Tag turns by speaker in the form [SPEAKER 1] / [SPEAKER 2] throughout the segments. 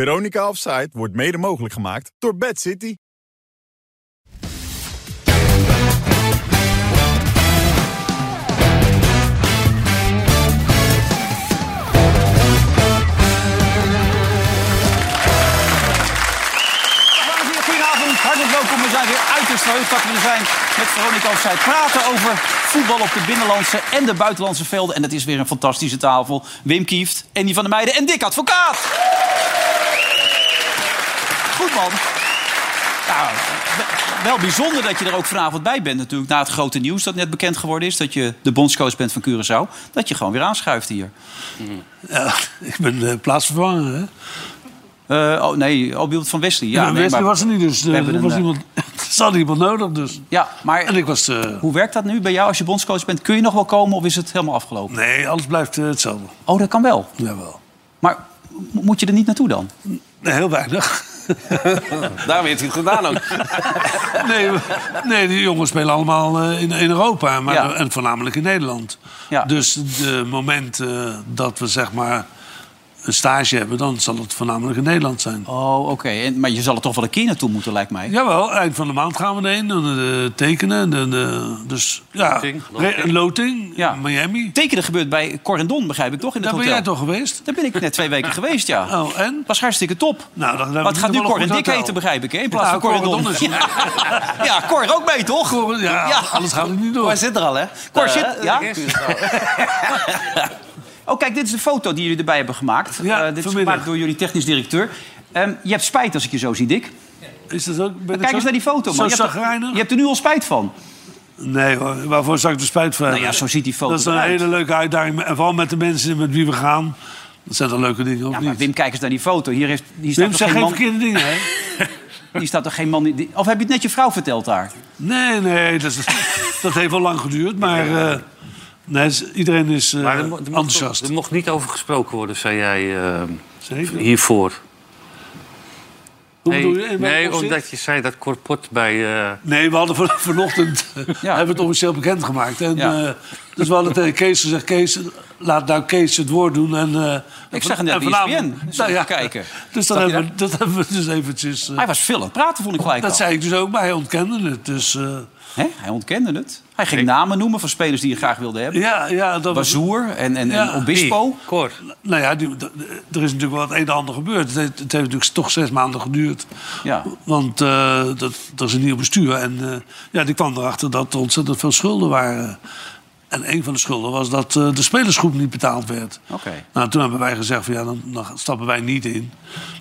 [SPEAKER 1] Veronica Offside wordt mede mogelijk gemaakt door Bad City.
[SPEAKER 2] Dames en heren, goedenavond. Hartelijk welkom. We zijn weer uiterst verheugd dat we er zijn met Veronica of zij praten over voetbal op de binnenlandse en de buitenlandse velden. En dat is weer een fantastische tafel. Wim Kieft, Andy van der Meijden en Dick Advocaat. Goed man. Nou, w- wel bijzonder dat je er ook vanavond bij bent natuurlijk. Na het grote nieuws dat net bekend geworden is. Dat je de bondscoach bent van Curaçao. Dat je gewoon weer aanschuift hier.
[SPEAKER 3] Ja, ik ben eh, plaatsvervanger, hè?
[SPEAKER 2] Eh, oh nee, Albion van Wesley. Ja,
[SPEAKER 3] Ja,
[SPEAKER 2] nee,
[SPEAKER 3] Wesley
[SPEAKER 2] maar-
[SPEAKER 3] was er niet, dus eh,
[SPEAKER 2] hebben
[SPEAKER 3] er,
[SPEAKER 2] een,
[SPEAKER 3] was
[SPEAKER 2] eh,
[SPEAKER 3] iemand, er zat iemand nodig. Dus.
[SPEAKER 2] Ja, maar...
[SPEAKER 3] En ik was... eh,
[SPEAKER 2] Hoe werkt dat nu bij jou als je bondscoach bent? Kun je nog wel komen of is het helemaal afgelopen?
[SPEAKER 3] nee, alles blijft eh, hetzelfde.
[SPEAKER 2] Oh, dat kan wel.
[SPEAKER 3] Jawel.
[SPEAKER 2] Maar m- moet je er niet naartoe dan?
[SPEAKER 3] Nee, heel weinig.
[SPEAKER 4] Daarom heeft hij het gedaan ook.
[SPEAKER 3] nee, we- nee, die jongens spelen allemaal eh, in, in Europa. Maar,
[SPEAKER 2] Ja.
[SPEAKER 3] En voornamelijk in Nederland.
[SPEAKER 2] Ja.
[SPEAKER 3] Dus het moment eh, dat we zeg maar een stage hebben... dan zal het voornamelijk in Nederland zijn.
[SPEAKER 2] Oh, oké. En- Maar je zal er toch wel een keer naartoe moeten, lijkt mij.
[SPEAKER 3] Jawel, eind van de maand gaan we erheen. Dan eh, tekenen. Dan, eh, dus ja,
[SPEAKER 4] Loting,
[SPEAKER 3] re-
[SPEAKER 4] loting.
[SPEAKER 3] loting,
[SPEAKER 2] Ja.
[SPEAKER 3] Miami.
[SPEAKER 2] Tekenen gebeurt bij Corendon, begrijp ik toch? In het
[SPEAKER 3] Daar ben
[SPEAKER 2] hotel.
[SPEAKER 3] jij toch geweest?
[SPEAKER 2] Daar ben ik net twee weken geweest, ja.
[SPEAKER 3] Oh, en?
[SPEAKER 2] Was hartstikke top.
[SPEAKER 3] Nou, dan- dan
[SPEAKER 2] Wat gaat nu
[SPEAKER 3] wel een
[SPEAKER 2] Cor en
[SPEAKER 3] goed
[SPEAKER 2] Dick
[SPEAKER 3] hotel.
[SPEAKER 2] heten, begrijp ik, hè? In plaats
[SPEAKER 3] Ja,
[SPEAKER 2] van
[SPEAKER 3] Cor en
[SPEAKER 2] Corendon.
[SPEAKER 3] Don is-
[SPEAKER 2] ja. ja, Cor ook mee, toch?
[SPEAKER 3] Cor- ja, anders gaat het niet door. Eh,
[SPEAKER 2] Cor zit er al, hè? Cor zit... Ja?
[SPEAKER 4] Curaçao.
[SPEAKER 2] Oh, kijk, dit is de foto die jullie erbij hebben gemaakt.
[SPEAKER 3] Ja,
[SPEAKER 2] Eh, dit is
[SPEAKER 3] vanmiddag.
[SPEAKER 2] gemaakt door jullie technisch directeur. Ehm, je hebt spijt als ik je zo zie, Dick.
[SPEAKER 3] Is dat ook, ben ik
[SPEAKER 2] Kijk
[SPEAKER 3] zo-
[SPEAKER 2] eens naar die foto,
[SPEAKER 3] Zo
[SPEAKER 2] man. Je hebt, er,
[SPEAKER 3] chagrijnig?
[SPEAKER 2] je hebt er nu al spijt van.
[SPEAKER 3] Nee hoor, waarvoor zou ik er spijt van
[SPEAKER 2] Nou
[SPEAKER 3] hebben?
[SPEAKER 2] ja, zo ziet die foto
[SPEAKER 3] Dat is een
[SPEAKER 2] eruit.
[SPEAKER 3] hele leuke uitdaging. En vooral met de mensen met wie we gaan. Dat zijn dan leuke dingen, of
[SPEAKER 2] Ja, maar
[SPEAKER 3] niet?
[SPEAKER 2] Wim, kijk eens naar die foto. Hier, heeft, hier staat
[SPEAKER 3] Wim
[SPEAKER 2] toch
[SPEAKER 3] zegt
[SPEAKER 2] geen
[SPEAKER 3] geen
[SPEAKER 2] man...
[SPEAKER 3] verkeerde dingen, hè?
[SPEAKER 2] Hier staat toch geen man die- of heb je het net je vrouw verteld daar?
[SPEAKER 3] Nee, nee, dat, is- dat heeft wel lang geduurd. Maar eh, nee, is- iedereen is eh,
[SPEAKER 4] Maar er, mo- er mocht,
[SPEAKER 3] enthousiast.
[SPEAKER 4] er mocht niet over gesproken worden, zei jij eh,
[SPEAKER 3] Zeker.
[SPEAKER 4] hiervoor.
[SPEAKER 3] Hoe
[SPEAKER 4] nee,
[SPEAKER 3] bedoel je? In welk
[SPEAKER 4] nee
[SPEAKER 3] opzicht?
[SPEAKER 4] omdat je zei dat Corpot bij... eh,
[SPEAKER 3] Nee, we hadden van, vanochtend eh,
[SPEAKER 2] Ja.
[SPEAKER 3] hebben we het officieel bekendgemaakt. En,
[SPEAKER 2] Ja.
[SPEAKER 3] eh, dus we hadden tegen Kees gezegd... Kees, laat nou Kees het woord doen. En, eh, en
[SPEAKER 2] zag hem net E
[SPEAKER 3] en
[SPEAKER 2] bij
[SPEAKER 3] vanavond- Nou
[SPEAKER 2] ESPN. Zullen we even kijken? Ah,
[SPEAKER 3] Dus
[SPEAKER 2] Zat
[SPEAKER 3] dat
[SPEAKER 2] hij
[SPEAKER 3] hebben, we- dat hebben we dus eventjes... eh,
[SPEAKER 2] Hij was veel aan het praten, vond ik gelijk
[SPEAKER 3] dat
[SPEAKER 2] al.
[SPEAKER 3] zei ik dus ook, maar hij ontkende het. Dus eh,
[SPEAKER 2] Hè? Hij ontkende het. Hij ging namen noemen van spelers die je graag wilde hebben.
[SPEAKER 3] ja, ja, dat was...
[SPEAKER 2] Bazoer en, en,
[SPEAKER 3] Ja.
[SPEAKER 2] en Obispo.
[SPEAKER 4] die, Cor.
[SPEAKER 3] Nou ja, die- d- d- er is natuurlijk wel het een en ander gebeurd. Het heeft, het heeft natuurlijk toch zes maanden geduurd.
[SPEAKER 2] Ja.
[SPEAKER 3] Want eh, dat, dat is een nieuw bestuur. En eh, ja, die kwam erachter dat er ontzettend veel schulden waren. En een van de schulden was dat eh, de spelersgroep niet betaald werd.
[SPEAKER 2] Oké.
[SPEAKER 3] Nou, toen hebben wij gezegd van ja, dan, dan stappen wij niet in.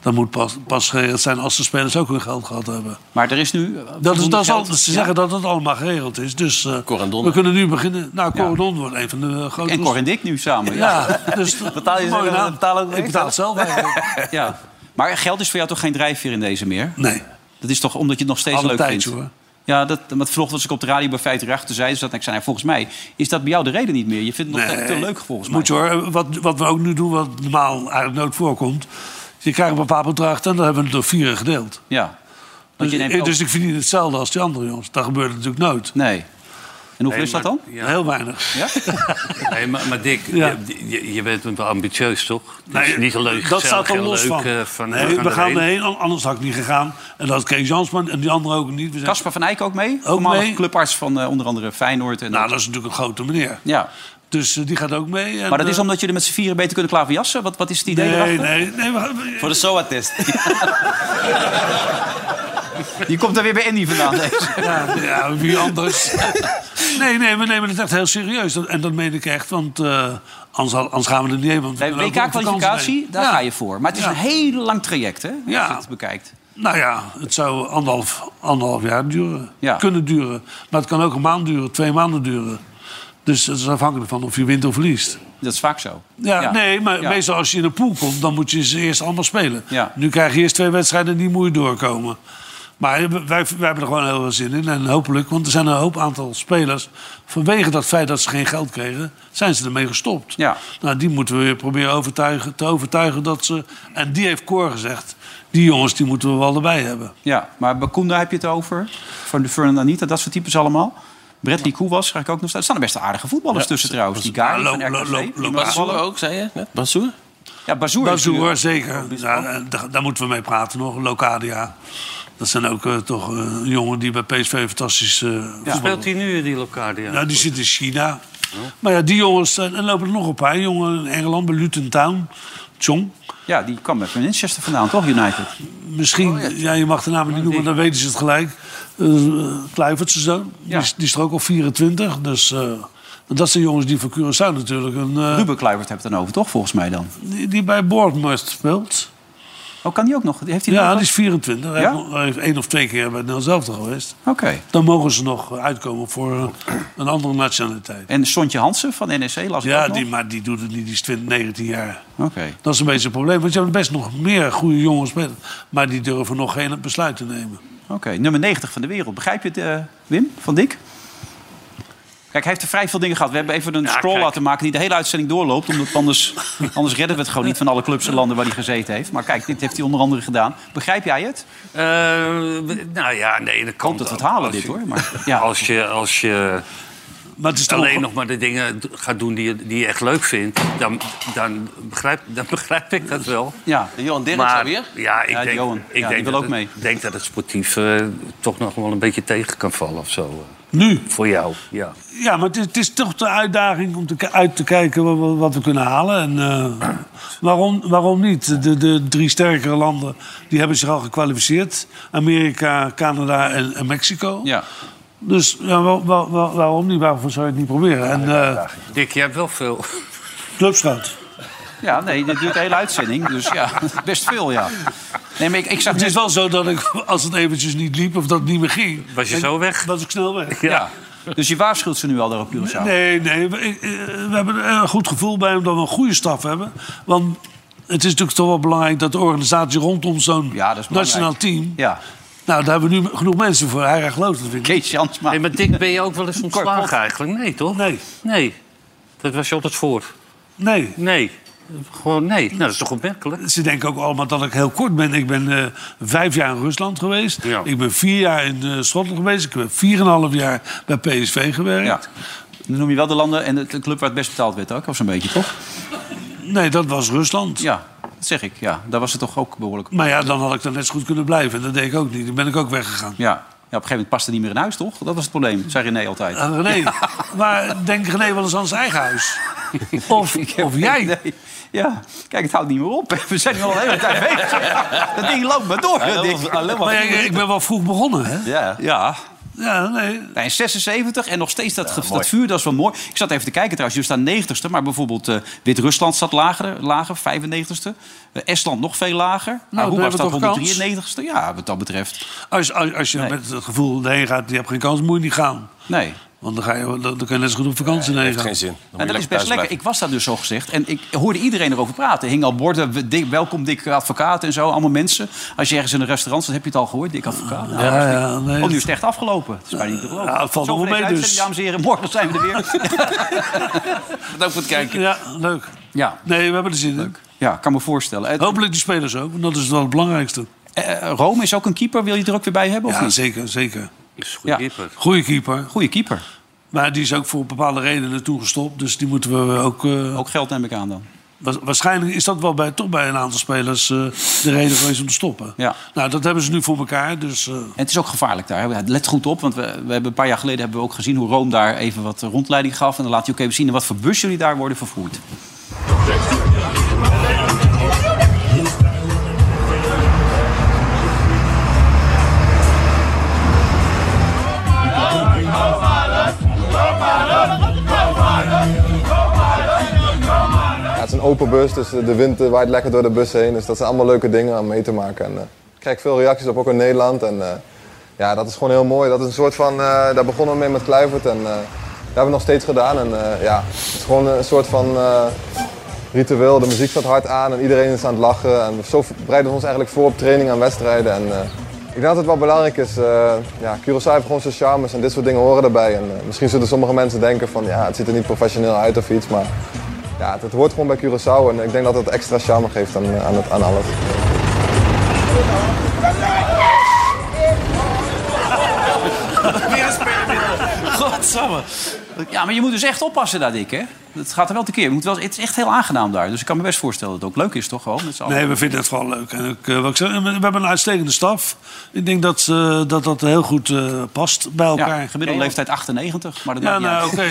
[SPEAKER 3] Dat moet pas, pas geregeld zijn als de spelers ook hun geld gehad hebben.
[SPEAKER 2] Maar er is nu... eh,
[SPEAKER 3] Dat is,
[SPEAKER 2] voldoende
[SPEAKER 3] dat is al,
[SPEAKER 2] geld.
[SPEAKER 3] ze
[SPEAKER 2] Ja.
[SPEAKER 3] zeggen dat het allemaal geregeld is. Dus eh,
[SPEAKER 4] Corendon.
[SPEAKER 3] we kunnen nu beginnen. Nou, Corendon wordt een van de eh, grote...
[SPEAKER 2] En Cor en Dick nu samen. Ja.
[SPEAKER 3] Ja, dus
[SPEAKER 2] Betaal je
[SPEAKER 3] mooie
[SPEAKER 2] zelf-
[SPEAKER 3] naam.
[SPEAKER 2] betaal ook-
[SPEAKER 3] Ik betaal het zelf eigenlijk.
[SPEAKER 2] Ja. Maar geld is voor jou toch geen drijfveer in deze meer?
[SPEAKER 3] Nee,
[SPEAKER 2] Dat is toch omdat je het nog steeds
[SPEAKER 3] alle
[SPEAKER 2] leuk
[SPEAKER 3] tijd
[SPEAKER 2] vindt?
[SPEAKER 3] hoor.
[SPEAKER 2] Ja, dat, want vanochtend als ik op de radio bij 50 erachter zei, zat en ik zei, nou, volgens mij is dat bij jou de reden niet meer. Je vindt het nog te- te leuk volgens mij.
[SPEAKER 3] Moet je hoor. Wat, wat we ook nu doen, wat normaal eigenlijk nooit voorkomt. Je krijgt een bepaald bedrag en dan hebben we het door vieren gedeeld.
[SPEAKER 2] Ja. Want
[SPEAKER 3] Dus,
[SPEAKER 2] je neemt
[SPEAKER 3] eh,
[SPEAKER 2] ook-
[SPEAKER 3] dus ik verdien hetzelfde als die andere jongens. Dat gebeurt natuurlijk nooit.
[SPEAKER 2] Nee. En hoeveel is dat dan?
[SPEAKER 4] Ja.
[SPEAKER 3] Heel weinig.
[SPEAKER 2] Ja?
[SPEAKER 4] Nee, maar, maar Dick,
[SPEAKER 3] Ja.
[SPEAKER 4] je, je- je bent wel ambitieus, toch? Het
[SPEAKER 3] Nee,
[SPEAKER 4] is niet een leuk
[SPEAKER 3] dat staat er
[SPEAKER 4] gezellig en
[SPEAKER 3] los
[SPEAKER 4] leuk,
[SPEAKER 3] van.
[SPEAKER 4] eh, van
[SPEAKER 3] Nee, we gaan erheen, an- anders had ik niet gegaan. En dat had Kees Jansman en die anderen ook niet. We zijn-
[SPEAKER 2] Caspar van Eyck ook mee? Voormalig
[SPEAKER 3] mee.
[SPEAKER 2] clubarts van eh, onder andere Feyenoord. En
[SPEAKER 3] nou, dat is natuurlijk een grote meneer.
[SPEAKER 2] ja.
[SPEAKER 3] Dus eh, die gaat ook mee. En,
[SPEAKER 2] Maar dat
[SPEAKER 3] eh,
[SPEAKER 2] is omdat jullie met z'n vieren beter kunnen klaverjassen? Wat, wat is het idee
[SPEAKER 3] Nee,
[SPEAKER 2] erachter?
[SPEAKER 3] nee, nee. we gaan- we-
[SPEAKER 2] Voor de SOA-test. Die komt er weer bij Andy vandaan. deze.
[SPEAKER 3] Ja, ja, wie anders? nee, nee, we nemen het echt heel serieus. Dat- En dat meen ik echt, want eh, anders, had- anders gaan we er niet heen. want we
[SPEAKER 2] Bij
[SPEAKER 3] willen ook op vakantie
[SPEAKER 2] WK-kwalificatie,
[SPEAKER 3] mee.
[SPEAKER 2] daar
[SPEAKER 3] Ja.
[SPEAKER 2] ga je voor. Maar het is
[SPEAKER 3] Ja.
[SPEAKER 2] een heel lang traject, hè? Als
[SPEAKER 3] Ja.
[SPEAKER 2] je het bekijkt.
[SPEAKER 3] Nou ja, het zou anderhalf, anderhalf jaar duren.
[SPEAKER 2] Ja.
[SPEAKER 3] Kunnen duren. Maar het kan ook een maand duren, twee maanden duren. Dus het is afhankelijk van of je wint of verliest.
[SPEAKER 2] Dat is vaak zo.
[SPEAKER 3] Ja, nee, maar
[SPEAKER 2] Ja.
[SPEAKER 3] meestal als je in een pool komt, dan moet je ze eerst allemaal spelen.
[SPEAKER 2] Ja.
[SPEAKER 3] Nu krijg je eerst twee wedstrijden die moet je doorkomen. Maar wij, wij hebben er gewoon heel veel zin in. En hopelijk, want er zijn een hoop aantal spelers... vanwege dat feit dat ze geen geld kregen, zijn ze ermee gestopt.
[SPEAKER 2] Ja.
[SPEAKER 3] Nou, die moeten we weer proberen overtuigen, te overtuigen dat ze... En die heeft Cor gezegd, die jongens die moeten we wel erbij hebben.
[SPEAKER 2] Ja, maar Bakunda heb je het over. Van de Fernand Anita, dat soort types allemaal. Bradley Koewas, ga ik ook nog staan. Er staan best aardige voetballers tussen trouwens. Die Guy
[SPEAKER 3] Ja,
[SPEAKER 2] van
[SPEAKER 3] loop- loop-
[SPEAKER 2] RKC.
[SPEAKER 3] loop- loop-
[SPEAKER 2] Maar-
[SPEAKER 5] Bassoer ook, zei je? net? Bassoer?
[SPEAKER 2] Ja, Bazoer. is duur.
[SPEAKER 3] Bazoer, zeker. Ja, eh, daar, daar moeten we mee praten nog. Locadia. Dat zijn ook eh, toch eh, een jongen die bij PSV fantastisch eh, voetbal-
[SPEAKER 4] Speelt hij nu die Locadia?
[SPEAKER 3] Nou, die zit in China. Maar ja, die jongens, eh, en lopen er nog een paar jongen in Engeland, bij Luton Town, Chong.
[SPEAKER 2] Ja, die kwam met Manchester vandaan, toch, United?
[SPEAKER 3] Misschien,
[SPEAKER 2] Oh,
[SPEAKER 3] ja. je mag de namen niet noemen, dan weten ze het gelijk. Eh Kluivert, zijn zoon,
[SPEAKER 2] Ja.
[SPEAKER 3] die, is- die is er ook al 24. Dus eh, dat zijn jongens die voor Curaçao natuurlijk. Een, eh,
[SPEAKER 2] Ruben Kluivert heeft het dan over, toch, volgens mij dan?
[SPEAKER 3] die, die bij Bournemouth speelt.
[SPEAKER 2] Oh, kan die ook nog? Heeft hij
[SPEAKER 3] Ja,
[SPEAKER 2] nog
[SPEAKER 3] die
[SPEAKER 2] wat?
[SPEAKER 3] is 24. Hij
[SPEAKER 2] Ja?
[SPEAKER 3] heeft nog- Hij heeft één of twee keer bij Nel zelf geweest.
[SPEAKER 2] Oké.
[SPEAKER 3] Dan mogen ze nog uitkomen voor eh, een andere nationaliteit.
[SPEAKER 2] En Sontje Hansen van NEC las ik
[SPEAKER 3] Ja,
[SPEAKER 2] ook nog.
[SPEAKER 3] die, maar die doet het niet. Die is 20, 19 jaar.
[SPEAKER 2] Oké.
[SPEAKER 3] Dat is een beetje een probleem. Want je hebt best nog meer goede jongens. Met, maar die durven nog geen besluit te nemen.
[SPEAKER 2] Oké, nummer 90 van de wereld. Begrijp je het, eh, Wim van Dijk? Kijk, hij heeft er vrij veel dingen gehad. We hebben even een scroll
[SPEAKER 4] kijk.
[SPEAKER 2] laten maken die de hele uitzending doorloopt. Omdat anders, anders redden we het gewoon niet van alle clubs en landen waar hij gezeten heeft. Maar kijk, dit heeft hij onder andere gedaan. Begrijp jij het?
[SPEAKER 4] Eh, we- nou ja, nee, dat
[SPEAKER 2] Ik
[SPEAKER 4] kan
[SPEAKER 2] hoop dat we het
[SPEAKER 4] ook.
[SPEAKER 2] halen,
[SPEAKER 4] Als
[SPEAKER 2] dit
[SPEAKER 4] je-
[SPEAKER 2] hoor. Maar, ja.
[SPEAKER 4] Als je, als je
[SPEAKER 3] Maar het is toch
[SPEAKER 4] alleen nog maar de dingen d- gaat doen die je, die je echt leuk vindt, dan, dan, begrijp, dan begrijp ik dat wel.
[SPEAKER 2] ja.
[SPEAKER 5] De Johan Derksen
[SPEAKER 4] Maar
[SPEAKER 5] weer?
[SPEAKER 4] ja, ik
[SPEAKER 2] Ja, die
[SPEAKER 4] denk,
[SPEAKER 2] Johan.
[SPEAKER 4] ik
[SPEAKER 2] Ja, die
[SPEAKER 4] denk,
[SPEAKER 2] wil
[SPEAKER 4] dat,
[SPEAKER 2] ook
[SPEAKER 4] het-
[SPEAKER 2] mee.
[SPEAKER 4] ik denk dat het sportief eh, toch nog wel een beetje tegen kan vallen of zo. eh,
[SPEAKER 3] nu.
[SPEAKER 4] Voor jou, ja.
[SPEAKER 3] Ja, maar het is, het is toch de uitdaging om te, ki- uit te kijken wa- wa- wat, we kunnen halen. En, eh, waarom, waarom niet? De, de drie sterkere landen die hebben zich al gekwalificeerd. Amerika, Canada en, en Mexico.
[SPEAKER 2] ja.
[SPEAKER 3] Dus ja, wa- wa- wa- waarom niet? Waarvoor zou je het niet proberen? En eh
[SPEAKER 4] Dick, jij hebt wel veel.
[SPEAKER 3] clubschout.
[SPEAKER 2] ja, nee, dit duurt de hele uitzending. Dus ja, best veel, ja. Nee, maar ik, ik zag
[SPEAKER 3] Het is
[SPEAKER 2] dus
[SPEAKER 3] wel zo dat ik, als het eventjes niet liep of dat het niet meer ging...
[SPEAKER 4] Was je
[SPEAKER 3] dan
[SPEAKER 4] zo weg?
[SPEAKER 3] Was ik snel weg.
[SPEAKER 2] Ja. Dus je waarschuwt ze nu al daar op Curaçao?
[SPEAKER 3] Nee, nee. We, ik- eh, we hebben er een goed gevoel bij omdat we een goede staf hebben. Want het is natuurlijk toch wel belangrijk dat de organisatie rondom zo'n
[SPEAKER 2] Ja, dat is belangrijk.
[SPEAKER 3] nationaal team.
[SPEAKER 2] Ja.
[SPEAKER 3] Nou, daar hebben we nu genoeg mensen voor. Hij gelooft het, vind ik.
[SPEAKER 2] Kees Jansma.
[SPEAKER 4] Hey, maar Dick, ben je ook wel eens
[SPEAKER 2] Kort,
[SPEAKER 4] ontslagen eigenlijk? Nee, toch?
[SPEAKER 3] Nee.
[SPEAKER 4] Nee. Dat was je altijd voor.
[SPEAKER 3] Nee.
[SPEAKER 4] Nee. Gewoon nee. Nou, dat is toch opmerkelijk?
[SPEAKER 3] Ze denken ook allemaal dat ik heel kort ben. Ik ben eh, vijf jaar in Rusland geweest.
[SPEAKER 4] Ja.
[SPEAKER 3] Ik ben vier jaar in eh, Schotland geweest. Ik ben vier en een half jaar bij PSV gewerkt.
[SPEAKER 2] Ja. Dan noem je wel de landen en de club waar het best betaald werd ook, of zo'n beetje, toch?
[SPEAKER 3] Nee, dat was Rusland.
[SPEAKER 2] Ja, dat zeg ik. Ja, daar was het toch ook behoorlijk.
[SPEAKER 3] Maar ja, dan had ik daar net zo goed kunnen blijven. En dat deed ik ook niet. Dan ben ik ook weggegaan.
[SPEAKER 2] Ja. ja, op een gegeven moment paste niet meer in huis, toch? Dat was het probleem, zei René altijd.
[SPEAKER 3] Aan Eh, René. Maar denk René wel eens aan zijn eigen huis? Of, of jij?
[SPEAKER 2] Nee. Ja, kijk, het houdt niet meer op. We zijn nu al een hele tijd bezig. Dat ding loopt maar door. dat ding.
[SPEAKER 3] Maar ja, ik, ik ben wel vroeg begonnen, hè?
[SPEAKER 5] Ja.
[SPEAKER 2] Ja,
[SPEAKER 3] Ja, nee.
[SPEAKER 2] Nee, 76 en nog steeds dat, ge- dat vuur, dat is wel mooi. Ik zat even te kijken trouwens, jullie staan 90ste. Maar bijvoorbeeld eh, Wit-Rusland staat lager, lager 95ste. Eh, Estland nog veel lager.
[SPEAKER 3] Nou,
[SPEAKER 2] Aruba
[SPEAKER 3] dan
[SPEAKER 2] staat
[SPEAKER 3] hebben we toch
[SPEAKER 2] 193ste. Ja, wat dat betreft.
[SPEAKER 3] Als, als, als je
[SPEAKER 2] Nee.
[SPEAKER 3] met het gevoel erheen gaat, je hebt geen kans, moet je niet gaan.
[SPEAKER 2] Nee.
[SPEAKER 3] Want dan, ga je, dan, dan kun je net zo goed op vakantie heen
[SPEAKER 5] Heeft
[SPEAKER 3] gaan.
[SPEAKER 5] geen zin. Dan moet
[SPEAKER 2] En
[SPEAKER 5] je
[SPEAKER 2] dat is best
[SPEAKER 5] thuis
[SPEAKER 2] lekker.
[SPEAKER 5] blijven.
[SPEAKER 2] Ik was daar dus zo gezegd. En ik hoorde iedereen erover praten. Er hingen al borden, we- dik- welkom dik advocaat en zo. Allemaal mensen. Als je ergens in een restaurant zat, heb je het al gehoord. Dik advocaat. Nou,
[SPEAKER 3] Ja, ja, nee.
[SPEAKER 2] Oh, nu is het echt afgelopen. Het is bijna niet te geloven.
[SPEAKER 3] Ja, het valt
[SPEAKER 2] Zo
[SPEAKER 3] nog wel
[SPEAKER 2] voor
[SPEAKER 3] mee
[SPEAKER 2] deze
[SPEAKER 3] dus.
[SPEAKER 2] uitzending, Dames en heren, morgen zijn we er weer.
[SPEAKER 5] Bedankt voor het kijken.
[SPEAKER 3] Ja, leuk.
[SPEAKER 2] Ja,
[SPEAKER 3] Nee, we hebben er zin in.
[SPEAKER 2] ja kan me voorstellen. Het-
[SPEAKER 3] Hopelijk die spelers ook, want dat is wel het belangrijkste.
[SPEAKER 2] Eh, Rome is ook een keeper. Wil je er ook weer bij hebben? Of
[SPEAKER 3] Ja,
[SPEAKER 2] niet?
[SPEAKER 3] zeker, zeker.
[SPEAKER 4] Dat is goed,
[SPEAKER 2] Ja.
[SPEAKER 4] dipper.
[SPEAKER 3] Goeie keeper.
[SPEAKER 2] Goeie keeper.
[SPEAKER 3] Maar die is ook voor bepaalde redenen toegestopt. Dus die moeten we ook... eh,
[SPEAKER 2] Ook geld neem ik aan dan.
[SPEAKER 3] Wa- Waarschijnlijk is dat wel bij, toch bij een aantal spelers eh, de reden geweest om te stoppen.
[SPEAKER 2] Ja.
[SPEAKER 3] Nou, dat hebben ze nu voor elkaar. Dus, eh,
[SPEAKER 2] En het is ook gevaarlijk daar. hè. Let goed op, want we, we hebben een paar jaar geleden hebben we ook gezien hoe Rome daar even wat rondleiding gaf. En dan laat hij ook even zien in wat voor bus jullie daar worden vervoerd.
[SPEAKER 6] Ja, het is een open bus, dus de wind eh, waait lekker door de bus heen. Dus dat zijn allemaal leuke dingen om mee te maken. En, eh, ik krijg veel reacties op, ook in Nederland. En eh, ja, dat is gewoon heel mooi. Dat is een soort van, eh, daar begonnen we mee met Kluivert. En eh, dat hebben we nog steeds gedaan. En eh, ja, het is gewoon een soort van eh, ritueel. De muziek staat hard aan en iedereen is aan het lachen. En zo bereiden we ons eigenlijk voor op training en wedstrijden. En, eh, ik denk dat het wel belangrijk is. eh ja, Curaçao heeft gewoon zijn charmes en dit soort dingen horen erbij. En, eh, misschien zullen sommige mensen denken van ja, het ziet er niet professioneel uit of iets. Maar ja, het, het hoort gewoon bij Curaçao en ik denk dat het extra charme geeft aan, eh, aan, het, aan alles.
[SPEAKER 5] Weer een speler. God.
[SPEAKER 2] Godsamme. Ja, maar je moet dus echt oppassen daar, Dick, hè? Het gaat er wel tekeer. Je moet wel, het is echt heel aangenaam daar. Dus ik kan me best voorstellen dat het ook leuk is, toch? Gewoon, met z'n allen.
[SPEAKER 3] Nee, we vinden het gewoon leuk. En ook, eh, wat ik zeg, en we we hebben een uitstekende staf. Ik denk dat eh, dat, dat heel goed eh, past bij elkaar.
[SPEAKER 2] ja, gemiddelde leeftijd 98, maar dat
[SPEAKER 3] Ja,
[SPEAKER 2] maakt niet
[SPEAKER 3] nou,
[SPEAKER 2] uit.
[SPEAKER 3] oké.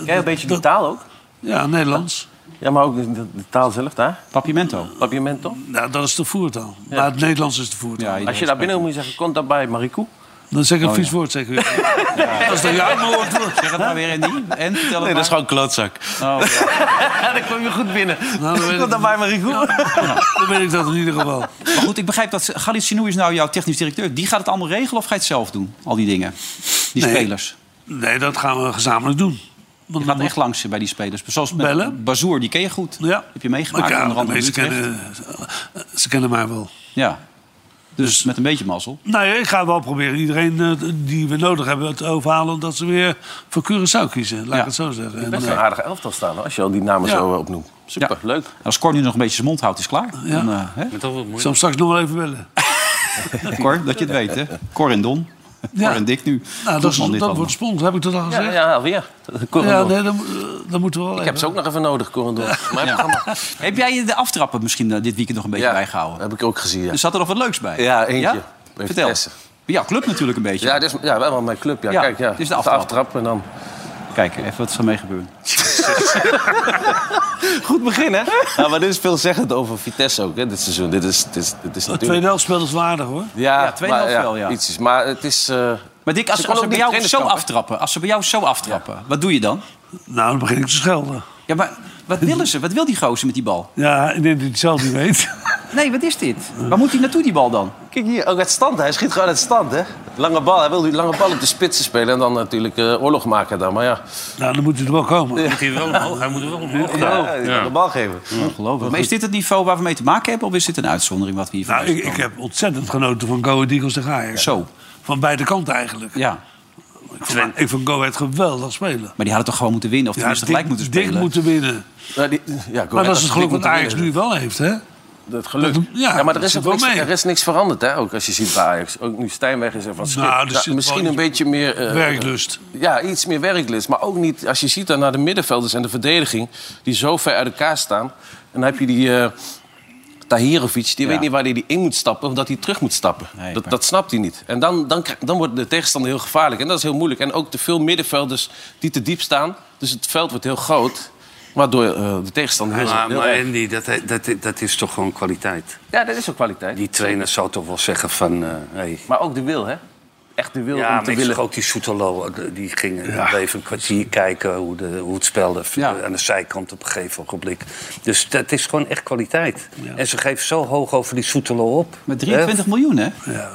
[SPEAKER 2] Ja.
[SPEAKER 7] Jij een beetje die taal ook?
[SPEAKER 3] Ja, Nederlands.
[SPEAKER 7] Ja, maar ook de, de- de taal zelf daar.
[SPEAKER 2] Papimento.
[SPEAKER 7] Papiamento.
[SPEAKER 3] Nou, dat is de voertaal. Maar het Nederlands is de voertaal.
[SPEAKER 2] Ja, Oh,
[SPEAKER 7] Als je daar binnen moet je zeggen, komt dat bij Marico?
[SPEAKER 3] Dan zeg ik een vies woord, zeg ik weer. Dat is toch jouw woord?
[SPEAKER 2] Zeg het maar weer, Andy. En vertel het maar.
[SPEAKER 5] gewoon klootzak.
[SPEAKER 7] Ja, dan kom je goed binnen.
[SPEAKER 3] Nou, dan, weet ik,
[SPEAKER 7] Komt dat bij Marico?
[SPEAKER 3] dan weet ik dat in ieder geval.
[SPEAKER 2] Maar goed, ik begrijp dat Galit Sinou is nou jouw technisch directeur. Die gaat het allemaal regelen of ga je het zelf doen? Al die dingen. Die
[SPEAKER 3] Nee.
[SPEAKER 2] spelers.
[SPEAKER 3] Nee, dat gaan we gezamenlijk doen.
[SPEAKER 2] Je gaat echt langs bij die spelers. Zoals met
[SPEAKER 3] Bellen?
[SPEAKER 2] Bazoer, die ken je goed.
[SPEAKER 3] Ja.
[SPEAKER 2] Heb je meegemaakt.
[SPEAKER 3] Ja,
[SPEAKER 2] onder andere
[SPEAKER 3] ze,
[SPEAKER 2] Utrecht.
[SPEAKER 3] kennen, ze kennen mij wel.
[SPEAKER 2] Ja. Dus met een beetje mazzel.
[SPEAKER 3] Nou ja, ik ga wel proberen iedereen eh, die we nodig hebben te overhalen... dat ze weer voor Curaçao kiezen, laat
[SPEAKER 2] Ja.
[SPEAKER 3] ik het zo zeggen. En,
[SPEAKER 7] Best
[SPEAKER 3] eh,
[SPEAKER 7] wel een aardige elftal staan, hoor, als je al die namen
[SPEAKER 3] Ja.
[SPEAKER 7] zo eh, opnoemt. Super,
[SPEAKER 2] Ja.
[SPEAKER 7] leuk.
[SPEAKER 2] Als Cor nu nog een beetje zijn mond houdt, is klaar.
[SPEAKER 3] Ja.
[SPEAKER 2] Dan, eh, hè?
[SPEAKER 4] Met al wat
[SPEAKER 3] ik
[SPEAKER 4] moeite.
[SPEAKER 3] zal hem straks nog wel even bellen.
[SPEAKER 2] Cor, dat je het weet, hè? Cor en Don.
[SPEAKER 3] Ja.
[SPEAKER 2] Cor en Dick nu.
[SPEAKER 3] Nou,
[SPEAKER 2] Doelman
[SPEAKER 3] dat, is,
[SPEAKER 2] dit
[SPEAKER 3] dat
[SPEAKER 2] allemaal.
[SPEAKER 3] wordt spons, heb ik dat al
[SPEAKER 7] Ja,
[SPEAKER 3] gezegd? Ja,
[SPEAKER 7] ja alweer. Corendon.
[SPEAKER 3] nee, dat, moet- dat moeten we wel
[SPEAKER 7] Ik heb ze ook nog even nodig, Corendon. Maar ja.
[SPEAKER 2] Heb jij de aftrappen misschien eh, dit weekend nog een beetje bijgehouden?
[SPEAKER 7] heb ik ook gezien, ja.
[SPEAKER 2] Er zat er nog wat leuks bij.
[SPEAKER 7] Ja, eentje. Bij
[SPEAKER 2] Vertel.
[SPEAKER 7] Vitesse.
[SPEAKER 2] Ja, club natuurlijk een beetje.
[SPEAKER 7] Ja, dit is, ja, wel mijn club. Ja.
[SPEAKER 2] Ja,
[SPEAKER 7] Kijk, ja.
[SPEAKER 2] het is de aftrap.
[SPEAKER 7] en dan...
[SPEAKER 2] Kijk, even wat is er mee gebeurd.
[SPEAKER 7] Goed begin, hè?
[SPEAKER 5] Ja, maar dit is veelzeggend over Vitesse ook, hè, dit seizoen. Dit is, dit is, dit is
[SPEAKER 3] Het
[SPEAKER 5] natuurlijk...
[SPEAKER 3] tweede helft speelt als waardig, hoor.
[SPEAKER 5] Ja,
[SPEAKER 2] Ja, tweede helft wel, ja.
[SPEAKER 5] Iets is, maar het is... eh,
[SPEAKER 2] Maar Dick, als
[SPEAKER 5] Ze
[SPEAKER 2] ze,
[SPEAKER 5] kon
[SPEAKER 2] als ze
[SPEAKER 5] ook
[SPEAKER 2] bij
[SPEAKER 5] niet
[SPEAKER 2] jou zo
[SPEAKER 5] trainerschap, hè?
[SPEAKER 2] aftrappen, als ze bij jou zo aftrappen, wat doe je dan?
[SPEAKER 3] Nou, dan begin ik te schelden.
[SPEAKER 2] Ja, maar wat willen ze? Wat wil die gozer met die bal?
[SPEAKER 3] Ja, ik denk dat hij het zelf niet weet.
[SPEAKER 2] Nee, wat is dit? Waar moet hij naartoe, die bal dan?
[SPEAKER 5] Kijk hier, ook uit stand. Hij schiet gewoon uit stand, hè.
[SPEAKER 7] Lange bal. Hij wil die lange bal op de spitsen spelen en dan natuurlijk eh, oorlog maken dan. Maar ja,
[SPEAKER 3] nou, dan moet hij er wel komen.
[SPEAKER 4] Moet hij, wel omhoog, hij moet er wel omhoog gaan.
[SPEAKER 5] Ja, de bal geven.
[SPEAKER 2] Ongelooflijk. Maar is dit het niveau waar we mee te maken hebben? Of is dit een uitzondering wat we hier
[SPEAKER 3] Nou,
[SPEAKER 2] van
[SPEAKER 3] ik, ik heb ontzettend genoten van Go Ahead Eagles tegen Ajax.
[SPEAKER 2] Zo,
[SPEAKER 3] Van beide kanten eigenlijk.
[SPEAKER 2] ja.
[SPEAKER 3] Ik vond- ik vond Go Ahead geweldig spelen.
[SPEAKER 2] Maar die hadden toch gewoon moeten winnen? Of
[SPEAKER 3] Ja,
[SPEAKER 2] tenminste gelijk moeten spelen?
[SPEAKER 3] Dik moeten winnen.
[SPEAKER 7] ja, die, ja
[SPEAKER 3] Maar dat is het geluk wat Ajax nu wel heeft, hè?
[SPEAKER 7] Dat geluk.
[SPEAKER 3] Dat- ja,
[SPEAKER 7] ja, maar er is,
[SPEAKER 3] dat
[SPEAKER 7] ook
[SPEAKER 3] zit
[SPEAKER 7] niks,
[SPEAKER 3] wel mee.
[SPEAKER 7] er is niks veranderd, hè? Ook als je ziet bij Ajax. Ook nu Stijnweg is er van schip.
[SPEAKER 3] er
[SPEAKER 7] Nou,
[SPEAKER 3] zit
[SPEAKER 7] misschien
[SPEAKER 3] wel
[SPEAKER 7] een
[SPEAKER 3] iets-
[SPEAKER 7] beetje meer... eh,
[SPEAKER 3] Werklust.
[SPEAKER 7] Ja, iets meer werklust. Maar ook niet, als je ziet dan naar de middenvelders en de verdediging... die zo ver uit elkaar staan. En dan heb je die eh Tahirovic, die weet niet waar hij die in moet stappen... of dat hij terug moet stappen.
[SPEAKER 2] Nee,
[SPEAKER 7] dat,
[SPEAKER 2] maar-
[SPEAKER 7] dat snapt hij niet. En dan, dan, krijg- dan wordt de tegenstander heel gevaarlijk. En dat is heel moeilijk. En ook te veel middenvelders die te diep staan. Dus het veld wordt heel groot... Waardoor eh, de tegenstander heel,
[SPEAKER 4] Maar,
[SPEAKER 7] heel
[SPEAKER 4] maar
[SPEAKER 7] erg-
[SPEAKER 4] Andy, dat, dat, dat is toch gewoon kwaliteit.
[SPEAKER 7] Ja, dat is ook kwaliteit.
[SPEAKER 4] Die trainer zou toch wel zeggen van... eh, hey.
[SPEAKER 7] Maar ook de wil, hè? Echt de wil
[SPEAKER 4] Ja,
[SPEAKER 7] om te
[SPEAKER 4] maar ik zag
[SPEAKER 7] willen.
[SPEAKER 4] ook die Soetelo, eh, die ging even een kwartier kijken hoe, de, hoe het spelde. eh,
[SPEAKER 2] Ja.
[SPEAKER 4] Aan de zijkant op een gegeven ogenblik. Dus dat is gewoon echt kwaliteit. En ze geven zo hoog over die Soetelo op.
[SPEAKER 2] Met
[SPEAKER 4] Hè?
[SPEAKER 2] 23 miljoen, hè?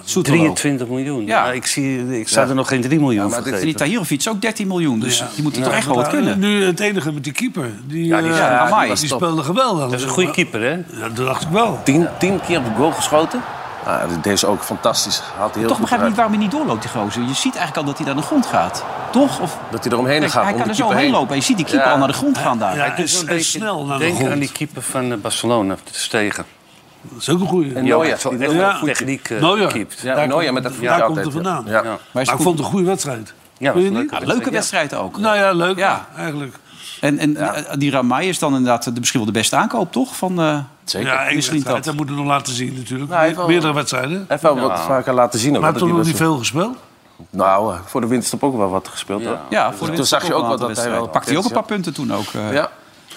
[SPEAKER 2] Soetelo.
[SPEAKER 4] 23 miljoen.
[SPEAKER 2] Ja.
[SPEAKER 4] Ja. ik, zie, ik zou er nog geen 3 miljoen
[SPEAKER 2] Maar
[SPEAKER 4] voor
[SPEAKER 2] dit- die
[SPEAKER 4] geven.
[SPEAKER 2] Tahirovic ook 13 miljoen. Dus die moet toch echt wel wat
[SPEAKER 3] Nou,
[SPEAKER 2] kunnen.
[SPEAKER 3] Nu het enige met die keeper. Die,
[SPEAKER 4] Ja, die
[SPEAKER 3] eh,
[SPEAKER 4] is- ja,
[SPEAKER 2] Amai.
[SPEAKER 3] die,
[SPEAKER 2] was
[SPEAKER 7] top.
[SPEAKER 3] speelde geweldig.
[SPEAKER 4] Dat is een goede keeper, hè?
[SPEAKER 3] Ja, dat dacht ik wel.
[SPEAKER 7] Tien, tien keer op de goal geschoten. Ah, deze ook fantastisch. Haalt hij heel
[SPEAKER 2] Toch begrijp
[SPEAKER 7] goed
[SPEAKER 2] ik niet
[SPEAKER 7] eruit.
[SPEAKER 2] waarom hij niet doorloopt, die gozer. Je ziet eigenlijk al dat hij naar de grond gaat. Toch? Of...
[SPEAKER 7] Dat hij eromheen
[SPEAKER 2] Kijk,
[SPEAKER 7] gaat.
[SPEAKER 2] hij
[SPEAKER 7] om
[SPEAKER 2] kan
[SPEAKER 7] de
[SPEAKER 2] er zo
[SPEAKER 7] keeper
[SPEAKER 2] omheen
[SPEAKER 7] heen.
[SPEAKER 2] lopen. En je ziet die keeper
[SPEAKER 7] Ja.
[SPEAKER 2] al naar de grond gaan daar.
[SPEAKER 3] Ja,
[SPEAKER 4] Hij
[SPEAKER 3] en,
[SPEAKER 4] doet wel een
[SPEAKER 3] en
[SPEAKER 4] beetje-
[SPEAKER 3] snel naar de
[SPEAKER 4] Denk aan
[SPEAKER 3] grond.
[SPEAKER 4] die keeper van eh, Barcelona, de Stegen.
[SPEAKER 3] Dat is ook een goeie.
[SPEAKER 7] En Neuer,
[SPEAKER 4] Ja, zo
[SPEAKER 7] die
[SPEAKER 4] echt
[SPEAKER 7] doet
[SPEAKER 4] wel
[SPEAKER 7] wel
[SPEAKER 4] goed techniek eh,
[SPEAKER 3] Neuer.
[SPEAKER 4] keept.
[SPEAKER 7] Ja,
[SPEAKER 3] Daar
[SPEAKER 7] Neuer
[SPEAKER 3] komt-
[SPEAKER 7] met dat
[SPEAKER 3] daar
[SPEAKER 7] voetje
[SPEAKER 3] komt
[SPEAKER 7] altijd.
[SPEAKER 3] het
[SPEAKER 7] ja.
[SPEAKER 3] vandaan.
[SPEAKER 7] Ja.
[SPEAKER 2] Maar is
[SPEAKER 3] Maar ik
[SPEAKER 2] goed.
[SPEAKER 3] vond het een goede wedstrijd.
[SPEAKER 4] Ja,
[SPEAKER 3] Vind
[SPEAKER 4] was
[SPEAKER 3] je niet?
[SPEAKER 4] leuk.
[SPEAKER 2] Ja, leuke wedstrijd ook.
[SPEAKER 3] Nou ja, leuk
[SPEAKER 2] Ja.
[SPEAKER 3] eigenlijk.
[SPEAKER 2] En, en eh, die Ramai is dan inderdaad de, misschien wel de beste aankoop, toch? Van, eh,
[SPEAKER 7] Zeker.
[SPEAKER 3] Ja, één
[SPEAKER 2] misschien
[SPEAKER 3] wedstrijd.
[SPEAKER 2] dat.
[SPEAKER 3] Dat moeten we nog laten zien natuurlijk.
[SPEAKER 7] hij heeft wel-
[SPEAKER 3] Meerdere wedstrijden.
[SPEAKER 7] Even wat vaker laten zien. Ook,
[SPEAKER 3] Maar
[SPEAKER 7] dat
[SPEAKER 3] toen
[SPEAKER 7] hij
[SPEAKER 3] nog
[SPEAKER 7] dat
[SPEAKER 3] niet
[SPEAKER 7] zo-
[SPEAKER 3] veel gespeeld.
[SPEAKER 7] Nou, eh, voor de winterstop ook wel wat gespeeld. hoor.
[SPEAKER 2] ja, voor de
[SPEAKER 7] Toen zag je ook wel
[SPEAKER 2] wel
[SPEAKER 7] dat hij wel...
[SPEAKER 2] Pakte hij ook een paar punten toen ook. eh.
[SPEAKER 7] Ja.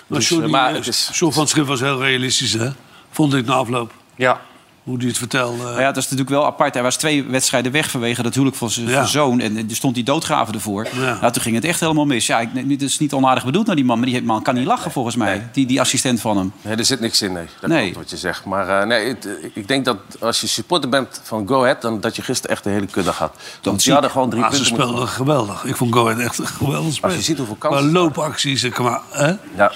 [SPEAKER 3] Maar
[SPEAKER 7] Dus,
[SPEAKER 3] Sjoerd
[SPEAKER 7] eh, maar
[SPEAKER 3] die-
[SPEAKER 7] het is-
[SPEAKER 3] Sjoerd van Schip was heel realistisch, hè? Vond ik na afloop.
[SPEAKER 4] Ja.
[SPEAKER 3] Hoe hij het vertelde. Ah,
[SPEAKER 2] Maar Nou ja, dat is natuurlijk wel apart. Hij was twee wedstrijden weg vanwege dat huwelijk van zijn
[SPEAKER 3] Ja.
[SPEAKER 2] zijn zoon. En er stond die doodgraven ervoor.
[SPEAKER 3] Ja.
[SPEAKER 2] Nou, toen ging het echt helemaal mis. Ja, ik, het is niet onaardig bedoeld naar die man. Maar die man kan niet lachen, volgens mij. Die, die assistent van hem.
[SPEAKER 7] Nee, er zit niks in, nee. Dat
[SPEAKER 2] Nee.
[SPEAKER 7] klopt wat je zegt. Maar eh, nee, het- ik denk dat als je supporter bent van Go Ahead... dan dat je gisteren echt de hele kudde had. Want
[SPEAKER 2] zie
[SPEAKER 7] die
[SPEAKER 2] ik.
[SPEAKER 7] hadden gewoon drie
[SPEAKER 3] Maar ze
[SPEAKER 7] punten moeten-
[SPEAKER 3] speelden geweldig. Ik vond Go Ahead echt een geweldig spel.
[SPEAKER 7] Als je ziet hoeveel kansen
[SPEAKER 3] eh, Maar
[SPEAKER 7] ze
[SPEAKER 3] loopacties en qua... Hè?
[SPEAKER 7] Ja.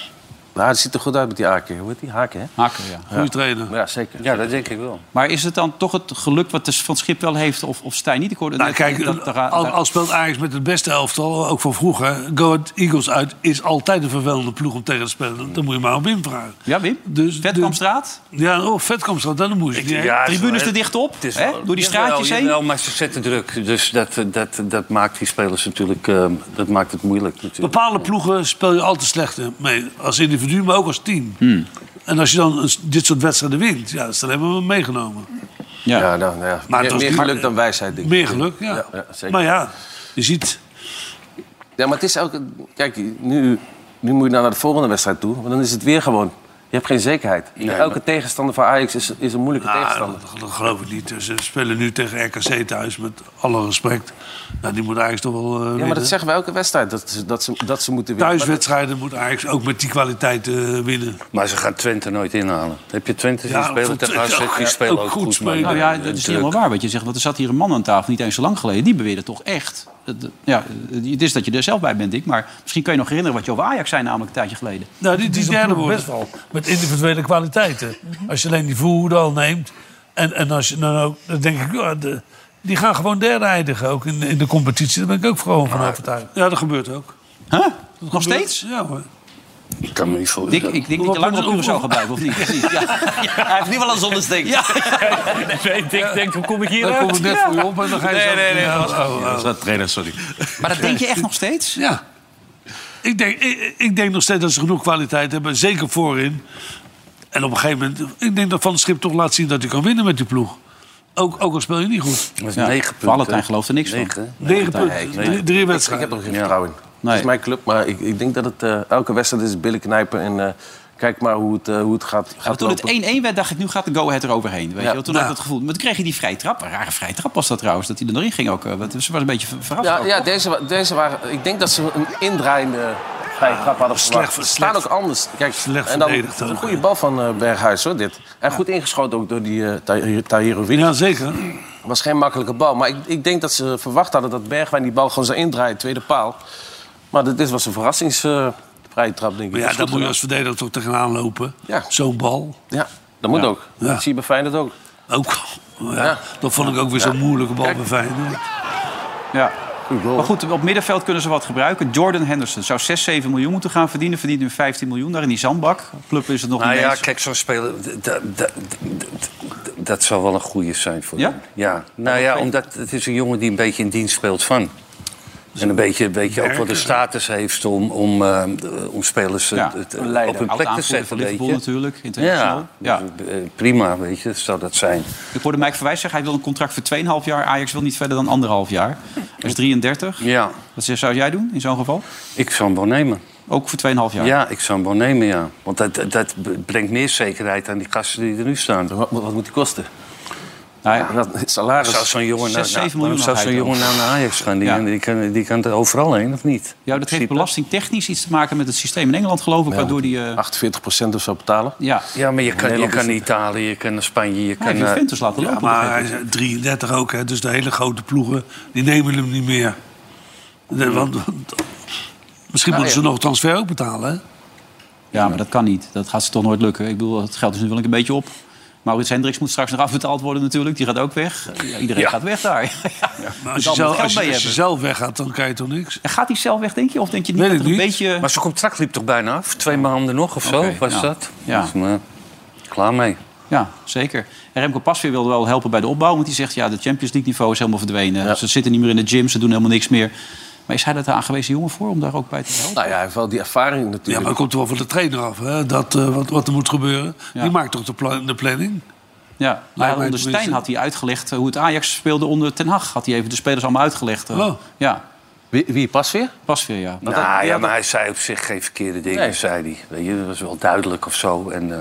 [SPEAKER 7] Nou, het ziet er goed uit met die haken. Hoe heet die? Haken, hè?
[SPEAKER 2] Haken, ja.
[SPEAKER 3] Goede trainer.
[SPEAKER 7] Ja, zeker.
[SPEAKER 4] Ja, dat denk ik wel.
[SPEAKER 2] Maar is het dan toch het geluk wat de Van Schip wel heeft of, of Stijn niet? Ik hoorde
[SPEAKER 3] Nou,
[SPEAKER 2] net
[SPEAKER 3] kijk,
[SPEAKER 2] dat- dat-
[SPEAKER 3] al, al speelt Ajax met het beste elftal, ook van vroeger. Go Ahead Eagles uit is altijd een vervelende ploeg om tegen te spelen. Dan moet je maar aan Wim vragen.
[SPEAKER 2] Ja, Wim?
[SPEAKER 3] Dus-
[SPEAKER 2] Vetkampstraat?
[SPEAKER 3] Ja, oh, vet komt zo, dan moet je niet.
[SPEAKER 4] Ja,
[SPEAKER 2] Tribunes
[SPEAKER 4] zo,
[SPEAKER 2] er dicht op, hè? door die
[SPEAKER 4] jawel,
[SPEAKER 2] straatjes heen.
[SPEAKER 4] jawel, maar ze zetten druk. Dus dat, eh, dat, dat maakt die spelers natuurlijk... eh, dat maakt het moeilijk natuurlijk.
[SPEAKER 3] Bepaalde ploegen speel je altijd slecht mee. Als individu, maar ook als team.
[SPEAKER 7] Hmm.
[SPEAKER 3] En als je dan een s- dit soort wedstrijden wint, ja, dat is alleen maar meegenomen.
[SPEAKER 2] Ja.
[SPEAKER 7] Ja, nou, nou ja.
[SPEAKER 3] Maar het
[SPEAKER 7] meer,
[SPEAKER 3] was
[SPEAKER 7] meer
[SPEAKER 3] niet-
[SPEAKER 7] geluk dan wijsheid, denk ik.
[SPEAKER 3] Meer geluk, ja.
[SPEAKER 7] Ja, ja, zeker.
[SPEAKER 3] Maar ja, je ziet...
[SPEAKER 7] Ja, maar het is ook... Kijk, nu, nu moet je nou naar de volgende wedstrijd toe. Want dan is het weer gewoon... Je hebt geen zekerheid. Elke tegenstander van Ajax is, is een moeilijke
[SPEAKER 3] Ah,
[SPEAKER 7] tegenstander.
[SPEAKER 3] dat, dat geloof ik niet. Ze spelen nu tegen RKC thuis, met alle respect. Nou, die moet Ajax toch wel eh,
[SPEAKER 7] Ja,
[SPEAKER 3] winnen.
[SPEAKER 7] maar dat zeggen wij elke wedstrijd. Dat, ze- dat, ze, dat ze moeten winnen. Maar dat-
[SPEAKER 3] Thuiswedstrijden moet Ajax ook met die kwaliteit eh, winnen.
[SPEAKER 4] Maar ze gaan Twente nooit inhalen. Heb je Twente zien
[SPEAKER 3] Ja,
[SPEAKER 4] spelen
[SPEAKER 3] vond
[SPEAKER 4] tegen
[SPEAKER 3] Twente
[SPEAKER 4] AZ?
[SPEAKER 3] ook-
[SPEAKER 4] Die spelen
[SPEAKER 3] ook
[SPEAKER 4] ook
[SPEAKER 3] goed
[SPEAKER 4] goed, maar,
[SPEAKER 3] spelen.
[SPEAKER 2] Nou
[SPEAKER 4] eh,
[SPEAKER 2] ja, dat is niet
[SPEAKER 4] druk.
[SPEAKER 2] helemaal waar wat je zegt. Want er zat hier een man aan tafel, niet eens zo lang geleden. Die beweerde toch echt... dat- dat- Ja, het is dat je er zelf bij bent, Dick. Maar misschien kan je nog herinneren wat je over Ajax zei namelijk een tijdje geleden.
[SPEAKER 3] Nou, die, die derde wordt best wel met individuele kwaliteiten.
[SPEAKER 7] Mhm.
[SPEAKER 3] Als je alleen die voer al neemt. En, en als je dan ook, dan denk ik, ja, de- die gaan gewoon derde eindigen ook in, in de competitie. Daar ben ik ook gewoon van overtuigd. Ja, dat gebeurt ook.
[SPEAKER 2] Huh? Nog steeds?
[SPEAKER 3] Ja, hoor.
[SPEAKER 4] Ik kan me niet voor.
[SPEAKER 2] Dick, ik denk dat je langer op uren zou gebruiken, of niet? Precies, ja. Hij heeft nu wel een zonnesteek. Ja.
[SPEAKER 8] Ik denk, hoe kom ik hier
[SPEAKER 3] Dan kom ik net voor je op en dan ga je zo... Ja, oh, oh.
[SPEAKER 9] Dat trainer, sorry.
[SPEAKER 2] Maar dat denk je echt nog steeds?
[SPEAKER 3] Ja. Ik denk, ik, ik denk nog steeds dat ze genoeg kwaliteit hebben. Zeker voorin. En op een gegeven moment... Ik denk dat Van het Schip toch laat zien dat hij kan winnen met die ploeg. Ook, ook al speel je niet goed.
[SPEAKER 4] Dat is
[SPEAKER 2] Ja,
[SPEAKER 4] negen punten.
[SPEAKER 2] Valentijn gelooft er niks van.
[SPEAKER 4] Negen.
[SPEAKER 3] Negen punten. Drie, drie
[SPEAKER 4] nee.
[SPEAKER 7] Ik, ik heb
[SPEAKER 3] wedstrijden.
[SPEAKER 7] er geen
[SPEAKER 4] Ja.
[SPEAKER 7] vertrouwen in.
[SPEAKER 2] Nee.
[SPEAKER 7] Het is mijn club, maar ik, ik denk dat het eh, elke wedstrijd is billen knijpen. En eh, kijk maar hoe het, eh, hoe het gaat,
[SPEAKER 2] Maar
[SPEAKER 7] gaat
[SPEAKER 2] toen het
[SPEAKER 7] lopen.
[SPEAKER 2] 1-1 werd, dacht ik, nu gaat de go-ahead eroverheen. Weet je?
[SPEAKER 7] Ja.
[SPEAKER 2] wel. Toen had ik het gevoel. Maar toen kreeg je die vrije trap. Een rare vrije trap was dat trouwens. Dat hij er nog in ging ook. eh, want Ze was een beetje ver- verrast.
[SPEAKER 7] Ja,
[SPEAKER 2] ook.
[SPEAKER 7] ja deze, wa- deze waren... Ik denk dat ze een indraaiende vrije trap hadden verwacht. Ze
[SPEAKER 3] slecht-
[SPEAKER 7] staan ook anders. Kijk,
[SPEAKER 3] slecht
[SPEAKER 7] en dan
[SPEAKER 3] verdedigd
[SPEAKER 7] een
[SPEAKER 3] ook,
[SPEAKER 7] goede
[SPEAKER 3] hè.
[SPEAKER 7] bal van eh, Berghuis, hoor, dit. En goed ingeschoten ook door die eh, Tahir- Tahirovic.
[SPEAKER 3] Ja, zeker.
[SPEAKER 7] was geen makkelijke bal. Maar ik, ik denk dat ze verwacht hadden dat Bergwijn die bal gewoon zou indraaien. Tweede paal. Maar dit, dit was een verrassingsvrije trap, denk ik.
[SPEAKER 3] Maar ja,
[SPEAKER 7] Dat
[SPEAKER 3] daar
[SPEAKER 7] is goed
[SPEAKER 3] moet je als verdediger toch tegenaan lopen.
[SPEAKER 7] Ja.
[SPEAKER 3] Zo'n bal.
[SPEAKER 7] gedaan. Ja, dat moet ook.
[SPEAKER 3] Ja.
[SPEAKER 7] Dat zie je bij Feyenoord ook.
[SPEAKER 3] Ook. Ja,
[SPEAKER 7] Ja.
[SPEAKER 3] Dat vond ik ook weer zo'n moeilijke bal
[SPEAKER 7] Kijk.
[SPEAKER 3] bij Feyenoord.
[SPEAKER 2] Ja. Maar goed, op middenveld kunnen ze wat gebruiken. Jordan Henderson zou 6, 7 miljoen moeten gaan verdienen. Verdient nu 15 miljoen daar in die zandbak. Club is het nog
[SPEAKER 4] Nou
[SPEAKER 2] niet
[SPEAKER 4] ja,
[SPEAKER 2] eens.
[SPEAKER 4] kijk, zo'n speler... d- d- d- d- d- Dat zou wel een goede zijn voor
[SPEAKER 2] Ja?
[SPEAKER 4] hem. Ja. Nou ja, omdat het is een jongen die een beetje in dienst speelt van.
[SPEAKER 2] Dus
[SPEAKER 4] En een beetje, een beetje ook wel de status heeft om, om, eh, om spelers eh,
[SPEAKER 2] Ja,
[SPEAKER 4] t-
[SPEAKER 2] een
[SPEAKER 4] op hun
[SPEAKER 2] Oud
[SPEAKER 4] plek te
[SPEAKER 2] aanvoerder
[SPEAKER 4] zetten.
[SPEAKER 2] van
[SPEAKER 4] weet
[SPEAKER 2] Liverpool
[SPEAKER 4] je.
[SPEAKER 2] natuurlijk, international.
[SPEAKER 4] Ja,
[SPEAKER 2] Ja.
[SPEAKER 4] Dus, eh, prima, weet je, zou dat zijn.
[SPEAKER 2] Ik hoorde Mike Verwijs zeggen, hij wil een contract voor 2,5 jaar. Ajax wil niet verder dan anderhalf jaar. Hij is 33.
[SPEAKER 4] Ja,
[SPEAKER 2] Wat zou jij doen in zo'n geval?
[SPEAKER 4] ik zou hem wel nemen.
[SPEAKER 2] Ook voor 2,5 jaar?
[SPEAKER 4] Ja, ik zou hem wel nemen, ja. Want dat, dat- dat brengt meer zekerheid aan die gasten die er nu staan.
[SPEAKER 7] Wat, wat moet die kosten?
[SPEAKER 2] Nou ja,
[SPEAKER 7] Ja, dat, salaris.
[SPEAKER 4] Zou zo'n jongen,
[SPEAKER 2] Zes,
[SPEAKER 4] naar-
[SPEAKER 2] zeven
[SPEAKER 4] nou,
[SPEAKER 2] miljoen
[SPEAKER 4] waarom zou
[SPEAKER 2] nog
[SPEAKER 4] zo'n
[SPEAKER 2] hij
[SPEAKER 4] jongen nou naar Ajax gaan? Die,
[SPEAKER 2] Ja.
[SPEAKER 4] die, kan, die kan er overal heen, of niet?
[SPEAKER 2] Ja, dat heeft belastingtechnisch iets te maken met het systeem in Engeland, geloof ik. Waardoor die...
[SPEAKER 7] Ah.
[SPEAKER 2] eh,
[SPEAKER 7] 48% of zo betalen.
[SPEAKER 2] ja,
[SPEAKER 4] Ja, maar je kan, je
[SPEAKER 7] Nederland
[SPEAKER 4] kan
[SPEAKER 7] is-
[SPEAKER 4] Italië, je kan naar Spanje, je
[SPEAKER 2] hij
[SPEAKER 4] kan...
[SPEAKER 2] heeft
[SPEAKER 4] eh,
[SPEAKER 2] Juventus laten lopen.
[SPEAKER 3] Ja,
[SPEAKER 2] op een
[SPEAKER 3] maar
[SPEAKER 2] gegeven
[SPEAKER 3] hij is 33 ook, hè, dus de hele grote ploegen die nemen hem niet meer. Nee, want,
[SPEAKER 7] Mm.
[SPEAKER 3] want- misschien
[SPEAKER 7] Nou
[SPEAKER 3] moeten ze nog transfer ook betalen. Hè?
[SPEAKER 2] Ja, maar dat kan niet. Dat gaat ze toch nooit lukken. Ik bedoel, het geld is nu wel een beetje op. Maurits Hendricks moet straks nog afbetaald worden natuurlijk. Die gaat ook weg. Ja, iedereen gaat weg daar. Ja.
[SPEAKER 3] Maar
[SPEAKER 2] Dus
[SPEAKER 3] als je,
[SPEAKER 2] al moet
[SPEAKER 3] zelf,
[SPEAKER 2] geld
[SPEAKER 3] als, je,
[SPEAKER 2] bij
[SPEAKER 3] als je
[SPEAKER 2] hebben.
[SPEAKER 3] zelf weggaat, dan krijg je toch niks.
[SPEAKER 2] En Gaat hij zelf weg, denk je? Of denk je niet
[SPEAKER 3] Weet
[SPEAKER 2] dat
[SPEAKER 3] ik
[SPEAKER 2] er een
[SPEAKER 3] niet.
[SPEAKER 2] beetje...
[SPEAKER 4] Maar zijn contract liep toch bijna af? Twee maanden nog of zo,
[SPEAKER 2] Oké,
[SPEAKER 4] was
[SPEAKER 2] ja.
[SPEAKER 4] dat?
[SPEAKER 2] Ja.
[SPEAKER 4] Dus, maar, klaar mee.
[SPEAKER 2] Ja, zeker. En Remco Pasveer wilde wel helpen bij de opbouw. Want die zegt, ja, de Champions League niveau is helemaal verdwenen. Ze zitten niet meer in de gym, ze doen helemaal niks meer. Maar is hij daar de aangewezen jongen voor om daar ook bij te helpen?
[SPEAKER 7] Nou ja, hij heeft wel die ervaring
[SPEAKER 3] Ja, maar
[SPEAKER 7] natuurlijk.
[SPEAKER 3] dat komt er wel van de trainer af, hè? Dat, eh, wat, wat er moet gebeuren.
[SPEAKER 2] Ja.
[SPEAKER 3] Die maakt toch de, pla- de planning?
[SPEAKER 2] Ja,
[SPEAKER 3] mij
[SPEAKER 2] maar onder
[SPEAKER 3] tenminste.
[SPEAKER 2] Stijn had hij uitgelegd eh, hoe het Ajax speelde onder Ten Hag. Had hij even de spelers allemaal uitgelegd. eh.
[SPEAKER 3] Oh.
[SPEAKER 2] Ja,
[SPEAKER 7] Wie, wie past weer?
[SPEAKER 2] Pasveer, ja.
[SPEAKER 4] Nou ja, maar hij zei op zich geen verkeerde dingen,
[SPEAKER 7] Nee.
[SPEAKER 4] zei hij. Weet je, dat was wel duidelijk of zo. En, eh,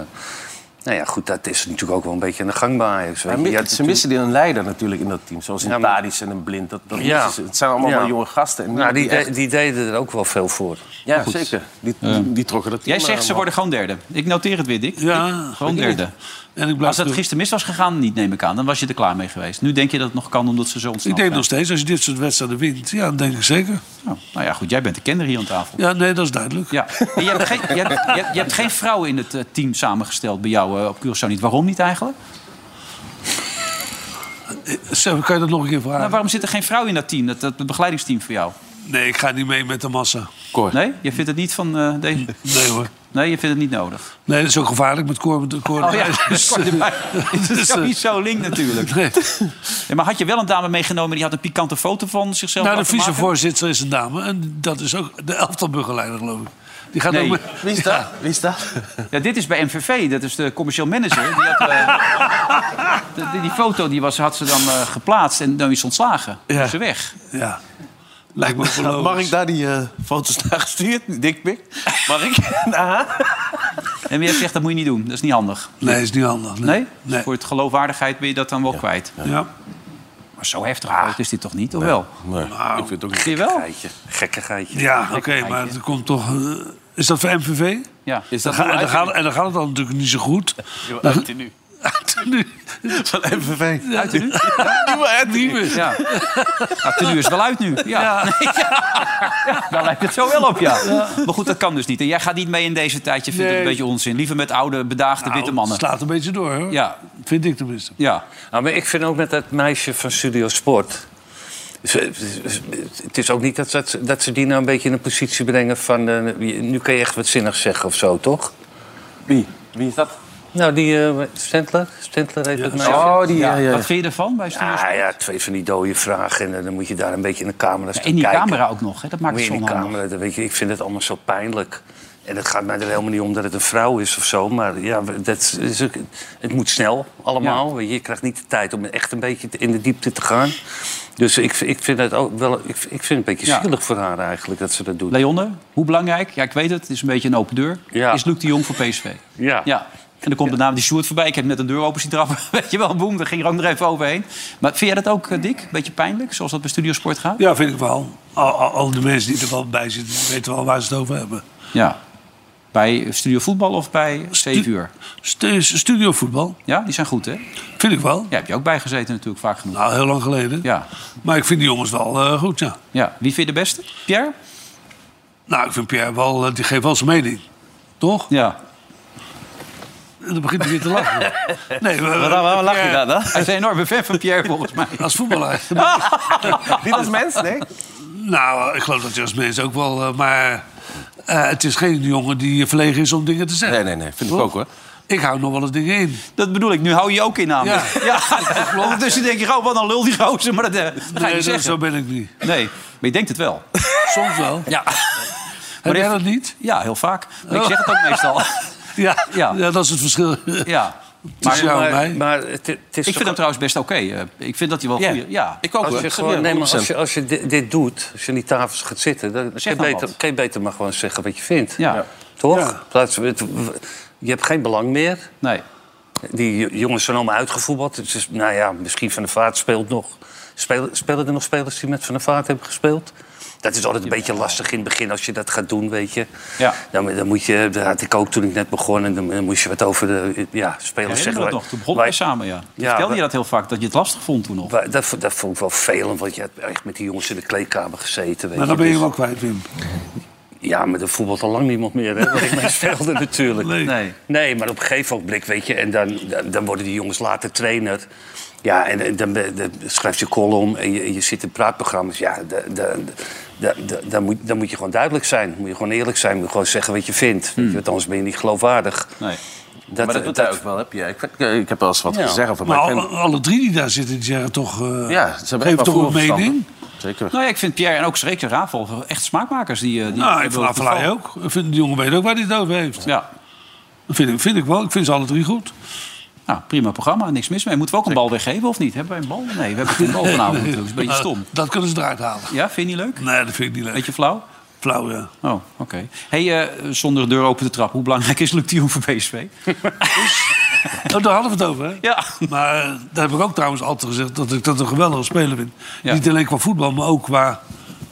[SPEAKER 4] nou ja, goed, dat is natuurlijk ook wel een beetje aan de gang bij Ajax. Weet
[SPEAKER 7] Hij
[SPEAKER 4] je.
[SPEAKER 7] mi-
[SPEAKER 4] Je had
[SPEAKER 7] ze missen die een leider natuurlijk in dat team. Zoals een
[SPEAKER 4] Ja, maar-
[SPEAKER 7] Tadic en een Blind. Dat, dat
[SPEAKER 4] Ja.
[SPEAKER 7] missen ze. Het zijn allemaal
[SPEAKER 4] Ja.
[SPEAKER 7] maar jonge gasten. En
[SPEAKER 4] Nou, die,
[SPEAKER 7] die echt-
[SPEAKER 4] de- die deden er ook wel veel voor.
[SPEAKER 7] ja, zeker. Die, die trokken dat team
[SPEAKER 2] Jij zegt ze
[SPEAKER 7] allemaal.
[SPEAKER 2] worden gewoon derde. Ik noteer het weer, Dick.
[SPEAKER 3] Ja.
[SPEAKER 2] Gewoon derde.
[SPEAKER 3] En ik blijf
[SPEAKER 2] Als dat
[SPEAKER 3] terug.
[SPEAKER 2] gisteren mis was gegaan, niet neem ik aan. Dan was je er klaar mee geweest. Nu denk je dat het nog kan omdat ze zo
[SPEAKER 3] Ik
[SPEAKER 2] ontsnapt
[SPEAKER 3] denk
[SPEAKER 2] zijn.
[SPEAKER 3] nog steeds, als je dit soort wedstrijden wint, ja, dat denk ik zeker.
[SPEAKER 2] Nou, nou ja, goed. Jij bent de kenner hier aan tafel.
[SPEAKER 3] Ja, nee, dat is duidelijk.
[SPEAKER 2] Ja. En Je, hebt geen, je, hebt, je, hebt, je hebt geen vrouwen in het eh, team samengesteld bij jou eh, op Curaçao niet. Waarom niet eigenlijk?
[SPEAKER 3] Sam, kan je dat nog een keer vragen?
[SPEAKER 2] Nou, waarom zit er geen vrouw in dat team, dat, dat begeleidingsteam voor jou?
[SPEAKER 3] Nee, ik ga niet mee met de massa.
[SPEAKER 2] Nee? Je vindt het niet van eh, deze...
[SPEAKER 3] Nee hoor.
[SPEAKER 2] Nee, je vindt het niet nodig.
[SPEAKER 3] Nee, dat is ook gevaarlijk met Cor. Met Cor
[SPEAKER 2] Oh ja,
[SPEAKER 3] Dus,
[SPEAKER 2] dat is
[SPEAKER 3] dus, eh,
[SPEAKER 2] sowieso link natuurlijk.
[SPEAKER 3] nee.
[SPEAKER 2] Ja, maar had je wel een dame meegenomen die had een pikante foto van zichzelf
[SPEAKER 3] Nou, de
[SPEAKER 2] laten maken?
[SPEAKER 3] vicevoorzitter is een dame. En dat is ook de elftalbegeleider, geloof ik. Die gaat
[SPEAKER 2] Nee.
[SPEAKER 3] ook mee.
[SPEAKER 7] eh. Wie is dat? Wie is dat?
[SPEAKER 2] Ja, dit is bij MVV. Dat is de commercieel manager. Die, had, eh, de- die, die foto die was, had ze dan eh, geplaatst en dan is ze ontslagen.
[SPEAKER 3] Ja.
[SPEAKER 2] Is ze weg.
[SPEAKER 3] Ja. Lijkt me verloren.
[SPEAKER 7] Mag ik daar die eh, foto's naar gestuurd? Die Dikpik? Mag ik? Aha.
[SPEAKER 2] En jij zegt, dat moet je niet doen. Dat is niet handig.
[SPEAKER 3] Nee, is niet handig.
[SPEAKER 2] Nee?
[SPEAKER 3] Nee.
[SPEAKER 2] Voor het geloofwaardigheid ben je dat dan wel kwijt.
[SPEAKER 3] Ja.
[SPEAKER 2] Maar zo heftig groot is dit toch niet, of wel?
[SPEAKER 7] Nee, ik vind het ook niet.
[SPEAKER 2] Zie je wel?
[SPEAKER 4] Geitje. Gekke geitje.
[SPEAKER 3] Ja, oké, maar het komt toch... eh, is dat voor MVV?
[SPEAKER 2] Ja.
[SPEAKER 7] Is
[SPEAKER 3] Dan ga-
[SPEAKER 7] dat
[SPEAKER 3] en, dan
[SPEAKER 7] uit,
[SPEAKER 3] gaat, en dan gaat het dan natuurlijk niet zo goed.
[SPEAKER 7] uit nu?
[SPEAKER 3] nu,
[SPEAKER 7] Van MVV.
[SPEAKER 2] Uit nu?
[SPEAKER 7] Nieuwe uit niet meer.
[SPEAKER 2] Ja. Nou, tenue is wel uit nu. Ja. Nee, ja. Ja, Daar lijkt het zo wel op, ja. Maar goed, dat kan dus niet. En jij gaat niet mee in deze tijd. Je vindt het een
[SPEAKER 3] Nee.
[SPEAKER 2] beetje onzin. Liever met oude, bedaagde witte
[SPEAKER 3] Nou,
[SPEAKER 2] mannen.
[SPEAKER 3] het slaat een beetje door, hoor.
[SPEAKER 2] Ja,
[SPEAKER 3] Vind ik tenminste.
[SPEAKER 2] ja.
[SPEAKER 4] Nou, maar ik vind ook met dat meisje van Studio Sport. ze- ze- ze- Het is ook niet dat, dat, ze- dat ze die nou een beetje in een positie brengen van. eh, nu kun je echt wat zinnigs zeggen of zo, toch?
[SPEAKER 7] Wie? Wie is dat?
[SPEAKER 4] Nou, die eh Stentler. Stentler heeft het meisje.
[SPEAKER 7] Oh, die... Ja, ja.
[SPEAKER 2] Wat vind je ervan bij Studio
[SPEAKER 4] Ah ja, twee van die dode vragen. En eh, dan moet je daar een beetje in de camera staan
[SPEAKER 2] En die
[SPEAKER 4] kijken.
[SPEAKER 2] camera ook nog, hè? dat maakt
[SPEAKER 4] Moet
[SPEAKER 2] het
[SPEAKER 4] je
[SPEAKER 2] zo
[SPEAKER 4] in die
[SPEAKER 2] onhandig.
[SPEAKER 4] camera, dan weet je, ik vind het allemaal zo pijnlijk. En het gaat mij er helemaal niet om dat het een vrouw is of zo. Maar ja, dat is ook- het moet snel allemaal. Weet je, je krijgt niet de tijd om echt een beetje in de diepte te gaan. Dus ik, ik vind het ook wel. Ik, ik vind het een beetje
[SPEAKER 2] Ja.
[SPEAKER 4] zielig voor haar eigenlijk dat ze dat doet.
[SPEAKER 2] Leonde, hoe belangrijk? Ja, ik weet het, het is een beetje een open deur.
[SPEAKER 4] Ja.
[SPEAKER 2] Is Luc de Jong voor PSV?
[SPEAKER 4] Ja.
[SPEAKER 2] Ja. En dan komt de naam die Sjoerd voorbij. Ik heb net de deur open zien trappen. Weet je wel, boem, daar ging er ook nog even overheen. Maar vind jij dat ook, eh, Dick? Beetje pijnlijk, zoals dat bij Studiosport gaat?
[SPEAKER 3] Ja, vind ik wel. Al, al- al die mensen die er wel bij zitten, die weten wel waar ze het over hebben.
[SPEAKER 2] Ja. Bij Studio Voetbal of bij 7 uur?
[SPEAKER 3] Stu- Studiovoetbal,
[SPEAKER 2] Ja, die zijn goed, hè?
[SPEAKER 3] eh, vind ik wel.
[SPEAKER 2] Ja, heb je ook bijgezeten natuurlijk, vaak genoeg.
[SPEAKER 3] Nou, heel lang geleden.
[SPEAKER 2] Ja.
[SPEAKER 3] Maar ik vind die jongens wel eh, goed, ja.
[SPEAKER 2] ja. Wie vind je de beste? Pierre?
[SPEAKER 3] Nou, ik vind Pierre wel, eh, die geeft wel zijn mening. Toch?
[SPEAKER 2] Ja.
[SPEAKER 3] En dan begint hij weer te lachen. Nee, maar,
[SPEAKER 7] Waarom, waarom lach je daar dan?
[SPEAKER 2] Hij is een enorme fan van Pierre, volgens mij.
[SPEAKER 3] als voetballer.
[SPEAKER 7] Niet als mens, nee?
[SPEAKER 3] nou, ik geloof dat je als mens ook wel. eh, maar eh, het is geen jongen die verlegen is om dingen te zeggen.
[SPEAKER 7] Nee, nee, nee. Vind ik ook, hoor.
[SPEAKER 3] Ik hou nog wel eens dingen in.
[SPEAKER 2] Dat bedoel ik, nu hou je je ook in namelijk. Ja, Dus je denkt, oh, wat een lul die gozer. Maar dat, eh, dat ga je
[SPEAKER 3] Nee,
[SPEAKER 2] niet
[SPEAKER 3] dat,
[SPEAKER 2] zeggen.
[SPEAKER 3] zo ben ik niet.
[SPEAKER 2] Nee, maar je denkt het wel.
[SPEAKER 3] Soms wel.
[SPEAKER 2] Ja,
[SPEAKER 3] Heb jij
[SPEAKER 2] even-
[SPEAKER 3] dat niet?
[SPEAKER 2] ja heel vaak. Maar ik zeg het ook meestal.
[SPEAKER 3] Ja,
[SPEAKER 2] Ja.
[SPEAKER 3] ja. dat is het verschil.
[SPEAKER 2] Ja. eh,
[SPEAKER 3] Tussen jou en
[SPEAKER 4] maar,
[SPEAKER 3] mij.
[SPEAKER 4] maar het, het is
[SPEAKER 2] Ik vind
[SPEAKER 4] toch-
[SPEAKER 2] hem trouwens best oké. eh, Ik vind dat hij wel
[SPEAKER 7] Ja.
[SPEAKER 2] goeie... Ja.
[SPEAKER 7] Ik ook,
[SPEAKER 4] Als
[SPEAKER 7] hoor.
[SPEAKER 4] je, gewoon, nee, maar als
[SPEAKER 7] 100%.
[SPEAKER 4] je, als je dit, dit doet, als je aan die tafels gaat zitten... dan kan je,
[SPEAKER 2] nou
[SPEAKER 4] beter,
[SPEAKER 2] wat.
[SPEAKER 4] kan je beter maar gewoon zeggen wat je vindt.
[SPEAKER 2] Ja. Ja.
[SPEAKER 4] Toch?
[SPEAKER 3] Ja.
[SPEAKER 4] Plaats- het- je hebt geen belang meer.
[SPEAKER 2] Nee.
[SPEAKER 4] Die jo- jongens zijn allemaal uitgevoetbald. Het is, nou ja, misschien Van der Vaart speelt nog. Spelen, spelen er nog spelers die met Van der Vaart hebben gespeeld? Dat is altijd een beetje lastig in het begin als je dat gaat doen, weet je.
[SPEAKER 2] Ja.
[SPEAKER 4] Dan, dan moet je, dat had ik ook toen ik net begon. En dan, dan moest je wat over de ja, spelers
[SPEAKER 2] Herinner je
[SPEAKER 4] zeggen.
[SPEAKER 2] dat
[SPEAKER 4] waar-
[SPEAKER 2] nog? Toen begonnen
[SPEAKER 4] waar-
[SPEAKER 2] wij samen, ja.
[SPEAKER 4] Ja,
[SPEAKER 2] Vertelde je
[SPEAKER 4] we-
[SPEAKER 2] dat heel vaak, dat je het lastig vond toen nog?
[SPEAKER 4] Wa- Dat, vo- dat vond ik wel vervelend, want je hebt echt met die jongens in de kleedkamer gezeten. Weet
[SPEAKER 3] Maar Nou, dan ben je
[SPEAKER 4] dus-
[SPEAKER 3] wel kwijt, Wim.
[SPEAKER 4] Ja, maar er voetbalt al lang niemand meer, hè? Wat ik mee speelde natuurlijk.
[SPEAKER 3] Nee.
[SPEAKER 2] Nee.
[SPEAKER 4] Nee, maar op een gegeven ogenblik, weet je... en dan, dan, dan worden die jongens later trainer. Ja, en, en dan, ben- dan schrijf je column en je, en je zit in praatprogramma's. Ja, da- da- da- da- dan moet, dan moet je gewoon duidelijk zijn. Moet je gewoon eerlijk zijn. Moet je gewoon zeggen wat je vindt. Weet je, want anders ben je niet geloofwaardig.
[SPEAKER 2] Nee.
[SPEAKER 4] Dat,
[SPEAKER 7] Hmm. maar dat doet hij ook wel, heb je. Ik, vind- Nou, ik heb wel eens wat
[SPEAKER 4] Ja.
[SPEAKER 7] te zeggen van
[SPEAKER 3] Maar
[SPEAKER 7] maar ik
[SPEAKER 3] alle,
[SPEAKER 7] vind-
[SPEAKER 3] alle drie die daar zitten, die zeggen toch... eh,
[SPEAKER 7] Ja, ze hebben
[SPEAKER 3] geef
[SPEAKER 7] echt
[SPEAKER 3] toch
[SPEAKER 7] wel
[SPEAKER 3] een mening.
[SPEAKER 7] voorverstand. Zeker.
[SPEAKER 2] Nou ja, ik vind Pierre en ook Schreker Ravel echt smaakmakers. Die, eh, die
[SPEAKER 3] Nou, ik
[SPEAKER 2] hebben
[SPEAKER 3] vind Aflaai
[SPEAKER 2] toeval.
[SPEAKER 3] ook. Ik vind, die jongen weet ook waar hij het over heeft.
[SPEAKER 2] Ja.
[SPEAKER 3] Dat vind ik, vind ik wel. Ik vind ze alle drie goed.
[SPEAKER 2] Nou, prima programma, niks mis mee. Moeten we ook een bal weggeven of niet? Hebben wij een bal? Nee, we hebben geen bal vanavond. Dat is een beetje stom.
[SPEAKER 3] Nou, dat kunnen ze eruit halen.
[SPEAKER 2] Ja, vind je niet leuk?
[SPEAKER 3] Nee, dat vind ik niet leuk.
[SPEAKER 2] Beetje flauw?
[SPEAKER 3] flauw, ja.
[SPEAKER 2] Oh, oké. Hey, eh, zonder de deur open te trappen, hoe belangrijk is Luc de Jong voor PSV?
[SPEAKER 3] Oh, daar hadden we het over, hè?
[SPEAKER 2] Ja.
[SPEAKER 3] Maar eh, daar heb ik ook trouwens altijd gezegd dat ik dat een geweldige speler vind.
[SPEAKER 2] Ja.
[SPEAKER 3] Niet alleen qua voetbal, maar ook qua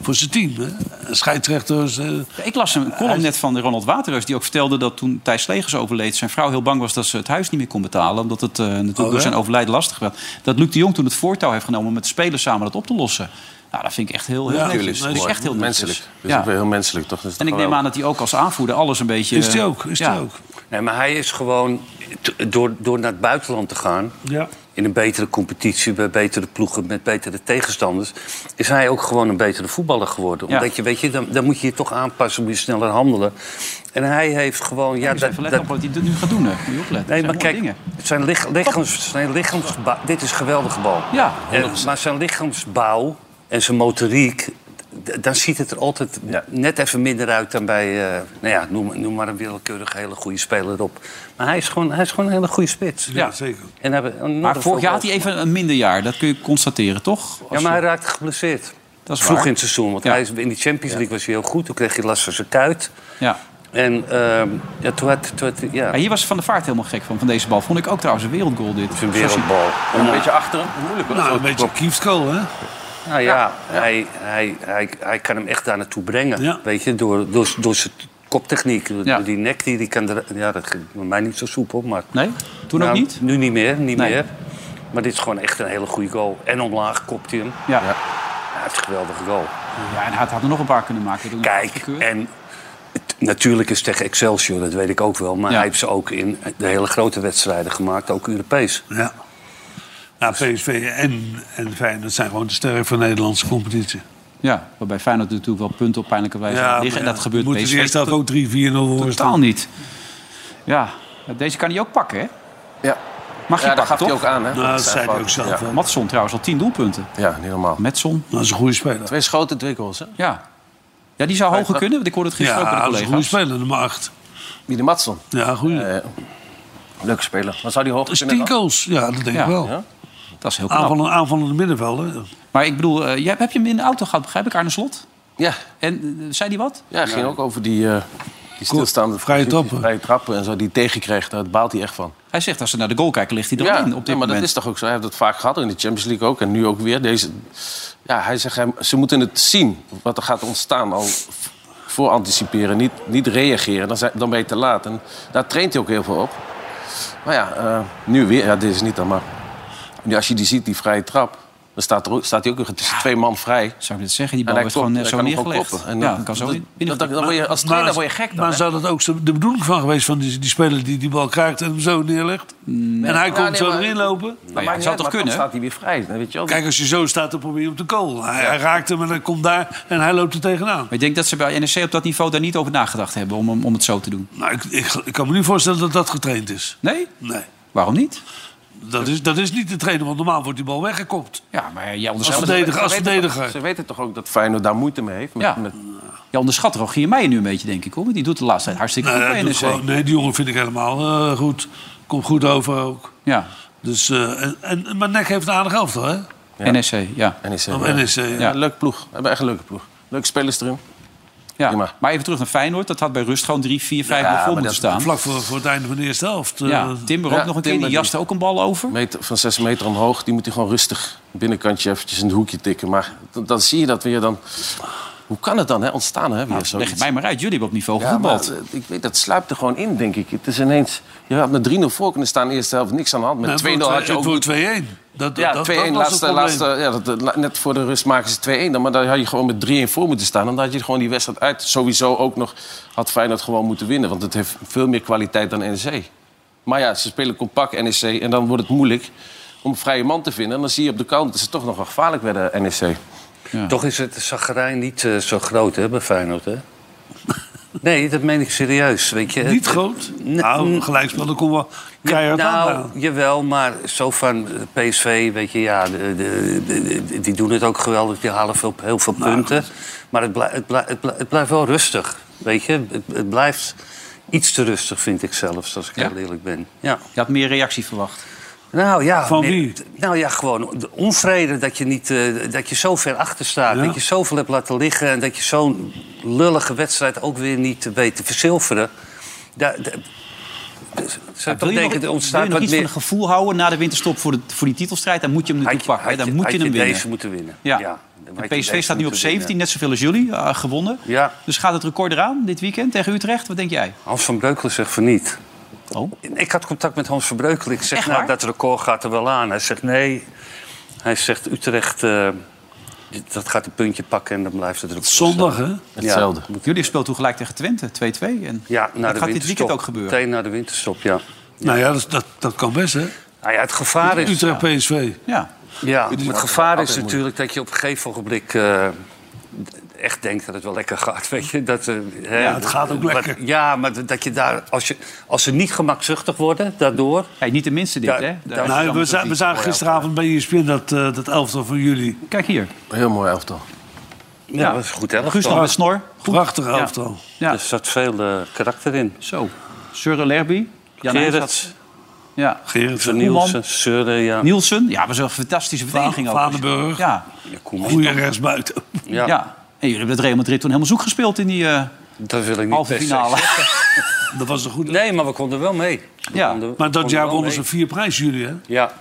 [SPEAKER 3] voor zijn team. Hè? Scheidsrechters. eh,
[SPEAKER 2] Ja, Ik las een column net van Ronald Waterhuis. Die ook vertelde dat toen Thijs Slegers overleed... zijn vrouw heel bang was dat ze het huis niet meer kon betalen. Omdat het eh, natuurlijk
[SPEAKER 3] ja?
[SPEAKER 2] door zijn overlijden lastig werd. Dat Luc de Jong toen het voortouw heeft genomen... om met de spelers samen dat op te lossen. Nou, dat vind ik echt heel... heel
[SPEAKER 3] Ja,
[SPEAKER 2] netjes.
[SPEAKER 3] tuurlijk.
[SPEAKER 2] Dat is echt heel netjes.
[SPEAKER 7] menselijk. Dat is
[SPEAKER 2] Ja.
[SPEAKER 7] ook weer heel menselijk, toch? Dat is
[SPEAKER 2] En ik
[SPEAKER 7] toch
[SPEAKER 2] neem
[SPEAKER 7] wel-
[SPEAKER 2] aan dat hij ook als aanvoerder alles een beetje...
[SPEAKER 3] eh, is die
[SPEAKER 2] eh,
[SPEAKER 3] ook? Is die
[SPEAKER 2] ja.
[SPEAKER 3] ook?
[SPEAKER 4] Nee, maar hij is gewoon, t- door, door naar het buitenland te gaan...
[SPEAKER 3] Ja.
[SPEAKER 4] in een betere competitie, bij betere ploegen, met betere tegenstanders... is hij ook gewoon een betere voetballer geworden.
[SPEAKER 2] Ja.
[SPEAKER 4] Omdat je, weet je, dan, dan moet je je toch aanpassen, moet je sneller handelen. En hij heeft gewoon... Ja,
[SPEAKER 2] Ik moet
[SPEAKER 4] dat,
[SPEAKER 2] even letten
[SPEAKER 4] dat-
[SPEAKER 2] op wat hij dit nu gaat doen. hè. Moet je opletten.
[SPEAKER 4] Nee,
[SPEAKER 2] Dat
[SPEAKER 4] maar
[SPEAKER 2] zijn mooie
[SPEAKER 4] kijk,
[SPEAKER 2] dingen.
[SPEAKER 4] zijn, lich, lichaams, zijn lichaamsbouw... Dit is een geweldige bal.
[SPEAKER 2] Ja,
[SPEAKER 4] Eh, maar zijn lichaamsbouw en zijn motoriek... d- Dan ziet het er altijd net even minder uit dan bij... eh, nou ja, noem, noem maar een willekeurig hele goede speler op. Maar hij is gewoon, hij is gewoon een hele goede spits. Dus-
[SPEAKER 3] Ja, zeker.
[SPEAKER 4] En hebben,
[SPEAKER 2] Maar vorig jaar had hij even een minder jaar. Dat kun je constateren, toch?
[SPEAKER 4] Ja,
[SPEAKER 2] Als
[SPEAKER 4] maar hij
[SPEAKER 2] je-
[SPEAKER 4] raakte geblesseerd.
[SPEAKER 2] Dat is
[SPEAKER 4] Vroeg
[SPEAKER 2] waar.
[SPEAKER 4] in het seizoen. Want
[SPEAKER 2] Ja.
[SPEAKER 4] hij is, in de Champions League was hij heel goed. Toen kreeg hij last van zijn kuit.
[SPEAKER 2] ja.
[SPEAKER 4] En ehm ja, toen had, toen had- ja,
[SPEAKER 2] Maar hier was Van der Vaart helemaal gek van, van deze bal. Vond ik ook trouwens een wereldgoal dit.
[SPEAKER 4] zijn wereldbal.
[SPEAKER 7] Een beetje achter hem. Moeilijk, hoor.
[SPEAKER 3] Nou,
[SPEAKER 7] Zo-
[SPEAKER 3] een beetje kiefskool, hè?
[SPEAKER 4] Nou ja, Hij, hij, hij, hij kan hem echt daar naartoe brengen.
[SPEAKER 3] Ja.
[SPEAKER 4] Weet je, door, door, door zijn koptechniek. door-
[SPEAKER 2] Ja.
[SPEAKER 4] Door die nek die, die kan... er- Ja, dat ging bij mij niet zo soepel, maar...
[SPEAKER 2] Nee? Toen ook
[SPEAKER 4] Nou,
[SPEAKER 2] niet?
[SPEAKER 4] Nu niet meer, niet
[SPEAKER 2] Nee.
[SPEAKER 4] meer. Maar dit is gewoon echt een hele goede goal. En omlaag kopt hij hem.
[SPEAKER 2] Ja. ja.
[SPEAKER 4] Ja, het is een geweldige goal.
[SPEAKER 2] en hij had er nog een paar kunnen maken. Toen
[SPEAKER 4] Kijk,
[SPEAKER 2] afgekeurd.
[SPEAKER 4] en het- natuurlijk is het tegen Excelsior, dat weet ik ook wel. Maar
[SPEAKER 2] Ja.
[SPEAKER 4] hij heeft ze ook in de hele grote wedstrijden gemaakt, ook Europees.
[SPEAKER 3] Ja. Nou, PSV en, en Feyenoord zijn gewoon de sterren van de Nederlandse competitie.
[SPEAKER 2] Ja, waarbij Feyenoord natuurlijk wel punten op pijnlijke wijze
[SPEAKER 3] maar
[SPEAKER 2] liggen. En dat gebeurt
[SPEAKER 3] Moeten ze
[SPEAKER 2] PSV
[SPEAKER 3] eerst zelf ook 3-4-0 voor
[SPEAKER 2] totaal
[SPEAKER 3] staan.
[SPEAKER 2] niet. Ja, deze kan hij ook pakken, hè?
[SPEAKER 7] Ja,
[SPEAKER 2] Mag je
[SPEAKER 7] ja
[SPEAKER 2] pakken,
[SPEAKER 7] daar gaf hij
[SPEAKER 2] toch?
[SPEAKER 7] ook aan, hè?
[SPEAKER 3] Nou, dat zei hij ook
[SPEAKER 7] fouten.
[SPEAKER 3] zelf.
[SPEAKER 7] Ja.
[SPEAKER 3] hè.
[SPEAKER 2] Matson trouwens al tien doelpunten.
[SPEAKER 7] Ja, niet normaal.
[SPEAKER 2] Matson,
[SPEAKER 3] Dat is een goede speler.
[SPEAKER 7] Twee schoten, twee goals, hè?
[SPEAKER 2] ja. Ja, die zou hoger kunnen, want ik hoorde het gisteren ook
[SPEAKER 3] Ja,
[SPEAKER 2] bij
[SPEAKER 3] dat
[SPEAKER 2] de
[SPEAKER 3] is een goede
[SPEAKER 2] collega's.
[SPEAKER 3] speler, nummer 8.
[SPEAKER 7] Mide Matson.
[SPEAKER 3] Ja, goede.
[SPEAKER 7] Eh, leuke speler. Maar zou die hoog
[SPEAKER 3] dat is
[SPEAKER 7] kunnen?
[SPEAKER 3] 10 goals. Ja, dat denk
[SPEAKER 2] Ja.
[SPEAKER 3] ik wel.
[SPEAKER 7] Ja.
[SPEAKER 2] Dat is heel knap.
[SPEAKER 3] Aanvallende, aanvallende middenvelden.
[SPEAKER 2] Maar ik bedoel, eh, jij, heb je hem in de auto gehad, begrijp ik, Arne Slot?
[SPEAKER 7] Ja,
[SPEAKER 2] En eh, zei die wat?
[SPEAKER 7] ja ging ook over die, eh die stilstaande
[SPEAKER 3] Vrije
[SPEAKER 7] die- die
[SPEAKER 3] trappen.
[SPEAKER 7] vrije trappen en zo die hij tegenkreeg. Daar baalt hij echt van.
[SPEAKER 2] Hij zegt, als ze naar de goal kijken, ligt hij
[SPEAKER 7] ja,
[SPEAKER 2] erin op dit
[SPEAKER 7] ja, maar
[SPEAKER 2] moment.
[SPEAKER 7] dat is toch ook zo. Hij heeft dat vaak gehad in de Champions League ook en nu ook weer. Deze, ja, hij zegt, hij- ze moeten het zien wat er gaat ontstaan. Al v- voor anticiperen, niet, niet reageren. Dan, zijn, dan ben je te laat. En daar traint hij ook heel veel op. Maar ja, eh, nu weer. Ja, dit is niet dan, maar nu, als je die ziet, die vrije trap. Dan staat, er ook, staat hij ook weer tussen twee man vrij.
[SPEAKER 2] Zou ik dit zeggen? Die bal
[SPEAKER 7] En hij
[SPEAKER 2] werd gewoon
[SPEAKER 7] kopt,
[SPEAKER 2] net zo
[SPEAKER 7] hij kan hem gewoon
[SPEAKER 2] neergelegd.
[SPEAKER 7] koppen. En
[SPEAKER 2] ja,
[SPEAKER 7] dan-
[SPEAKER 2] kan zo
[SPEAKER 7] dat-
[SPEAKER 2] in.
[SPEAKER 7] dat-
[SPEAKER 2] binnen-
[SPEAKER 7] dat word je- Als trainer word je gek dan.
[SPEAKER 3] Maar
[SPEAKER 7] hè?
[SPEAKER 3] zou dat ook zo- de bedoeling van geweest van die, die speler die die bal krijgt en hem zo neerlegt? En hij
[SPEAKER 7] Ja,
[SPEAKER 3] komt
[SPEAKER 7] nee,
[SPEAKER 3] zo
[SPEAKER 7] maar-
[SPEAKER 3] erin lopen?
[SPEAKER 2] Nou ja,
[SPEAKER 7] maakt niet
[SPEAKER 2] zou
[SPEAKER 7] uit,
[SPEAKER 2] toch
[SPEAKER 7] maar
[SPEAKER 2] kunnen?
[SPEAKER 7] Dan staat hij weer vrij. dan Weet je wel.
[SPEAKER 3] Kijk, als je zo staat, dan probeer je hem te kool. Hij, hij raakt hem en hij komt daar en hij loopt er tegenaan.
[SPEAKER 2] Maar ik denk dat ze bij NEC op dat niveau daar niet over nagedacht hebben om, om het zo te doen.
[SPEAKER 3] Nou, ik, ik, ik kan me niet voorstellen dat dat getraind is.
[SPEAKER 2] Nee?
[SPEAKER 3] Nee,
[SPEAKER 2] Waarom niet?
[SPEAKER 3] dat is, dat is niet te trainen, want normaal wordt die bal weggekopt.
[SPEAKER 2] Ja, maar jij
[SPEAKER 3] Als
[SPEAKER 2] onderschat,
[SPEAKER 3] verdediger. Als
[SPEAKER 7] Ze weten toch-
[SPEAKER 3] verdediger.
[SPEAKER 7] Ze weten toch ook dat Feyenoord daar moeite mee heeft? Met,
[SPEAKER 2] Ja.
[SPEAKER 7] met-
[SPEAKER 2] jij onderschat Rogier Meijer nu een beetje, denk ik. Hoor. Want Die doet de laatste tijd hartstikke
[SPEAKER 3] Nee,
[SPEAKER 2] goed
[SPEAKER 3] hij
[SPEAKER 2] bij E
[SPEAKER 3] doet
[SPEAKER 2] NEC.
[SPEAKER 3] gewoon- nee, die jongen vind ik helemaal eh, goed. Komt goed over ook.
[SPEAKER 2] Ja,
[SPEAKER 3] Dus, eh, en, en, maar NEC heeft een aardig elftal, hè?
[SPEAKER 2] NEC, E ja.
[SPEAKER 7] NEC.
[SPEAKER 3] Op
[SPEAKER 7] E ja.
[SPEAKER 3] NEC.
[SPEAKER 7] Ja,
[SPEAKER 3] E Ja.
[SPEAKER 7] leuke ploeg. We hebben echt een leuke ploeg. Leuke spelers erin.
[SPEAKER 2] ja.
[SPEAKER 7] Prima.
[SPEAKER 2] Maar even terug naar Feyenoord. Dat had bij rust gewoon 3, 4, 5
[SPEAKER 7] Ja,
[SPEAKER 2] vol
[SPEAKER 7] maar
[SPEAKER 2] moeten
[SPEAKER 7] dat-
[SPEAKER 2] staan.
[SPEAKER 3] Vlak voor, voor het einde van de eerste helft. eh,
[SPEAKER 2] Ja, Timber ook
[SPEAKER 7] Ja,
[SPEAKER 2] nog een keer.
[SPEAKER 7] Timber
[SPEAKER 2] Die jaste ook een bal over.
[SPEAKER 7] Meter, van 6 meter omhoog. Die moet hij gewoon rustig binnenkantje eventjes in het hoekje tikken. Maar d- dan zie je dat weer dan... Hoe kan het dan hè, ontstaan? Hè, weer
[SPEAKER 3] Nou,
[SPEAKER 2] Leg
[SPEAKER 7] zoiets?
[SPEAKER 2] het mij maar uit. Jullie hebben op niveau
[SPEAKER 7] Ja, maar,
[SPEAKER 2] gevoetbald.
[SPEAKER 7] eh, ik weet, dat sluipt er gewoon in, denk ik. Het is ineens... Je had met 3-0 voor kunnen staan in de eerste helft. Niks aan de hand.
[SPEAKER 3] nou,
[SPEAKER 7] Met
[SPEAKER 3] het wordt
[SPEAKER 7] 2-0 had je
[SPEAKER 3] twee-
[SPEAKER 7] ook...
[SPEAKER 3] het wordt 2-1. Dat,
[SPEAKER 7] Ja,
[SPEAKER 3] dat-
[SPEAKER 7] 2-1,
[SPEAKER 3] dat was het
[SPEAKER 7] laatste,
[SPEAKER 3] probleem.
[SPEAKER 7] laatste, ja, dat- dat, la- net voor de rust maken ze 2-1. dan, Maar daar had je gewoon met 3-1 voor moeten staan. En dan had je gewoon die wedstrijd uit. Sowieso ook nog had Feyenoord gewoon moeten winnen. Want het heeft veel meer kwaliteit dan NEC. Maar ja, ze spelen compact NEC. En dan wordt het moeilijk om een vrije man te vinden. En dan zie je op de counter dat ze toch nog wel gevaarlijk werden, E NEC.
[SPEAKER 4] Toch is het zagrijn niet eh, zo groot hè, bij Feyenoord, hè? Nee, dat meen ik serieus, weet je.
[SPEAKER 3] Niet groot.
[SPEAKER 4] Nee,
[SPEAKER 3] Nou,
[SPEAKER 4] mm.
[SPEAKER 3] gelijkspel, dan kon wel keihard
[SPEAKER 4] nou,
[SPEAKER 3] aan.
[SPEAKER 4] jawel, maar zo van eh, PSV, weet je, ja, de- de- de- de- die doen het ook geweldig. Die halen veel, heel veel
[SPEAKER 2] Nou,
[SPEAKER 4] punten. Maar het, blij- het, blij- het, blij- het blijft wel rustig, weet je. Het, het blijft iets te rustig, vind ik zelfs, als ik
[SPEAKER 2] Ja?
[SPEAKER 4] heel eerlijk ben. Ja.
[SPEAKER 2] Je had meer reactie verwacht.
[SPEAKER 4] Nou ja,
[SPEAKER 3] Van
[SPEAKER 4] meer-
[SPEAKER 3] wie?
[SPEAKER 4] Nou ja, gewoon de onvrede dat je, niet, eh, dat je zo ver achter staat. Dat je zoveel hebt laten liggen. En dat je zo'n lullige wedstrijd ook weer niet weet te verzilveren. Da- da- Zou
[SPEAKER 2] Wil
[SPEAKER 4] toch
[SPEAKER 2] je nog,
[SPEAKER 4] denken, er
[SPEAKER 2] wil je
[SPEAKER 4] ontstaat
[SPEAKER 2] nog
[SPEAKER 4] wat
[SPEAKER 2] iets van
[SPEAKER 4] meer...
[SPEAKER 2] een gevoel houden na de winterstop voor, de, voor die titelstrijd? Dan moet je hem
[SPEAKER 4] Had
[SPEAKER 2] natuurlijk
[SPEAKER 4] je-
[SPEAKER 2] pakken. hè?
[SPEAKER 4] had
[SPEAKER 2] Dan
[SPEAKER 4] je-
[SPEAKER 2] moet je
[SPEAKER 4] had
[SPEAKER 2] hem
[SPEAKER 4] je
[SPEAKER 2] winnen.
[SPEAKER 4] deze moeten winnen.
[SPEAKER 2] Ja.
[SPEAKER 4] Ja, dan had
[SPEAKER 2] En
[SPEAKER 4] je
[SPEAKER 2] PSV
[SPEAKER 4] deze
[SPEAKER 2] staat nu op
[SPEAKER 4] moeten
[SPEAKER 2] 17,
[SPEAKER 4] winnen.
[SPEAKER 2] net zoveel als jullie, eh, gewonnen.
[SPEAKER 4] Ja.
[SPEAKER 2] Dus gaat het record eraan dit weekend tegen Utrecht? Wat denk jij?
[SPEAKER 4] Hans van Breukelen zegt van niet.
[SPEAKER 2] Oh.
[SPEAKER 4] Ik had contact met Hans van Breukelen. Ik zeg,
[SPEAKER 2] Echt
[SPEAKER 4] nou,
[SPEAKER 2] waar?
[SPEAKER 4] dat record gaat er wel aan. Hij zegt, nee. Hij zegt, Utrecht, eh, dit- dat gaat een puntje pakken en dan blijft het record.
[SPEAKER 3] Zondag, hè?
[SPEAKER 7] Hetzelfde.
[SPEAKER 2] Want Jullie hebben toen gelijk tegen Twente, 2-2. En
[SPEAKER 4] Ja, na
[SPEAKER 2] dat
[SPEAKER 4] de
[SPEAKER 2] gaat dit
[SPEAKER 4] winterstop.
[SPEAKER 2] weekend ook gebeuren.
[SPEAKER 4] Meteen na de winterstop, ja.
[SPEAKER 3] Nou ja, dat, dat, dat kan best, hè?
[SPEAKER 4] Nou ja, het gevaar is...
[SPEAKER 3] Utrecht PSV.
[SPEAKER 2] Ja.
[SPEAKER 4] Ja, maar het gevaar is natuurlijk dat je op een gegeven ogenblik eh, echt denkt dat het wel lekker gaat. Weet je? Dat, eh, hè,
[SPEAKER 3] Ja, het gaat ook
[SPEAKER 4] wat-
[SPEAKER 3] lekker.
[SPEAKER 4] Ja, maar dat je daar, als, je, als ze niet gemakzuchtig worden daardoor.
[SPEAKER 2] Hey, niet de minste dit,
[SPEAKER 4] Ja,
[SPEAKER 2] hè?
[SPEAKER 4] daar-
[SPEAKER 2] Daar-
[SPEAKER 3] Nou,
[SPEAKER 2] dan-
[SPEAKER 3] we, za- we zagen gisteravond bij ESPN dat, eh, dat elftal van jullie.
[SPEAKER 2] Kijk hier.
[SPEAKER 7] Heel mooi elftal.
[SPEAKER 4] Ja, dat is goed. Hè?
[SPEAKER 2] Guus nog met snor.
[SPEAKER 3] Prachtig elftal.
[SPEAKER 2] Ja,
[SPEAKER 4] Er zat veel eh, karakter in.
[SPEAKER 2] zo. Surre Lerby. Jan IJsselhard.
[SPEAKER 4] Gerrits,
[SPEAKER 2] Ja.
[SPEAKER 3] Gerrit
[SPEAKER 4] Van
[SPEAKER 3] van
[SPEAKER 4] Nielsen, Seuren, ja.
[SPEAKER 2] Nielsen. Ja, we zijn een fantastische verdediging ook.
[SPEAKER 3] Vaandenburg.
[SPEAKER 2] Ja.
[SPEAKER 4] Ja, Koeman.
[SPEAKER 3] Goeie rechtsbuiten.
[SPEAKER 4] Ja,
[SPEAKER 2] ja. En jullie hebben het Real Madrid toen helemaal zoek gespeeld in die eh,
[SPEAKER 4] dat wil ik niet
[SPEAKER 2] halve
[SPEAKER 4] per se
[SPEAKER 2] finale.
[SPEAKER 4] zeggen.
[SPEAKER 3] Dat was een goed.
[SPEAKER 4] Nee, maar we konden wel mee. We
[SPEAKER 2] Ja,
[SPEAKER 4] konden-
[SPEAKER 3] Maar
[SPEAKER 4] we
[SPEAKER 3] dat
[SPEAKER 4] konden
[SPEAKER 3] jaar
[SPEAKER 4] wel
[SPEAKER 3] wonnen
[SPEAKER 4] mee.
[SPEAKER 3] ze vier prijzen, jullie, hè?
[SPEAKER 4] Ja,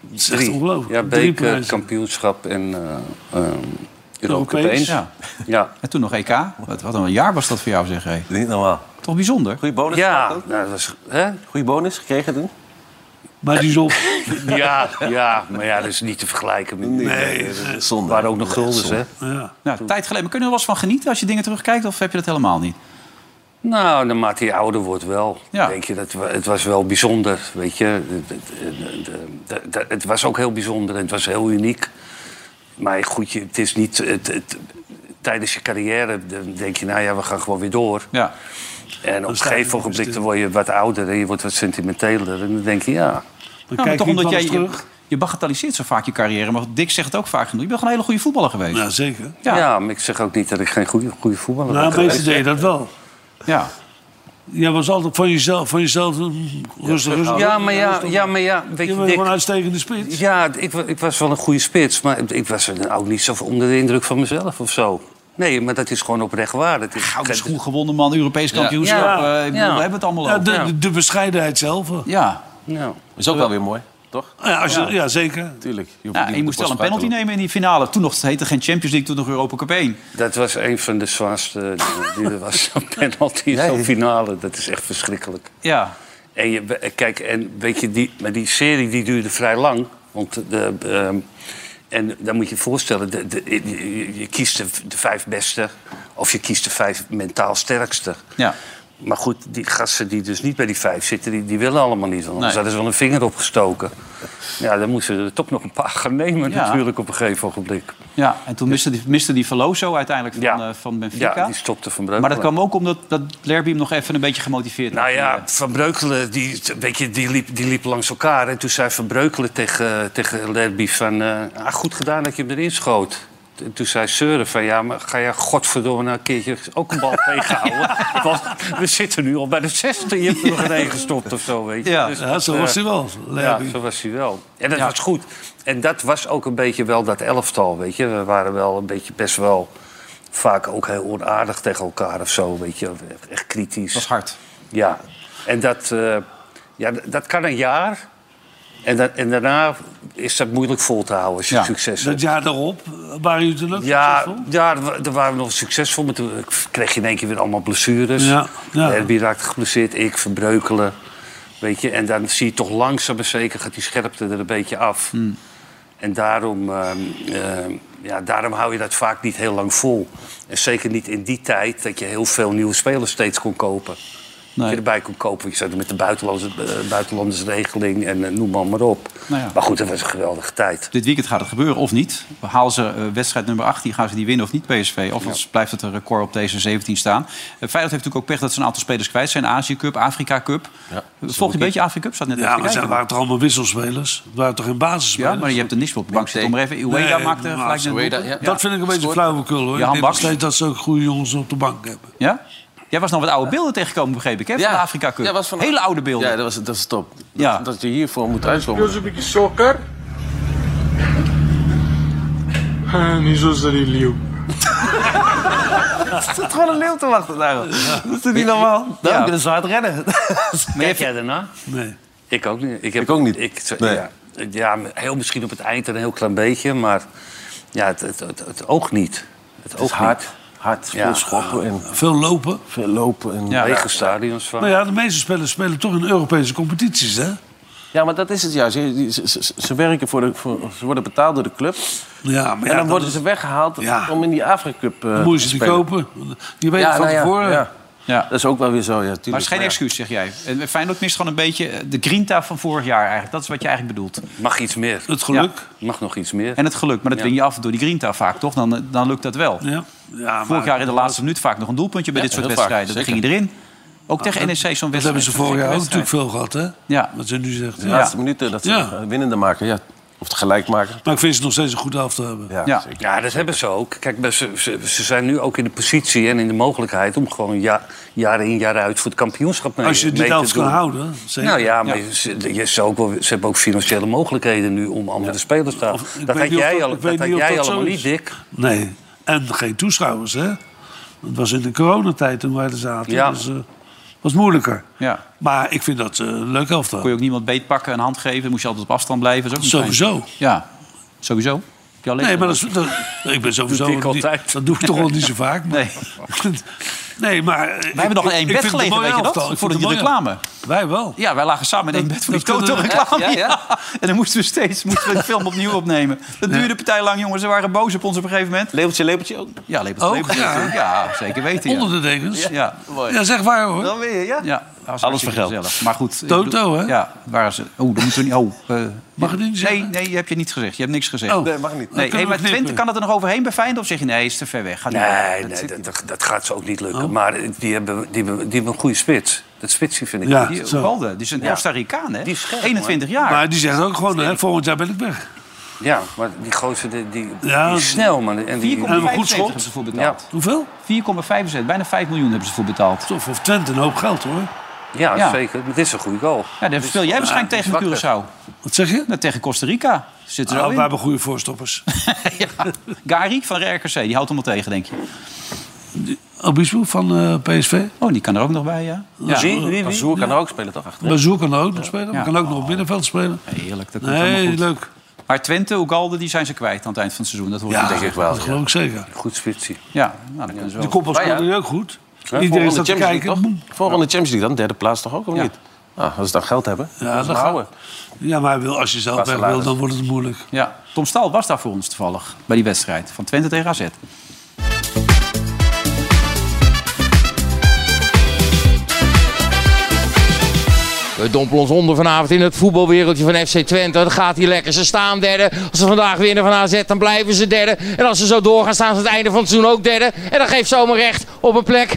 [SPEAKER 3] Dat is echt
[SPEAKER 4] drie. Ja,
[SPEAKER 3] ongelooflijk. Drie
[SPEAKER 4] beker,
[SPEAKER 3] prijzen.
[SPEAKER 4] kampioenschap en eh, eh, Europa
[SPEAKER 3] Europees.
[SPEAKER 4] Cup
[SPEAKER 2] Ja.
[SPEAKER 4] Ja.
[SPEAKER 2] En toen nog EK. Wat, wat een jaar was dat voor jou, zeg hé.
[SPEAKER 5] Niet normaal.
[SPEAKER 2] Toch bijzonder.
[SPEAKER 5] Goeie bonus
[SPEAKER 4] Ja,
[SPEAKER 5] gehad ook?
[SPEAKER 4] nou, dat was, hè?
[SPEAKER 5] Goeie bonus gekregen toen?
[SPEAKER 3] Maar
[SPEAKER 2] dus
[SPEAKER 3] die is op.
[SPEAKER 4] ja, ja, maar ja, dat is niet te vergelijken. Met,
[SPEAKER 5] Zonde.
[SPEAKER 4] Er waren ook nog guldens, hè?
[SPEAKER 3] Ja.
[SPEAKER 2] Nou, tijd geleden. Maar kunnen we er wel eens van genieten als je dingen terugkijkt? Of heb je dat helemaal niet?
[SPEAKER 4] Nou, naarmate je ouder wordt wel.
[SPEAKER 2] Ja.
[SPEAKER 4] Denk je, dat, wa- het was wel bijzonder, weet je. Het- Het het- het- het- het was ook heel bijzonder en het was heel uniek. Maar goed, je- het is niet... Het, het- tijdens je carrière dan denk je, nou ja, we gaan gewoon weer door.
[SPEAKER 2] Ja.
[SPEAKER 4] En op een
[SPEAKER 3] sta je nog
[SPEAKER 4] gegeven
[SPEAKER 3] eens
[SPEAKER 4] ogenblik
[SPEAKER 3] te-
[SPEAKER 4] dan word je wat ouder en je wordt wat sentimenteler. En dan denk je, ja,
[SPEAKER 3] Dan
[SPEAKER 2] Nou, maar
[SPEAKER 3] kijk
[SPEAKER 2] toch
[SPEAKER 3] je
[SPEAKER 2] omdat jij
[SPEAKER 3] jij
[SPEAKER 2] je,
[SPEAKER 3] terug.
[SPEAKER 2] je bagatelliseert zo vaak je carrière. Maar Dick zegt het ook vaak genoeg. Je bent gewoon een hele goede voetballer geweest.
[SPEAKER 3] Ja, Nou, zeker.
[SPEAKER 4] ja.
[SPEAKER 2] Ja.
[SPEAKER 4] maar ik zeg ook niet dat ik geen goede, goede voetballer ben.
[SPEAKER 3] Nou, meestal deed je dat wel.
[SPEAKER 2] Ja.
[SPEAKER 3] Jij was altijd van jezelf, van jezelf mm, rustig, rustig.
[SPEAKER 4] Dus
[SPEAKER 2] Nou,
[SPEAKER 4] Ja, maar ja, ja, maar ja, weet
[SPEAKER 3] Je
[SPEAKER 4] je,
[SPEAKER 3] bent
[SPEAKER 4] Dick,
[SPEAKER 3] gewoon een uitstekende spits.
[SPEAKER 4] Ja, ik, wa- ik was wel een goede spits, maar ik was er ook niet zo onder de indruk van mezelf of zo. Nee, maar dat is gewoon oprecht waar. Dat is
[SPEAKER 2] Gouden schoen gewonnen man. Europees kampioenschap.
[SPEAKER 4] Ja.
[SPEAKER 2] Eh, ik bedoel,
[SPEAKER 4] Ja.
[SPEAKER 2] We hebben het allemaal
[SPEAKER 3] Ja,
[SPEAKER 2] over.
[SPEAKER 3] de, de, de bescheidenheid zelf. Ja,
[SPEAKER 2] Ja.
[SPEAKER 4] Nou,
[SPEAKER 7] Is ook wel weer mooi, toch?
[SPEAKER 3] als je, ja zeker.
[SPEAKER 7] Tuurlijk. Je, hoeft
[SPEAKER 2] Ja, en
[SPEAKER 7] niet
[SPEAKER 2] Nou, je
[SPEAKER 7] met
[SPEAKER 2] moest
[SPEAKER 7] de
[SPEAKER 2] wel een
[SPEAKER 7] kosten
[SPEAKER 2] penalty
[SPEAKER 7] uit
[SPEAKER 2] nemen in die finale. Toen nog het heette geen Champions League, toen nog Europa Cup 1.
[SPEAKER 4] dat was een van de zwaarste dingen die er was. Zo'n penalty, zo'n finale, dat is echt verschrikkelijk.
[SPEAKER 2] Ja.
[SPEAKER 4] En je, eh, kijk, en weet je, die, maar die serie die duurde vrij lang. Want de, ehm, en dan moet je je voorstellen, de, de, je- je, je kiest de, de vijf beste... of je kiest de vijf mentaal sterkste.
[SPEAKER 2] Ja.
[SPEAKER 4] Maar goed, die gasten die dus niet bij die vijf zitten, die, die willen allemaal niet. Want anders
[SPEAKER 2] Nee.
[SPEAKER 4] hadden ze wel een vinger opgestoken. Ja, dan moesten ze er toch nog een paar gaan nemen
[SPEAKER 2] Ja.
[SPEAKER 4] natuurlijk op een gegeven ogenblik.
[SPEAKER 2] ja. En toen miste die, miste die Veloso uiteindelijk van,
[SPEAKER 4] Ja.
[SPEAKER 2] eh, van Benfica.
[SPEAKER 4] Ja, die stopte Van Breukelen.
[SPEAKER 2] maar dat kwam ook omdat dat Lerby hem nog even een beetje gemotiveerd
[SPEAKER 4] Nou
[SPEAKER 2] had.
[SPEAKER 4] ja, Van Breukelen, die, weet je, die, liep, die liep langs elkaar. En toen zei Van Breukelen tegen, tegen Lerby van... eh, ah, goed gedaan dat je hem erin schoot. En Toen zei Seuren van, ja, maar ga jij godverdomme nou een keertje ook een bal tegenhouden? Want we zitten nu al bij de zesde, je hebt er nog een één gestopt of zo, weet je.
[SPEAKER 2] Ja.
[SPEAKER 3] Ja, zo
[SPEAKER 4] eh,
[SPEAKER 3] was hij wel.
[SPEAKER 4] Ja,
[SPEAKER 3] Lerby.
[SPEAKER 4] zo was hij wel. En dat
[SPEAKER 2] Ja.
[SPEAKER 4] was goed. En dat was ook een beetje wel dat elftal, weet je. We waren wel een beetje best wel vaak ook heel onaardig tegen elkaar of zo, weet je. Echt kritisch.
[SPEAKER 2] Dat was hard.
[SPEAKER 4] Ja. En dat, eh, ja, d- dat kan een jaar. En, dat, en daarna is dat moeilijk vol te houden als je
[SPEAKER 2] Ja.
[SPEAKER 4] succes
[SPEAKER 3] Dat
[SPEAKER 4] hebt.
[SPEAKER 3] jaar daarop eh, waren jullie toen ook
[SPEAKER 4] Ja,
[SPEAKER 3] succesvol?
[SPEAKER 4] ja, daar wa- daar waren we nog succesvol. Maar toen eh, kreeg je in één keer weer allemaal blessures.
[SPEAKER 3] Ja, ja.
[SPEAKER 4] Herbie raakte geblesseerd, ik verbreukelen. Weet je, en dan zie je toch langzaam maar zeker gaat die scherpte er een beetje af.
[SPEAKER 3] Hmm.
[SPEAKER 4] En daarom, ehm, ehm, ja, daarom hou je dat vaak niet heel lang vol. En zeker niet in die tijd dat je heel veel nieuwe spelers steeds kon kopen. Dat je erbij kon kopen. want Je zat met de buitenlandse, eh, buitenlandersregeling en eh, noem maar, maar op.
[SPEAKER 2] Nou ja.
[SPEAKER 4] Maar goed, dat was een geweldige tijd.
[SPEAKER 2] Dit weekend gaat het gebeuren of niet. Halen ze eh, wedstrijd nummer 18, gaan ze die winnen of niet PSV? Of blijft het een record op deze 17 staan? Eh, Feyenoord heeft natuurlijk ook pech dat ze een aantal spelers kwijt zijn. Azië Cup, Afrika Cup. Volg je een beetje Afrika Cup? Zat net
[SPEAKER 3] Ja,
[SPEAKER 2] even te
[SPEAKER 3] maar ze
[SPEAKER 2] kijken.
[SPEAKER 3] waren toch allemaal wisselspelers? Het waren toch geen basisspelers?
[SPEAKER 2] ja, maar je hebt er niks meer op de bank zitten. Maar even, Ueda
[SPEAKER 3] Nee,
[SPEAKER 2] maakte
[SPEAKER 3] maar
[SPEAKER 2] gelijk net
[SPEAKER 7] Ueda,
[SPEAKER 2] doelpunt.
[SPEAKER 7] ja.
[SPEAKER 3] Dat vind ik een beetje flauwekul, hoor.
[SPEAKER 2] Ja,
[SPEAKER 3] ik denk nog
[SPEAKER 2] Baks.
[SPEAKER 3] steeds dat ze ook goede jongens op de bank hebben.
[SPEAKER 2] Ja? Jij was nog wat oude beelden tegengekomen, begreep ik, hè? Van de Afrika Cup.
[SPEAKER 7] Ja, was van-
[SPEAKER 2] Hele oude beelden.
[SPEAKER 7] Ja, dat was, dat was top. Dat,
[SPEAKER 2] Ja.
[SPEAKER 7] dat je hiervoor moet uitzoomen.
[SPEAKER 9] Niet zoals dat hij
[SPEAKER 5] Er zit gewoon een leeuw te wachten daarop. Dat is niet normaal. Daarom
[SPEAKER 8] Ja.
[SPEAKER 5] kunnen ze hard rennen.
[SPEAKER 8] Kijk jij daarna?
[SPEAKER 3] Nee.
[SPEAKER 4] nou? Ik ook niet. heb,
[SPEAKER 7] Ik ook niet.
[SPEAKER 4] Ik,
[SPEAKER 7] Nee.
[SPEAKER 4] ja, ja, heel misschien op het eind een heel klein beetje, maar ja, het, het, het, het oog niet. Het, oog
[SPEAKER 7] Hard, hard. Veel
[SPEAKER 4] Ja.
[SPEAKER 7] schoppen en
[SPEAKER 3] Veel lopen.
[SPEAKER 7] veel lopen. En...
[SPEAKER 4] niet.
[SPEAKER 7] Ja.
[SPEAKER 4] Lege stadions van.
[SPEAKER 3] Maar ja, de meeste spelers spelen toch in Europese competities, hè?
[SPEAKER 7] maar dat is het juist. Ze, ze- ze- ze werken voor de, voor, ze worden betaald door de club.
[SPEAKER 3] Ja, maar
[SPEAKER 7] en dan
[SPEAKER 3] ja,
[SPEAKER 7] worden
[SPEAKER 3] dat
[SPEAKER 7] ze weggehaald
[SPEAKER 3] Ja.
[SPEAKER 7] om in die Afrika-cup eh,
[SPEAKER 3] is-
[SPEAKER 7] te
[SPEAKER 3] moet je ze die
[SPEAKER 7] spelen.
[SPEAKER 3] kopen. Je weet
[SPEAKER 7] Ja,
[SPEAKER 3] het van
[SPEAKER 7] nou ja,
[SPEAKER 3] tevoren.
[SPEAKER 7] ja.
[SPEAKER 2] Ja.
[SPEAKER 7] Dat is ook wel weer zo, ja. Tuurlijk.
[SPEAKER 2] Maar het is geen
[SPEAKER 7] ja.
[SPEAKER 2] excuus, zeg jij. En Feyenoord mist gewoon een beetje eh, de grinta van vorig jaar eigenlijk. Dat is wat je eigenlijk bedoelt.
[SPEAKER 4] Mag iets meer.
[SPEAKER 3] Het geluk.
[SPEAKER 4] Mag nog iets meer.
[SPEAKER 2] En het geluk, maar dat
[SPEAKER 4] Ja.
[SPEAKER 2] win je af door die grinta vaak, toch? Dan, eh, dan lukt dat wel.
[SPEAKER 3] Ja. Ja. maar
[SPEAKER 2] Vorig jaar in de laatste minuut vaak nog een doelpuntje bij
[SPEAKER 7] Ja,
[SPEAKER 2] dit soort
[SPEAKER 7] heel vaak,
[SPEAKER 2] wedstrijden. Dan ging
[SPEAKER 7] zeker.
[SPEAKER 2] je erin. Ook tegen NEC zo'n wedstrijd.
[SPEAKER 3] Ah, Dat hebben ze
[SPEAKER 2] Een
[SPEAKER 3] vorig
[SPEAKER 2] gekke
[SPEAKER 3] jaar ook natuurlijk
[SPEAKER 2] wedstrijd.
[SPEAKER 3] veel gehad, hè?
[SPEAKER 2] Ja.
[SPEAKER 3] Wat ze nu zegt.
[SPEAKER 7] De
[SPEAKER 3] Ja.
[SPEAKER 7] laatste minuten dat ze
[SPEAKER 3] Ja.
[SPEAKER 7] winnende maken, ja. Of het gelijk maken.
[SPEAKER 3] Maar ik vind ze nog steeds een goed af te hebben.
[SPEAKER 7] Ja,
[SPEAKER 2] Ja.
[SPEAKER 7] zeker.
[SPEAKER 4] Ja, dat hebben ze ook. Kijk, maar ze, ze, ze zijn nu ook in de positie en in de mogelijkheid om gewoon ja, jaar in jaar uit voor het kampioenschap mee,
[SPEAKER 3] Als je
[SPEAKER 4] mee
[SPEAKER 3] die
[SPEAKER 4] te
[SPEAKER 3] elf kan
[SPEAKER 4] doen.
[SPEAKER 3] houden. zeker.
[SPEAKER 4] Nou ja, maar Ze, je- ze, ook wel, ze hebben ook financiële mogelijkheden nu om andere spelers te halen.
[SPEAKER 3] Of- ik
[SPEAKER 4] Dat
[SPEAKER 3] weet
[SPEAKER 4] had
[SPEAKER 3] niet of
[SPEAKER 4] jij,
[SPEAKER 3] dat-
[SPEAKER 4] al,
[SPEAKER 3] ik weet
[SPEAKER 4] dat had
[SPEAKER 3] niet of
[SPEAKER 4] jij
[SPEAKER 3] dat zo
[SPEAKER 4] allemaal
[SPEAKER 3] is.
[SPEAKER 4] niet, Dick.
[SPEAKER 3] Nee. En geen toeschouwers, hè? Dat was in de coronatijd toen wij er zaten.
[SPEAKER 4] Ja.
[SPEAKER 3] Dus eh, was moeilijker.
[SPEAKER 2] Ja.
[SPEAKER 3] Maar ik vind dat eh, een leuk elftal.
[SPEAKER 2] Kon je ook niemand beetpakken, een hand geven. Dan moest je altijd op afstand blijven. Dat is ook niet fijn.
[SPEAKER 3] Sowieso.
[SPEAKER 2] Ja, sowieso. Heb je alleen
[SPEAKER 3] Nee, maar dat is, dat, ik ben sowieso...
[SPEAKER 4] Doet Dick
[SPEAKER 3] niet-
[SPEAKER 4] altijd.
[SPEAKER 3] dat doe ik toch wel niet zo vaak. Maar,
[SPEAKER 2] Nee.
[SPEAKER 3] nee, maar... eh, We
[SPEAKER 2] Wij hebben nog in één bed gelegen, weet je dat? Voor die reclame.
[SPEAKER 3] Wij wel.
[SPEAKER 2] Ja, wij lagen samen in één bed voor die
[SPEAKER 3] dat kunnen we-
[SPEAKER 2] Toto-reclame.
[SPEAKER 5] Ja, ja, ja.
[SPEAKER 2] ja. En dan moesten we steeds moesten we de film opnieuw opnemen. Dat duurde partij lang, jongens. Ze waren boos op ons op een gegeven moment.
[SPEAKER 5] Lepeltje, lepeltje ook.
[SPEAKER 2] Ja, lepelt,
[SPEAKER 3] Ook,
[SPEAKER 2] lepelt,
[SPEAKER 3] ja.
[SPEAKER 2] natuurlijk. ja, zeker weten.
[SPEAKER 3] Onder
[SPEAKER 2] Ja.
[SPEAKER 3] de dekens. Ja,
[SPEAKER 2] Ja.
[SPEAKER 3] zeg waar hoor.
[SPEAKER 5] Dan weer, ja.
[SPEAKER 2] Ja, dat was
[SPEAKER 5] Alles
[SPEAKER 2] hartstikke
[SPEAKER 5] voor geld.
[SPEAKER 2] gezellig. Maar goed. ik
[SPEAKER 3] Toto,
[SPEAKER 2] bedoel-
[SPEAKER 3] hè?
[SPEAKER 2] Ja, waren ze. Oh, dat moeten we niet. Oh, eh,
[SPEAKER 3] Mag ik het niet
[SPEAKER 2] nee,
[SPEAKER 3] zeggen?
[SPEAKER 2] nee, heb je niet gezegd. Je hebt niks gezegd.
[SPEAKER 3] Oh.
[SPEAKER 2] nee,
[SPEAKER 3] Nee,
[SPEAKER 7] mag niet.
[SPEAKER 3] kunnen
[SPEAKER 2] hey,
[SPEAKER 3] we
[SPEAKER 2] maar
[SPEAKER 3] knippen.
[SPEAKER 2] Twente kan het er nog overheen bij Feyenoord? Of zeg je nee, is te ver weg? Gaat niet.
[SPEAKER 4] Nee,
[SPEAKER 2] Dat
[SPEAKER 4] nee
[SPEAKER 2] zit
[SPEAKER 4] dat, dat, dat gaat ze ook niet lukken.
[SPEAKER 3] Oh.
[SPEAKER 4] Maar die hebben, die, hebben, die hebben een goede spits. Dat spitsie vind ik
[SPEAKER 3] Ja.
[SPEAKER 4] goed.
[SPEAKER 2] Die
[SPEAKER 3] Zo.
[SPEAKER 2] Ubalde, die is Dus een Costa Ricaan, hè?
[SPEAKER 4] Die is scherp,
[SPEAKER 2] 21 jaar.
[SPEAKER 3] Maar die zegt ook gewoon, hè, volgend jaar ben ik weg.
[SPEAKER 4] Ja, maar die gozer die, die,
[SPEAKER 3] Ja.
[SPEAKER 4] die is snel, man. En die,
[SPEAKER 2] 4,75
[SPEAKER 3] een goed
[SPEAKER 2] hebben
[SPEAKER 3] schot.
[SPEAKER 2] ze voor betaald.
[SPEAKER 3] Hoeveel?
[SPEAKER 2] 4,75, bijna 5 miljoen hebben ze voor betaald.
[SPEAKER 3] Tof, of Twente, een hoop geld hoor.
[SPEAKER 4] ja,
[SPEAKER 2] Ja.
[SPEAKER 4] zeker. Maar dit is een goede goal.
[SPEAKER 2] Ja, dan speel jij waarschijnlijk tegen
[SPEAKER 4] wakker.
[SPEAKER 2] Curaçao.
[SPEAKER 3] Wat zeg je?
[SPEAKER 2] Nou, tegen Costa Rica. Zitten ze
[SPEAKER 3] Nou,
[SPEAKER 2] al
[SPEAKER 3] we
[SPEAKER 2] in.
[SPEAKER 3] hebben goede voorstoppers.
[SPEAKER 2] ja. Gary van de RKC, die houdt hem wel tegen, denk je.
[SPEAKER 3] Obispo van eh, PSV.
[SPEAKER 2] Oh, die kan er ook nog bij, ja. ja.
[SPEAKER 4] Zie, wie, wie?
[SPEAKER 7] Azur kan ook spelen toch achter.
[SPEAKER 3] Bazoer kan er ook nog spelen.
[SPEAKER 2] Ja.
[SPEAKER 3] Kan ook nog op middenveld spelen.
[SPEAKER 2] Heerlijk, dat komt allemaal
[SPEAKER 3] Nee,
[SPEAKER 2] goed.
[SPEAKER 3] leuk.
[SPEAKER 2] Maar Twente, Ugalde, die zijn ze kwijt aan het eind van het seizoen. Dat hoor je
[SPEAKER 3] Ja,
[SPEAKER 2] denk ik.
[SPEAKER 3] dat geloof ik zeker.
[SPEAKER 4] Goed spitsie.
[SPEAKER 2] Ja, nou, dan kunnen ze
[SPEAKER 3] De
[SPEAKER 2] wel.
[SPEAKER 3] koppels
[SPEAKER 7] Maar ja.
[SPEAKER 3] kan ook goed. Iedereen
[SPEAKER 7] Volgende
[SPEAKER 3] staat te
[SPEAKER 7] Champions League,
[SPEAKER 3] kijken.
[SPEAKER 7] toch?
[SPEAKER 3] Boem.
[SPEAKER 7] Volgende Champions League dan, derde plaats toch ook, of
[SPEAKER 2] Ja.
[SPEAKER 7] niet? Nou, als ze dan geld hebben,
[SPEAKER 3] Ja,
[SPEAKER 7] ja,
[SPEAKER 3] dat
[SPEAKER 7] dan houden.
[SPEAKER 3] Ja, maar hij wil, als je zelf
[SPEAKER 7] Pas
[SPEAKER 3] weg wil,
[SPEAKER 7] salaris.
[SPEAKER 3] dan wordt het moeilijk.
[SPEAKER 2] Ja, Tom Staal was daar voor ons toevallig bij die wedstrijd van Twente tegen AZ.
[SPEAKER 9] We dompelen ons onder vanavond in het voetbalwereldje van FC Twente. Dat gaat hier lekker. Ze staan derde. Als ze vandaag winnen van AZ, dan blijven ze derde. En als ze zo doorgaan, staan ze aan het einde van het seizoen ook derde. En dat geeft zomaar recht op een plek.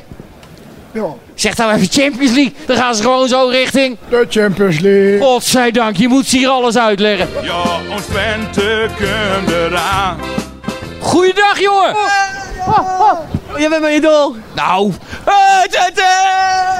[SPEAKER 9] Zeg dan even Champions League. Dan gaan ze gewoon zo richting.
[SPEAKER 10] De Champions League.
[SPEAKER 9] Godzijdank, je moet ze hier alles uitleggen.
[SPEAKER 10] Ja, ons Twente komt eraan.
[SPEAKER 9] Goeiedag, jongen. Je bent mijn idool. Nou.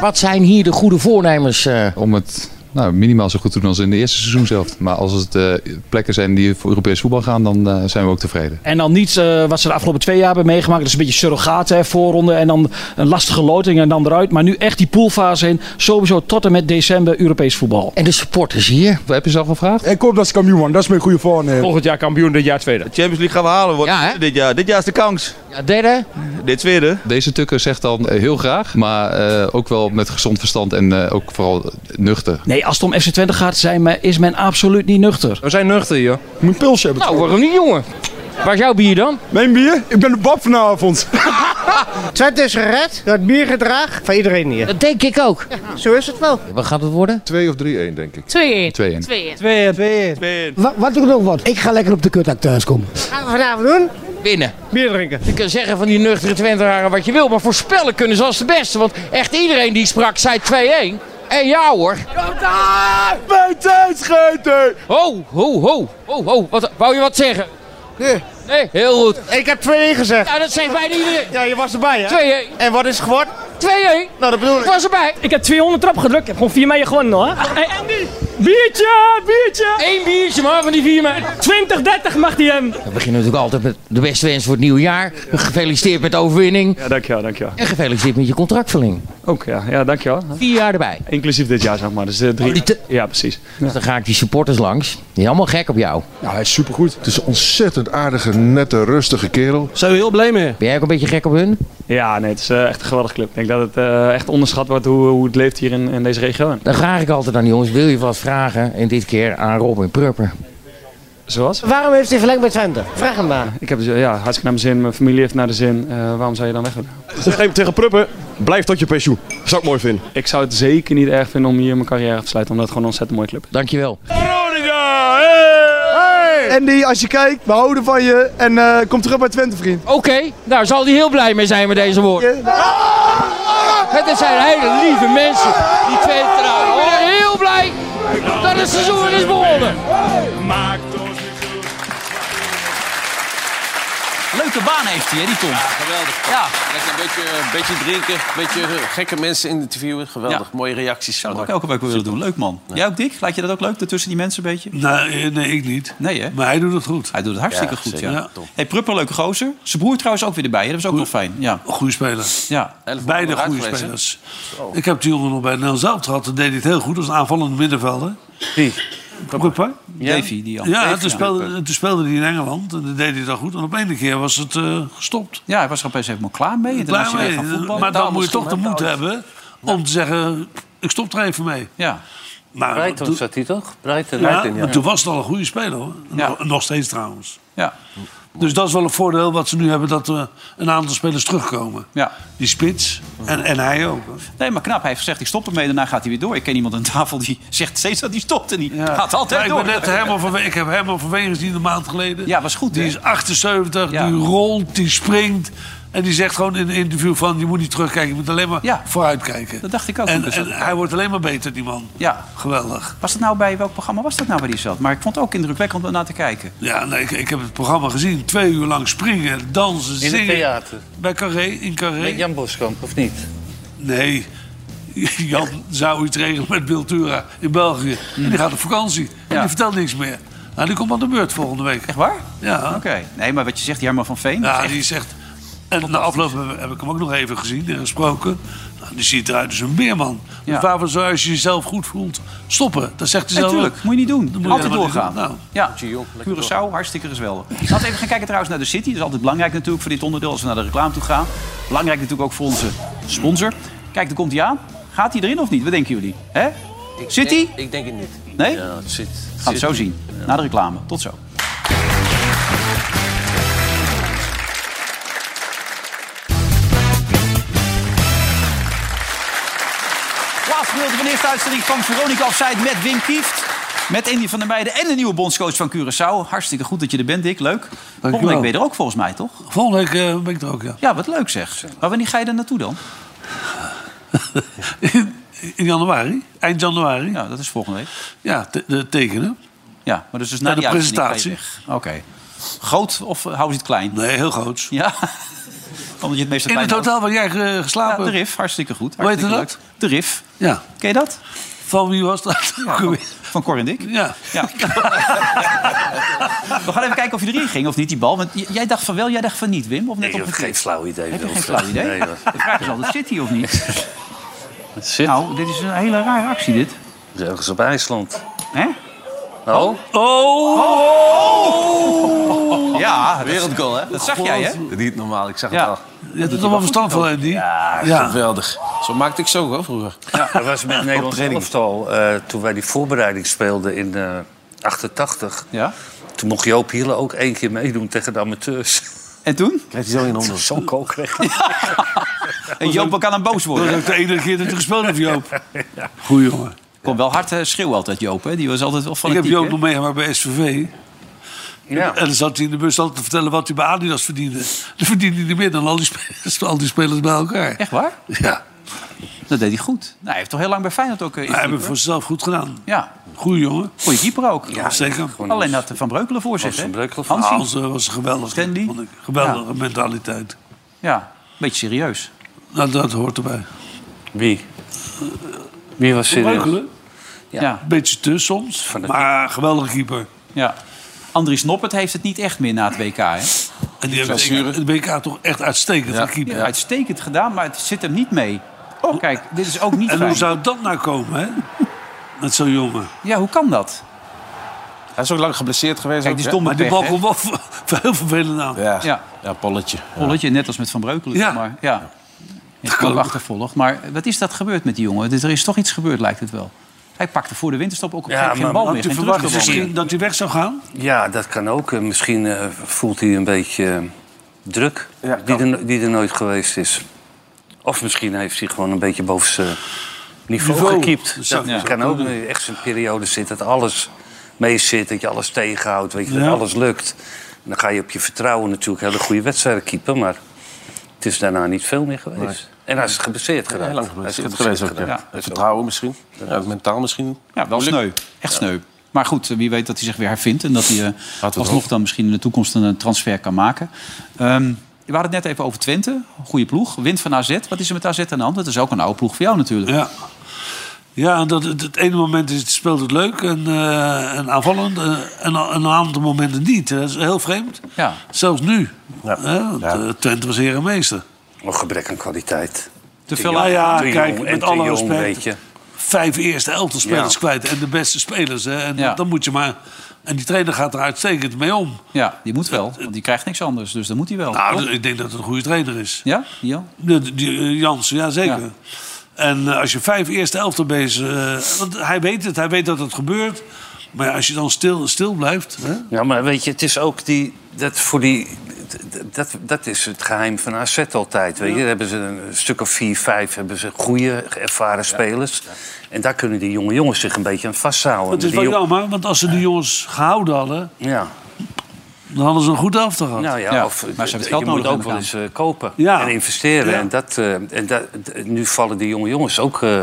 [SPEAKER 9] Wat zijn hier de goede voornemens? eh?
[SPEAKER 11] om het nou, minimaal zo goed te doen als in de eerste seizoen zelf. Maar als het eh, plekken zijn die voor Europees voetbal gaan, dan eh, zijn we ook tevreden.
[SPEAKER 9] En dan niet eh, wat ze de afgelopen twee jaar hebben meegemaakt. Dat is een beetje surrogaat, hè, voorronde en dan een lastige loting en dan eruit. Maar nu echt die poolfase in. Sowieso tot en met december Europees voetbal. En de supporters hier?
[SPEAKER 11] Heb je ze al gevraagd?
[SPEAKER 10] Ik hoop dat ze kampioen worden. Dat is mijn goede voornemen.
[SPEAKER 9] Volgend jaar kampioen, dit jaar tweede.
[SPEAKER 5] Champions League gaan we halen.
[SPEAKER 9] Ja, hè?
[SPEAKER 5] Dit, jaar, dit jaar is de kans.
[SPEAKER 9] Ja, derde.
[SPEAKER 5] Dit tweede.
[SPEAKER 11] Deze tukker zegt dan eh, heel graag, maar eh, ook wel met gezond verstand en eh, ook vooral nuchter.
[SPEAKER 9] Nee, als het om FC Twente gaat, zijn, men- is men absoluut niet nuchter.
[SPEAKER 11] We zijn nuchter hier.
[SPEAKER 10] Ik moet een pilsje hebben.
[SPEAKER 9] Nou, waarom niet, jongen? Waar is jouw bier dan?
[SPEAKER 10] Mijn bier? Ik ben de bab vanavond.
[SPEAKER 12] Twente is gered door het biergedrag van iedereen hier.
[SPEAKER 9] Dat denk ik ook.
[SPEAKER 12] Zo is het wel.
[SPEAKER 9] Wat gaat het worden?
[SPEAKER 11] 2 of 3-1 denk ik. 2-1.
[SPEAKER 12] 2-1.
[SPEAKER 9] Twee, twee.
[SPEAKER 12] Wat doe ik nog wat? Ik ga lekker op de kuttak thuis komen. Gaan we vanavond doen?
[SPEAKER 9] Winnen.
[SPEAKER 12] Bier drinken.
[SPEAKER 9] Je kan zeggen van die nuchtere Twenteraren wat je wil, maar voorspellen kunnen ze als de beste. Want echt iedereen die sprak zei 2-1. En ja hoor. Ho, ho, ho. Ho, ho. Wat, wou je wat zeggen?
[SPEAKER 12] Nee.
[SPEAKER 9] Nee, heel goed.
[SPEAKER 12] Ik heb 2-1 gezegd.
[SPEAKER 9] Ja, dat zegt bijna iedereen.
[SPEAKER 12] Ja, je was erbij hè?
[SPEAKER 9] 2-1.
[SPEAKER 12] En wat is het geworden? 2-1.
[SPEAKER 13] 2-1. Nou, dat bedoel ik. Ik was erbij. Ik heb 200 trap gedrukt. Ik heb gewoon 4 mei gewonnen hoor. En, en die? Biertje, biertje. Eén biertje maar van die 4 mei. 20, 30 mag die hem.
[SPEAKER 9] We beginnen natuurlijk altijd met de beste wens voor het nieuwe jaar. Gefeliciteerd met de overwinning.
[SPEAKER 14] Ja, dankjewel, dankjewel.
[SPEAKER 9] En gefeliciteerd met je contractverlenging.
[SPEAKER 14] Ook, ja. Ja, dankjewel.
[SPEAKER 9] Vier jaar erbij. Oh,
[SPEAKER 14] Inclusief dit jaar, zeg maar. Dus eh, drie. ja, precies.
[SPEAKER 9] Dus dan ga ik die supporters langs. Die zijn allemaal gek op jou. Ja, hij is supergoed. Het is een ontzettend aardige, nette, rustige kerel.
[SPEAKER 14] Zijn we heel blij mee.
[SPEAKER 9] Ben jij ook een beetje gek op hun?
[SPEAKER 14] Ja, nee, het is eh, echt een geweldige club. Ik denk dat het eh, echt onderschat wordt hoe, hoe het leeft hier in, in deze regio. En
[SPEAKER 9] Dan vraag ik altijd aan die jongens, wil je wat vragen? En dit keer aan Robin Prupper.
[SPEAKER 14] Zoals?
[SPEAKER 12] Waarom heeft hij verlengd bij Twente? Vraag hem maar.
[SPEAKER 14] Ik heb dus, eh, ja, hartstikke naar mijn zin. Mijn familie heeft naar de zin. Eh, waarom zou je dan weg willen?
[SPEAKER 15] Zeg even tegen Pruppen, blijf tot je pensioen. Zou ik mooi vinden.
[SPEAKER 14] Ik zou het zeker niet erg vinden om hier mijn carrière af te sluiten. Omdat het gewoon een ontzettend mooie club is.
[SPEAKER 9] Dankjewel.
[SPEAKER 15] Veronica! Andy, als je kijkt, we houden van je en eh, kom terug bij Twente, vriend.
[SPEAKER 9] Oké, daar zal hij heel blij mee zijn met deze woorden. Het zijn hele lieve mensen, die twee trouwen. We zijn heel blij dat het seizoen weer is begonnen.
[SPEAKER 2] Leuke baan heeft hij, hè, die Tom.
[SPEAKER 7] Geweldig.
[SPEAKER 2] Ja.
[SPEAKER 7] Lekker een beetje, een beetje drinken, een beetje eh, gekke mensen interviewen. Geweldig. Mooie reacties. Zou
[SPEAKER 2] Ook elke week weer willen doen. Leuk man. Jij ook, Dick? Laat je dat ook leuk tussen die mensen een beetje?
[SPEAKER 3] Nee, Nou, eh, nee, ik niet.
[SPEAKER 2] Nee, hè?
[SPEAKER 3] Maar hij doet het goed.
[SPEAKER 2] Hij doet het hartstikke
[SPEAKER 3] Ja,
[SPEAKER 2] goed,
[SPEAKER 3] zeker.
[SPEAKER 2] ja.
[SPEAKER 3] Ja.
[SPEAKER 2] Top. Hey, Prupper, leuke gozer. Zijn broer trouwens ook weer erbij. hè? Dat was ook nog fijn. Ja.
[SPEAKER 3] Goeie speler.
[SPEAKER 2] Ja.
[SPEAKER 3] Beide goede spelers. Ik heb die jongen nog bij Nederland zelf gehad. Dat deed hij het heel goed als aanvallend middenvelder.
[SPEAKER 2] Wie?
[SPEAKER 3] Prupper.
[SPEAKER 2] Ja. Davy, die andere.
[SPEAKER 3] Ja,
[SPEAKER 2] Davy,
[SPEAKER 3] toen
[SPEAKER 2] ja.
[SPEAKER 3] speelde, toen speelde hij in Engeland en dat deed hij dat goed. En op een keer was het eh, gestopt.
[SPEAKER 2] Ja, hij was er opeens helemaal klaar mee. En dan
[SPEAKER 3] Klaar
[SPEAKER 2] was hij weer
[SPEAKER 3] mee.
[SPEAKER 2] gaan voetballen.
[SPEAKER 3] Maar dan
[SPEAKER 2] Taal
[SPEAKER 3] moet je
[SPEAKER 2] misschien,
[SPEAKER 3] toch de
[SPEAKER 2] hè?
[SPEAKER 3] moed
[SPEAKER 2] Taal-
[SPEAKER 3] hebben om te zeggen, ik stop er even mee.
[SPEAKER 2] Ja.
[SPEAKER 3] Maar
[SPEAKER 4] Breiten
[SPEAKER 3] toen-
[SPEAKER 4] zat hij toch? Breiten.
[SPEAKER 3] Ja,
[SPEAKER 4] Breiten,
[SPEAKER 3] maar toen was het al een goede speler hoor. Nog, nog steeds trouwens. Dus dat is wel een voordeel wat ze nu hebben dat er een aantal spelers terugkomen.
[SPEAKER 2] Ja.
[SPEAKER 3] Die spits en, en hij ook.
[SPEAKER 2] Nee, maar knap. Hij heeft gezegd, ik stop ermee. Daarna gaat hij weer door. Ik ken iemand aan tafel die zegt steeds dat hij stopt. En die gaat altijd
[SPEAKER 3] Ja, ik,
[SPEAKER 2] door.
[SPEAKER 3] ben net helemaal vanwe- ik heb helemaal vanwege gezien een maand geleden.
[SPEAKER 2] Ja, was goed.
[SPEAKER 3] Die
[SPEAKER 2] hè?
[SPEAKER 3] is 78, die rolt, die springt. En die zegt gewoon in een interview van... je moet niet terugkijken, je moet alleen maar vooruitkijken.
[SPEAKER 2] Dat dacht ik ook.
[SPEAKER 3] En,
[SPEAKER 2] Dus
[SPEAKER 3] en
[SPEAKER 2] dat-
[SPEAKER 3] hij wordt alleen maar beter, die man.
[SPEAKER 2] Ja.
[SPEAKER 3] Geweldig.
[SPEAKER 2] Was dat nou bij welk programma was dat nou waar die zat? Maar ik vond het ook indrukwekkend om naar te kijken.
[SPEAKER 3] Ja, nee, ik, ik heb het programma gezien. Twee uur lang springen, dansen,
[SPEAKER 4] In
[SPEAKER 3] zingen.
[SPEAKER 4] het theater.
[SPEAKER 3] Bij Carré, in Carré.
[SPEAKER 4] Met Jan Boskamp, of niet?
[SPEAKER 3] Nee. Jan zou iets regelen met Biltura in België. En die gaat op vakantie. En die vertelt niks meer. Nou, die komt aan de beurt volgende week. Echt
[SPEAKER 2] waar?
[SPEAKER 3] Ja.
[SPEAKER 2] Oké. Nee, maar wat je zegt, Jarmo van Veen.
[SPEAKER 3] Ja,
[SPEAKER 2] dat is
[SPEAKER 3] die
[SPEAKER 2] echt-
[SPEAKER 3] zegt. En na afloop heb- heb ik hem ook nog even gezien en gesproken. Nou, die ziet eruit als een beerman.
[SPEAKER 2] Ja.
[SPEAKER 3] Dus waarvoor zou je, als je jezelf goed voelt, stoppen? Dat zegt hij
[SPEAKER 2] Nee,
[SPEAKER 3] zelf.
[SPEAKER 2] tuurlijk.
[SPEAKER 3] ook.
[SPEAKER 2] Moet je niet doen.
[SPEAKER 3] Dat moet je
[SPEAKER 2] altijd
[SPEAKER 3] helemaal niet
[SPEAKER 2] doorgaan.
[SPEAKER 3] doen. Nou,
[SPEAKER 2] ja. Curaçao, hartstikke geweldig. Laten we even gaan kijken trouwens naar de City. Dat is altijd belangrijk natuurlijk voor dit onderdeel als we naar de reclame toe gaan. Belangrijk natuurlijk ook voor onze sponsor. Kijk, daar komt hij aan. Gaat hij erin of niet? Wat denken jullie? Hè? City?
[SPEAKER 7] Denk, ik denk het niet.
[SPEAKER 2] Nee?
[SPEAKER 7] Ja, het zit.
[SPEAKER 2] Gaan we
[SPEAKER 7] zit.
[SPEAKER 2] zo zien. Na de reclame. Tot zo. Laatste gedeelte van de eerste uitzending van Veronica Offside met Wim Kieft. Met Andy van der Meijden en de nieuwe bondscoach van Curaçao. Hartstikke goed dat je er bent, Dick. Leuk. Volgende week ben je er ook volgens mij, toch?
[SPEAKER 3] Volgende week eh, ben ik er ook, ja.
[SPEAKER 2] Ja, wat leuk zeg. Maar wanneer ga je er naartoe dan?
[SPEAKER 3] In januari, eind januari.
[SPEAKER 2] Ja, dat is volgende week.
[SPEAKER 3] Ja, te- de tekenen.
[SPEAKER 2] Ja, maar dus, dus na
[SPEAKER 3] Naar de
[SPEAKER 2] die uitzending ga je
[SPEAKER 3] presentatie.
[SPEAKER 2] weg. Oké. Groot of eh, houden ze het klein?
[SPEAKER 3] Nee, heel groot.
[SPEAKER 2] Ja? Omdat je het meeste
[SPEAKER 3] In
[SPEAKER 2] klein
[SPEAKER 3] het hotel waar jij eh,
[SPEAKER 2] Ja,
[SPEAKER 3] geslapen
[SPEAKER 2] de
[SPEAKER 3] hebt.
[SPEAKER 2] RIF, hartstikke goed.
[SPEAKER 3] Hoe heet
[SPEAKER 2] Hartstikke
[SPEAKER 3] dat?
[SPEAKER 2] leuk. De RIF.
[SPEAKER 3] Ja.
[SPEAKER 2] Ken je dat?
[SPEAKER 3] Van wie was dat?
[SPEAKER 2] Ja, van, van Cor en Dick.
[SPEAKER 3] Ja.
[SPEAKER 2] We gaan even kijken of je erin ging of niet, die bal. Want j- jij dacht van wel, jij dacht van niet, Wim. Of net
[SPEAKER 4] Ik heb
[SPEAKER 2] omgekeerd?
[SPEAKER 4] geen flauw idee.
[SPEAKER 2] Heb je geen
[SPEAKER 4] Wilfred.
[SPEAKER 2] flauw idee?
[SPEAKER 4] Nee, hoor.
[SPEAKER 2] de vraag is altijd, zit hij of niet? Nou, dit is een hele rare actie, dit.
[SPEAKER 4] Dat is Ergens op IJsland.
[SPEAKER 2] Hè?
[SPEAKER 4] Oh?
[SPEAKER 2] Oh! Ja, dat-
[SPEAKER 7] Wereldgoal, hè?
[SPEAKER 2] Dat zag jij, hè?
[SPEAKER 7] Niet normaal, ik zag
[SPEAKER 2] Ja.
[SPEAKER 7] het al.
[SPEAKER 3] Je hebt er toch wel verstand van, Andy?
[SPEAKER 7] Ja,
[SPEAKER 3] Ja.
[SPEAKER 7] Ah, geweldig. Zo maakte ik zo hoor, vroeger.
[SPEAKER 4] Dat was met Nederlands
[SPEAKER 7] training.
[SPEAKER 4] elftal. eh, toen wij die voorbereiding speelden in eh 88.
[SPEAKER 2] Ja?
[SPEAKER 4] Toen mocht Joop Hiele ook één keer meedoen tegen de amateurs.
[SPEAKER 2] En toen?
[SPEAKER 7] Kreeg hij zo in onder.
[SPEAKER 4] Zo'n kool kreeg hij.
[SPEAKER 2] En Joop kan aan boos
[SPEAKER 3] Dat
[SPEAKER 2] worden.
[SPEAKER 3] is
[SPEAKER 2] hè?
[SPEAKER 3] ook de enige keer dat hij gespeeld heeft, Joop.
[SPEAKER 2] Goeie jongen. Kon wel hard eh, schreeuwen altijd, Joop. Hè? Die was altijd wel
[SPEAKER 3] Ik
[SPEAKER 2] fanatiek.
[SPEAKER 3] heb Joop
[SPEAKER 2] hè?
[SPEAKER 3] nog meegemaakt bij SVV.
[SPEAKER 4] Ja.
[SPEAKER 3] En dan zat hij in de bus altijd te vertellen wat hij bij Adidas verdiende. Dan verdiende hij meer dan al die spelers, al die spelers bij elkaar.
[SPEAKER 2] Echt waar?
[SPEAKER 3] Ja.
[SPEAKER 2] Dat deed hij goed. Nou, hij heeft toch heel lang bij Feyenoord ook... eh,
[SPEAKER 3] Hij heeft het
[SPEAKER 2] keeper?
[SPEAKER 3] voor zichzelf goed gedaan.
[SPEAKER 2] Ja,
[SPEAKER 3] Goeie jongen.
[SPEAKER 2] goede keeper ook.
[SPEAKER 3] Ja, zeker.
[SPEAKER 2] Alleen dat Van Breukelen voor zit, hè? Hansie.
[SPEAKER 3] Hans eh, was geweldig. Stanley. Geweldige mentaliteit.
[SPEAKER 2] Ja, een beetje serieus.
[SPEAKER 3] Dat, dat hoort erbij.
[SPEAKER 4] Wie? Wie was serieus?
[SPEAKER 3] Breukelen?
[SPEAKER 4] Ja.
[SPEAKER 3] Beetje te soms, maar geweldige keeper.
[SPEAKER 2] Ja. Andries Noppert heeft het niet echt meer na het WK, hè?
[SPEAKER 3] En die heeft het het WK toch echt uitstekend gekeept.
[SPEAKER 2] Ja, uitstekend gedaan, maar het zit hem niet mee. Oh, kijk, dit is ook niet
[SPEAKER 3] En
[SPEAKER 2] fijn.
[SPEAKER 3] hoe zou dat nou komen, hè? Met zo'n jongen.
[SPEAKER 2] Ja, hoe kan dat?
[SPEAKER 7] Hij is ook lang geblesseerd geweest.
[SPEAKER 2] Kijk,
[SPEAKER 7] ook,
[SPEAKER 2] die
[SPEAKER 7] hè?
[SPEAKER 2] stond
[SPEAKER 3] Maar die
[SPEAKER 2] weg,
[SPEAKER 3] bal
[SPEAKER 2] hè?
[SPEAKER 3] komt wel voor voor heel vervelend aan.
[SPEAKER 7] Ja.
[SPEAKER 2] Ja.
[SPEAKER 7] Ja. Polletje.
[SPEAKER 2] Polletje, net als met Van Breukelen.
[SPEAKER 3] Ja.
[SPEAKER 2] Maar, ja. Dat kan achtervolg. Maar wat is dat gebeurd met die jongen? Dus Er is toch iets gebeurd, lijkt het wel. Hij pakte voor de winterstop ook op geen, geen bal meer.
[SPEAKER 3] had je
[SPEAKER 2] Geen
[SPEAKER 3] verwacht
[SPEAKER 2] terugbal meer.
[SPEAKER 3] misschien dat hij weg zou gaan?
[SPEAKER 4] Ja, dat kan ook. Eh, Misschien eh, voelt hij een beetje eh, druk die, er, no- die er nooit geweest is. Of misschien heeft hij gewoon een beetje boven zijn niveau,
[SPEAKER 3] Niveau.
[SPEAKER 4] gekiept.
[SPEAKER 3] Dat
[SPEAKER 4] Dat,
[SPEAKER 3] zou- ja.
[SPEAKER 4] kan ook. Eh, Echt zo'n periode zit dat alles mee zit, dat je alles tegenhoudt, weet je,
[SPEAKER 3] Ja.
[SPEAKER 4] dat alles lukt. En dan ga je op je vertrouwen natuurlijk hele goede wedstrijden keepen, maar het is daarna niet veel meer geweest. En hij is geblesseerd geraakt.
[SPEAKER 7] Heel lang
[SPEAKER 4] Hij is
[SPEAKER 7] geblesseerd geweest ook. Ja.
[SPEAKER 4] geraakt.
[SPEAKER 7] Het Vertrouwen misschien. Ja, mentaal misschien.
[SPEAKER 2] Ja, wel
[SPEAKER 7] Geluk.
[SPEAKER 2] sneu. Echt sneu. Maar goed, wie weet dat hij zich weer hervindt... en dat hij eh, alsnog dan misschien in de toekomst een eh, transfer kan maken. Ehm we hadden het net even over Twente. Goede ploeg. Wint van AZ. Wat is er met AZ aan de hand? Dat is ook een oude ploeg voor jou natuurlijk.
[SPEAKER 3] Ja. Ja, dat, het, het ene moment is, speelt het leuk en, eh, en aanvallend. eh, en a- en een aantal momenten niet. Dat is heel vreemd.
[SPEAKER 2] Ja.
[SPEAKER 3] Zelfs nu. Hè, want, eh, Twente was heer en meester.
[SPEAKER 4] Nog Oh, gebrek aan kwaliteit.
[SPEAKER 2] Te
[SPEAKER 4] veel
[SPEAKER 3] veel Nou ja,
[SPEAKER 4] te jong
[SPEAKER 3] kijk,
[SPEAKER 4] en
[SPEAKER 3] met
[SPEAKER 4] te
[SPEAKER 3] alle
[SPEAKER 4] jong,
[SPEAKER 3] respect.
[SPEAKER 4] weet je.
[SPEAKER 3] Vijf eerste elftalspelers
[SPEAKER 4] Ja.
[SPEAKER 3] kwijt en de beste spelers. Hè, en
[SPEAKER 2] Ja.
[SPEAKER 3] dan moet je maar... En die trainer gaat er uitstekend mee om.
[SPEAKER 2] Ja, die moet wel. Want die krijgt niks anders. Dus dat moet hij wel.
[SPEAKER 3] Nou,
[SPEAKER 2] toch?
[SPEAKER 3] d- ik denk dat het een goede trainer is.
[SPEAKER 2] Ja? Jan?
[SPEAKER 3] De, de- die, eh, Jansen, ja zeker. En eh, als je vijf eerste elftal bezig... eh, want hij weet het, hij weet dat het gebeurt. Maar ja, als je dan stil, stil blijft... Hè,
[SPEAKER 4] Ja, maar weet je, het is ook die. Dat, voor die dat- dat, dat is het geheim van AZ altijd. Weet je. Daar hebben ze een stuk of vier, vijf hebben ze goede, ervaren spelers. En daar kunnen die jonge jongens zich een beetje aan vasthouden.
[SPEAKER 3] Het is
[SPEAKER 4] Die
[SPEAKER 3] wel
[SPEAKER 4] jong-
[SPEAKER 3] jammer, want als ze die jongens gehouden hadden...
[SPEAKER 4] Ja.
[SPEAKER 3] dan hadden ze een goed elftal gehad.
[SPEAKER 4] Nou ja, of,
[SPEAKER 2] hebben het
[SPEAKER 4] je
[SPEAKER 2] geld
[SPEAKER 4] moet
[SPEAKER 2] nodig,
[SPEAKER 4] ook wel
[SPEAKER 2] neem ik
[SPEAKER 4] eens eh, kopen
[SPEAKER 3] Ja.
[SPEAKER 4] en investeren.
[SPEAKER 3] Ja.
[SPEAKER 4] En, dat, eh, en dat, d- nu vallen die jonge jongens ook. eh,
[SPEAKER 3] Nee,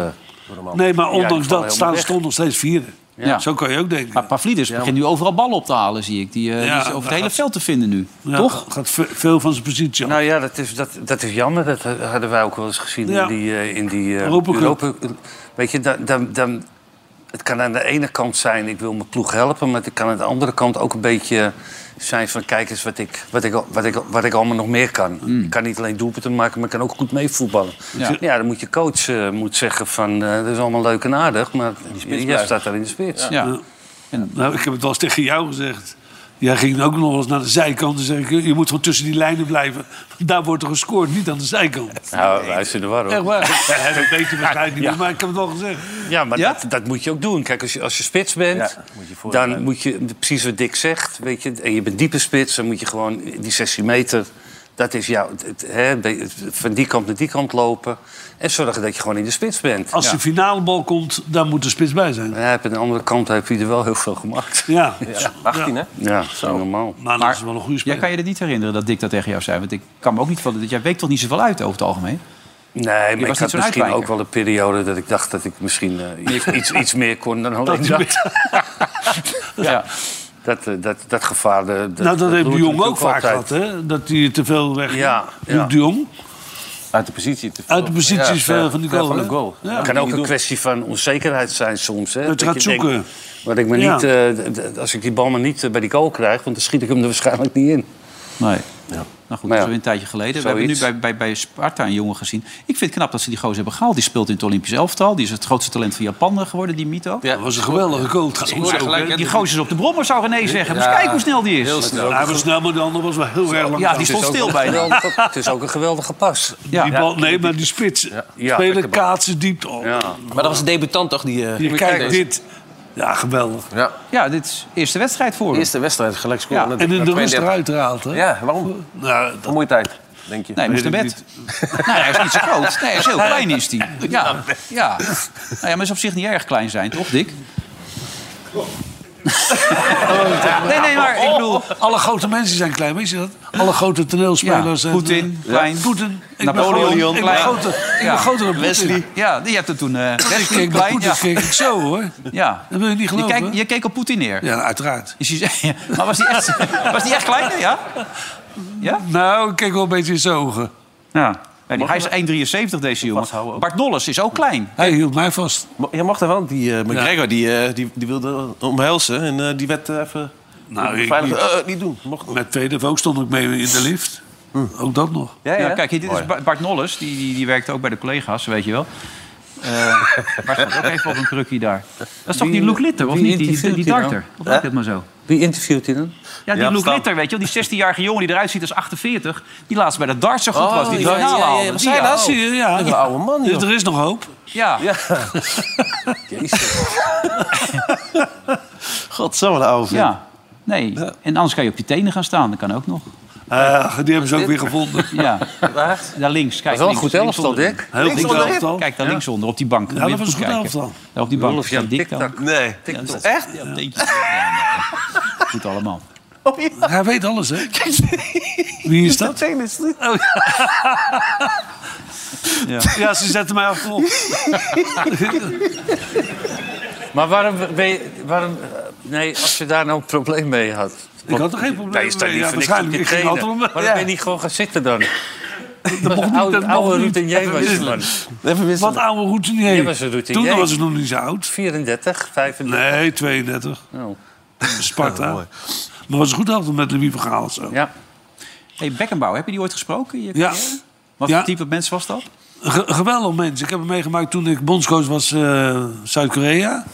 [SPEAKER 3] maar
[SPEAKER 4] ja, die
[SPEAKER 3] ondanks
[SPEAKER 4] vallen
[SPEAKER 3] dat
[SPEAKER 4] helemaal
[SPEAKER 3] staan ze
[SPEAKER 4] weg.
[SPEAKER 3] toch nog steeds vierde.
[SPEAKER 2] Ja.
[SPEAKER 3] Zo kan je ook denken.
[SPEAKER 2] Maar Pavlidis begint nu overal ballen op te halen, zie ik. Die, eh, die
[SPEAKER 3] Ja,
[SPEAKER 2] is over
[SPEAKER 3] dat
[SPEAKER 2] het hele
[SPEAKER 3] gaat-
[SPEAKER 2] veld te vinden nu.
[SPEAKER 3] Ja,
[SPEAKER 2] Toch?
[SPEAKER 3] Gaat ve- veel van zijn positie af.
[SPEAKER 4] Nou ja, dat is, dat, dat is jammer. Dat hadden wij ook wel eens gezien
[SPEAKER 3] Ja.
[SPEAKER 4] in die, eh, in die eh,
[SPEAKER 3] Europa Cup.
[SPEAKER 4] Weet je, dan, dan, dan, het kan aan de ene kant zijn, ik wil mijn ploeg helpen. Maar het kan aan de andere kant ook een beetje zijn van... kijk eens wat ik, wat ik, wat ik, wat ik allemaal nog meer kan. Ik kan niet alleen doelpunten maken, maar ik kan ook goed meevoetballen.
[SPEAKER 2] Ja.
[SPEAKER 4] Ja. dan moet je coach eh, moet zeggen van... eh, dat is allemaal leuk en aardig, maar jij
[SPEAKER 7] blijven.
[SPEAKER 4] staat daar in de spits.
[SPEAKER 2] Ja.
[SPEAKER 3] Nou, ik heb het wel eens tegen jou gezegd. Jij ging ook nog wel eens naar de zijkant en zei ik... je moet gewoon tussen die lijnen blijven. Daar wordt er gescoord, niet aan de zijkant.
[SPEAKER 4] Nou, wij zitten er warm.
[SPEAKER 3] Echt waar. Ja, dat weet je waarschijnlijk niet
[SPEAKER 4] Ja.
[SPEAKER 3] meer, maar ik heb het wel gezegd.
[SPEAKER 4] Ja, maar
[SPEAKER 2] Ja?
[SPEAKER 4] Dat, dat moet je ook doen. Kijk, als je, als je spits bent,
[SPEAKER 7] Ja, moet je voor-
[SPEAKER 4] dan moet je precies wat Dick zegt. Weet je, en je bent diepe spits, dan moet je gewoon die 16 meter. Dat is jouw. het- het- hè, be- van die kant naar die kant lopen. En zorgen dat je gewoon in de spits bent.
[SPEAKER 3] Als
[SPEAKER 4] ja.
[SPEAKER 3] de finale bal komt, dan moet de spits bij zijn.
[SPEAKER 4] Hij heeft aan de andere kant heeft hij er wel heel veel gemaakt.
[SPEAKER 3] Ja,
[SPEAKER 7] Ja, 18, hè?
[SPEAKER 4] Ja, zo normaal.
[SPEAKER 3] maar dat is wel een goede
[SPEAKER 2] Jij
[SPEAKER 3] speler.
[SPEAKER 2] kan je er niet herinneren dat Dick dat tegen jou zei. Want ik kan me ook niet van... Jij weekt toch niet zoveel uit over het algemeen?
[SPEAKER 4] Nee, maar ik
[SPEAKER 2] was niet
[SPEAKER 4] had
[SPEAKER 2] zo'n
[SPEAKER 4] misschien
[SPEAKER 2] uitwijker.
[SPEAKER 4] ook wel een periode dat ik dacht dat ik misschien eh, iets, iets, iets meer kon dan alleen
[SPEAKER 3] Dat-
[SPEAKER 4] dat.
[SPEAKER 2] Ja.
[SPEAKER 4] Dat, eh, dat, dat gevaar. eh, Dat,
[SPEAKER 3] nou, dat heeft de
[SPEAKER 4] roert
[SPEAKER 3] Jong ook
[SPEAKER 4] natuurlijk
[SPEAKER 3] vaak
[SPEAKER 4] altijd.
[SPEAKER 3] gehad, hè? Dat hij te veel weg...
[SPEAKER 4] Ja, ja.
[SPEAKER 3] De Jong,
[SPEAKER 7] Uit de positie. te veel.
[SPEAKER 3] uit de positie is
[SPEAKER 7] ja,
[SPEAKER 3] ver van die
[SPEAKER 7] ver
[SPEAKER 3] goal.
[SPEAKER 7] van de
[SPEAKER 3] hè?
[SPEAKER 7] goal.
[SPEAKER 3] Ja.
[SPEAKER 4] Het kan ook een kwestie van onzekerheid zijn soms. Hè?
[SPEAKER 3] Dat
[SPEAKER 4] je
[SPEAKER 3] gaat
[SPEAKER 4] denkt,
[SPEAKER 3] zoeken.
[SPEAKER 4] wat ik me
[SPEAKER 3] Ja.
[SPEAKER 4] niet, eh, d- d- als ik die bal maar niet eh, bij die goal krijg, want dan schiet ik hem er waarschijnlijk niet in.
[SPEAKER 2] Nee. Nou goed,
[SPEAKER 4] Maar ja,
[SPEAKER 2] dat is weer een tijdje geleden. We hebben nu
[SPEAKER 4] zoiets.
[SPEAKER 2] bij, bij, bij Sparta een jongen gezien. Ik vind het knap dat ze die gozer hebben gehaald. Die speelt in het Olympisch elftal. Die is het grootste talent van Japan geworden, die Mito.
[SPEAKER 7] Ja.
[SPEAKER 3] Dat was een geweldige goal
[SPEAKER 7] Ik
[SPEAKER 3] trouwens.
[SPEAKER 7] hoorde
[SPEAKER 3] ook,
[SPEAKER 7] gelijk,
[SPEAKER 3] hè?
[SPEAKER 7] hè,
[SPEAKER 2] Die
[SPEAKER 7] dat-
[SPEAKER 2] gozer is op de brommer, zou René zeggen. Maar
[SPEAKER 7] Ja,
[SPEAKER 2] kijk hoe snel die is.
[SPEAKER 7] Heel snel.
[SPEAKER 3] Hij was snel, maar de ander was wel heel erg lang.
[SPEAKER 2] Ja, die stond
[SPEAKER 4] Het is
[SPEAKER 2] stil
[SPEAKER 4] ook een
[SPEAKER 2] bij hem.
[SPEAKER 4] geweldige- Het is ook een geweldige pas.
[SPEAKER 2] Ja.
[SPEAKER 3] Die bal, nee, maar die spits.
[SPEAKER 4] Ja,
[SPEAKER 3] Spelen
[SPEAKER 4] lekker bal.
[SPEAKER 3] kaatsen diep. Oh,
[SPEAKER 4] Ja.
[SPEAKER 7] Maar dat was een debutant toch? Die, eh,
[SPEAKER 3] je
[SPEAKER 7] die
[SPEAKER 3] kijkt
[SPEAKER 7] deze-
[SPEAKER 3] dit. Ja, geweldig.
[SPEAKER 7] Ja.
[SPEAKER 2] Ja, dit is eerste wedstrijd voor hem.
[SPEAKER 7] Eerste wedstrijd gelijk scoren.
[SPEAKER 2] Ja.
[SPEAKER 7] Dat-
[SPEAKER 3] En in
[SPEAKER 7] dat
[SPEAKER 3] de rust
[SPEAKER 7] 32.
[SPEAKER 3] eruit gehaald, hè?
[SPEAKER 7] Ja, waarom?
[SPEAKER 3] Nou, dat-
[SPEAKER 7] Vermoeidheid, denk je.
[SPEAKER 2] Nee, hij moest naar
[SPEAKER 3] Weet
[SPEAKER 2] bed. Nou, hij is niet zo groot. Nee, hij is heel klein is die. Ja, ja. Nou ja, maar is op zich niet erg klein zijn, toch, Dick? Nee, nee, maar ik bedoel...
[SPEAKER 3] alle grote mensen zijn klein, weet je dat? Alle grote toneelspelers.
[SPEAKER 2] Ja,
[SPEAKER 3] en,
[SPEAKER 2] Poetin,
[SPEAKER 3] eh,
[SPEAKER 2] klein.
[SPEAKER 3] Poetin. Ik ben
[SPEAKER 2] Napoleon,
[SPEAKER 3] groot, Ik ben
[SPEAKER 2] klein.
[SPEAKER 3] groter, ik
[SPEAKER 2] Ja.
[SPEAKER 3] ben groter dan Wesley.
[SPEAKER 2] Ja, die hebt het toen eh
[SPEAKER 3] Ik
[SPEAKER 2] Wesley
[SPEAKER 3] keek naar
[SPEAKER 2] klein.
[SPEAKER 3] Poetin,
[SPEAKER 2] Ja.
[SPEAKER 3] keek ik zo, hoor.
[SPEAKER 2] ja.
[SPEAKER 3] Dat wil je niet
[SPEAKER 2] Je,
[SPEAKER 3] geloven.
[SPEAKER 2] kijk, je keek op Poetin neer. Dus
[SPEAKER 3] Ja, uiteraard.
[SPEAKER 2] Is hij- maar was die echt, was die echt kleiner, ja?
[SPEAKER 3] Nou, ik keek wel een beetje in zijn ogen.
[SPEAKER 2] Ja. Ja, die, hij is 1,73 deze jongen. Bart Nolles is ook klein.
[SPEAKER 3] Hij hield mij vast.
[SPEAKER 7] Je mag daar wel. Die eh McGregor die, eh, die, die wilde omhelzen en eh, die werd eh, even...
[SPEAKER 3] Nou, ik
[SPEAKER 7] veilig-
[SPEAKER 3] niet.
[SPEAKER 7] Eh, niet doen. Mocht niet.
[SPEAKER 3] Met tweede ook stond ik mee in de lift.
[SPEAKER 7] Hm.
[SPEAKER 3] Ook dat nog.
[SPEAKER 2] Ja, Nou, kijk, dit is Ba- Bart Nolles. Die, die, die werkt ook bij de collega's, weet je wel. Eh maar staat ook even op een krukje daar. Dat is toch die Luke Litter, of niet? Die, die, die darter. Of lijkt het maar zo?
[SPEAKER 4] Wie interviewt hij dan?
[SPEAKER 2] Ja, die
[SPEAKER 4] Ja,
[SPEAKER 2] Luke
[SPEAKER 4] verstaan.
[SPEAKER 2] Litter, weet je wel. Die 16-jarige jongen die eruit ziet als 48. Die laatst bij de dart zo goed
[SPEAKER 7] Oh,
[SPEAKER 2] was. Die
[SPEAKER 7] ja,
[SPEAKER 2] finale
[SPEAKER 7] ja, ja,
[SPEAKER 2] haalde.
[SPEAKER 7] ja,
[SPEAKER 2] Die,
[SPEAKER 7] zij laatst
[SPEAKER 2] oh.
[SPEAKER 7] hier, ja. nou? Een oude man, joh.
[SPEAKER 3] Dus er is nog hoop.
[SPEAKER 2] Ja.
[SPEAKER 7] ja. Godsamme, de oude vriend.
[SPEAKER 2] Ja. Nee, en anders kan je op je tenen gaan staan. Dat kan ook nog.
[SPEAKER 3] Eh, die hebben ze ook weer gevonden.
[SPEAKER 2] Ja. Daar links. Kijk,
[SPEAKER 4] Dat is wel een
[SPEAKER 2] links,
[SPEAKER 4] goed
[SPEAKER 2] links
[SPEAKER 4] elftal,
[SPEAKER 2] onder.
[SPEAKER 4] Dick.
[SPEAKER 2] Heel
[SPEAKER 4] Links
[SPEAKER 2] goed
[SPEAKER 4] onder.
[SPEAKER 2] elftal. Kijk, daar
[SPEAKER 4] Ja.
[SPEAKER 2] links onder, op die bank.
[SPEAKER 4] Ja,
[SPEAKER 2] Moet je
[SPEAKER 4] dat was
[SPEAKER 2] goed
[SPEAKER 4] een goed
[SPEAKER 2] kijken.
[SPEAKER 4] elftal.
[SPEAKER 2] Daar op die bank.
[SPEAKER 4] Wolfjan,
[SPEAKER 2] staat Dick dan.
[SPEAKER 4] tiktak.
[SPEAKER 7] Nee.
[SPEAKER 2] Ja, dat is-
[SPEAKER 4] Echt?
[SPEAKER 2] Ja, dat denk je. Ja, nee. Goed allemaal.
[SPEAKER 3] Hij weet alles, hè? Wie is dat? Oh, ja. ja, ze zetten mij achterop.
[SPEAKER 4] Maar waarom, ben je, waarom... eh, Nee, als je daar nou een probleem mee had...
[SPEAKER 3] Ik had er geen probleem
[SPEAKER 4] Nou, je staat
[SPEAKER 3] mee.
[SPEAKER 4] niet
[SPEAKER 3] Ja,
[SPEAKER 4] voor niks op
[SPEAKER 3] waarschijnlijk.
[SPEAKER 4] je
[SPEAKER 3] Ik ging
[SPEAKER 4] trainen.
[SPEAKER 3] altijd om-
[SPEAKER 4] Waarom
[SPEAKER 3] Ja.
[SPEAKER 4] ben je niet gewoon gaan zitten dan? Dat
[SPEAKER 3] mocht niet,
[SPEAKER 4] oude,
[SPEAKER 3] dat
[SPEAKER 4] oude
[SPEAKER 3] mocht niet.
[SPEAKER 4] routinier
[SPEAKER 3] Even
[SPEAKER 4] was je,
[SPEAKER 3] wisselen.
[SPEAKER 4] man.
[SPEAKER 3] Wat oude routinier.
[SPEAKER 4] Jij was een routinier.
[SPEAKER 3] Toen was ik nog niet zo oud.
[SPEAKER 4] 34, 35.
[SPEAKER 3] Nee, 32.
[SPEAKER 2] Oh.
[SPEAKER 3] Sparta. maar was het goed altijd met Louis van Gaal zo.
[SPEAKER 4] Ja.
[SPEAKER 2] Hey, Beckenbauer, heb je die ooit gesproken? in je
[SPEAKER 3] Ja.
[SPEAKER 2] carrière? Wat
[SPEAKER 3] Ja.
[SPEAKER 2] voor type mens was dat?
[SPEAKER 3] Ge- geweldig mens. Ik heb hem meegemaakt toen ik bondscoach was eh, Zuid-Korea.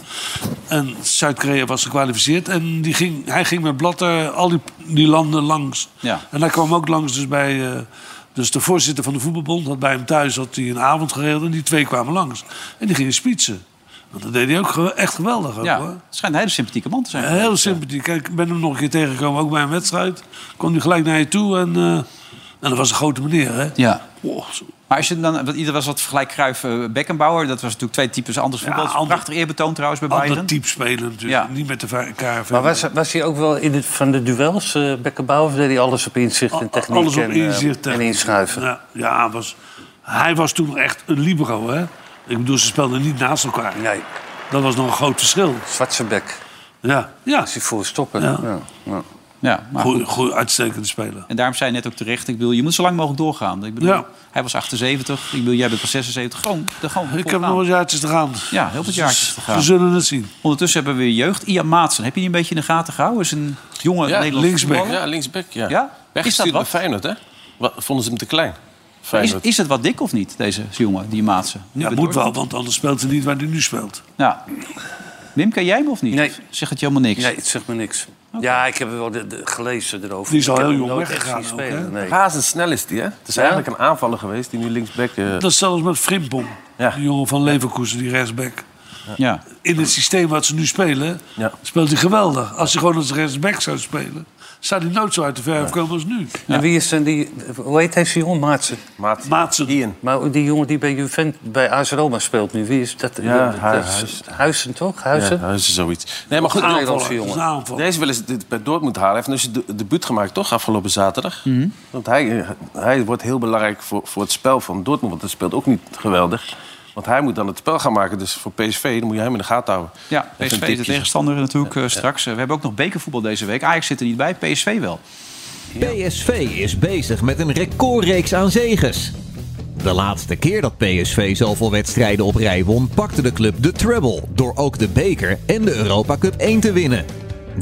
[SPEAKER 3] En Zuid-Korea was gekwalificeerd. En die ging, hij ging met Blatter al die, die landen langs.
[SPEAKER 2] Ja.
[SPEAKER 3] En hij kwam ook langs dus bij... eh, dus de voorzitter van de voetbalbond had bij hem thuis had hij een avond geregeld. En die twee kwamen langs. En die gingen spitsen. Want dat deed hij ook ge- echt geweldig. Ook,
[SPEAKER 2] Ja,
[SPEAKER 3] hoor.
[SPEAKER 2] het schijnt een hele sympathieke man te zijn.
[SPEAKER 3] Heel sympathiek. Kijk, ik ben hem nog een keer tegengekomen, ook bij een wedstrijd. Kwam hij gelijk naar je toe en, eh, en dat was een grote meneer, hè?
[SPEAKER 2] Ja.
[SPEAKER 3] Oh, zo-
[SPEAKER 2] Maar als je dan, want ieder was wat vergelijk Cruijff eh, Beckenbauer. Dat was natuurlijk twee types anders voetbal. Het is een prachtig eerbetoon trouwens bij
[SPEAKER 3] ander
[SPEAKER 2] Bayern.
[SPEAKER 3] type spelen natuurlijk. Niet met elkaar.
[SPEAKER 4] Maar was, was hij ook wel in het, van de duels, eh Beckenbauer? Of deed hij alles op inzicht en techniek?
[SPEAKER 3] Alles op
[SPEAKER 4] en, eh,
[SPEAKER 3] inzicht.
[SPEAKER 4] en inschuiven.
[SPEAKER 3] Ja, ja was, hij was toen nog echt een libero, hè? Ik bedoel, ze speelden niet naast elkaar.
[SPEAKER 4] Nee.
[SPEAKER 3] Dat was nog een groot verschil.
[SPEAKER 4] Zwartse bek.
[SPEAKER 3] Ja. ja.
[SPEAKER 4] Als hij voor stoppen.
[SPEAKER 3] Ja.
[SPEAKER 4] Ja. Ja.
[SPEAKER 2] Ja, maar
[SPEAKER 3] Goeie,
[SPEAKER 2] goed.
[SPEAKER 3] goeie, uitstekende speler.
[SPEAKER 2] En daarom zei je net ook terecht, ik bedoel, je moet zo lang mogelijk doorgaan. Ik bedoel,
[SPEAKER 3] Ja.
[SPEAKER 2] hij was 78, ik bedoel, jij bent pas 76. Gewoon, de, gewoon
[SPEAKER 3] Ik
[SPEAKER 2] vol
[SPEAKER 3] heb
[SPEAKER 2] gaan.
[SPEAKER 3] nog eens jaartjes te gaan.
[SPEAKER 2] Ja, heel wat jaartjes te gaan.
[SPEAKER 3] We zullen het zien.
[SPEAKER 2] Ondertussen hebben we jeugd. Ian Maatsen, heb je die een beetje in de gaten gehouden? Is een jonge
[SPEAKER 7] Ja,
[SPEAKER 2] Nederlandse
[SPEAKER 7] linksback.
[SPEAKER 2] voetballer.
[SPEAKER 7] Ja, linksback, ja.
[SPEAKER 2] Ja? Is dat
[SPEAKER 7] Weggestuurd bij
[SPEAKER 2] wat?
[SPEAKER 7] Feyenoord, hè? Wat, vonden ze hem te klein.
[SPEAKER 2] Is,
[SPEAKER 7] Feyenoord.
[SPEAKER 2] is het wat dik of niet, deze jongen, die Maatsen?
[SPEAKER 3] Ja, moet wel, want anders speelt hij niet waar hij nu speelt.
[SPEAKER 2] Nou, Wim, ken jij hem of niet?
[SPEAKER 4] Nee.
[SPEAKER 2] Zegt het je helemaal niks?
[SPEAKER 4] Nee, het zegt me niks. Ja, ik heb wel de, de- gelezen erover.
[SPEAKER 3] Die is al
[SPEAKER 4] Ik heb
[SPEAKER 3] heel
[SPEAKER 4] hem
[SPEAKER 3] jong
[SPEAKER 4] nooit echt
[SPEAKER 3] weggegaan
[SPEAKER 4] zien
[SPEAKER 3] ook,
[SPEAKER 4] spelen, nee.
[SPEAKER 7] Razendsnel is die, hè? Het is
[SPEAKER 4] Ja?
[SPEAKER 7] eigenlijk een aanvaller geweest die nu linksback... eh,
[SPEAKER 3] Dat is zelfs met Frimpong.
[SPEAKER 7] Ja.
[SPEAKER 3] Die jongen van Leverkusen, die rechtsback.
[SPEAKER 2] Ja.
[SPEAKER 3] In het systeem wat ze nu spelen,
[SPEAKER 7] Ja.
[SPEAKER 3] speelt hij geweldig. Als hij gewoon als rechtsback zou spelen, zou hij nooit zo uit de verf komen als nu.
[SPEAKER 4] En wie is dan die... Hoe heet deze jongen? Maatsen.
[SPEAKER 7] Maat.
[SPEAKER 3] Maatsen.
[SPEAKER 7] Ian.
[SPEAKER 4] Maar die jongen die bij Juvent, bij AS Roma speelt nu, wie is dat? dat- dat-
[SPEAKER 7] Huis-
[SPEAKER 4] Huizen toch?
[SPEAKER 7] Ja,
[SPEAKER 4] Huizen?
[SPEAKER 7] huis is zoiets. Nee, maar goed,
[SPEAKER 4] Een
[SPEAKER 7] Nederlandse
[SPEAKER 4] aanvaller.
[SPEAKER 7] jongen.
[SPEAKER 4] Een
[SPEAKER 3] aanvaller.
[SPEAKER 7] Deze willen ze dit bij Dortmund halen. Hij heeft dus de debuut gemaakt, toch? Afgelopen zaterdag.
[SPEAKER 2] Mhm.
[SPEAKER 7] Want hij, eh, hij wordt heel belangrijk voor, voor het spel van Dortmund. Want dat speelt ook niet geweldig. Want hij moet dan het spel gaan maken. Dus voor PSV dan moet je hem in de gaten houden.
[SPEAKER 2] Ja,
[SPEAKER 7] Even
[SPEAKER 2] PSV
[SPEAKER 7] een
[SPEAKER 2] is de
[SPEAKER 7] tikje.
[SPEAKER 2] tegenstander natuurlijk eh, straks. Eh, We hebben ook nog bekervoetbal deze week. Ajax zit er niet bij, PSV wel.
[SPEAKER 16] PSV is bezig met een recordreeks aan zeges. De laatste keer dat PSV zoveel wedstrijden op rij won, pakte de club de treble door ook de beker en de Europa Cup 1 te winnen.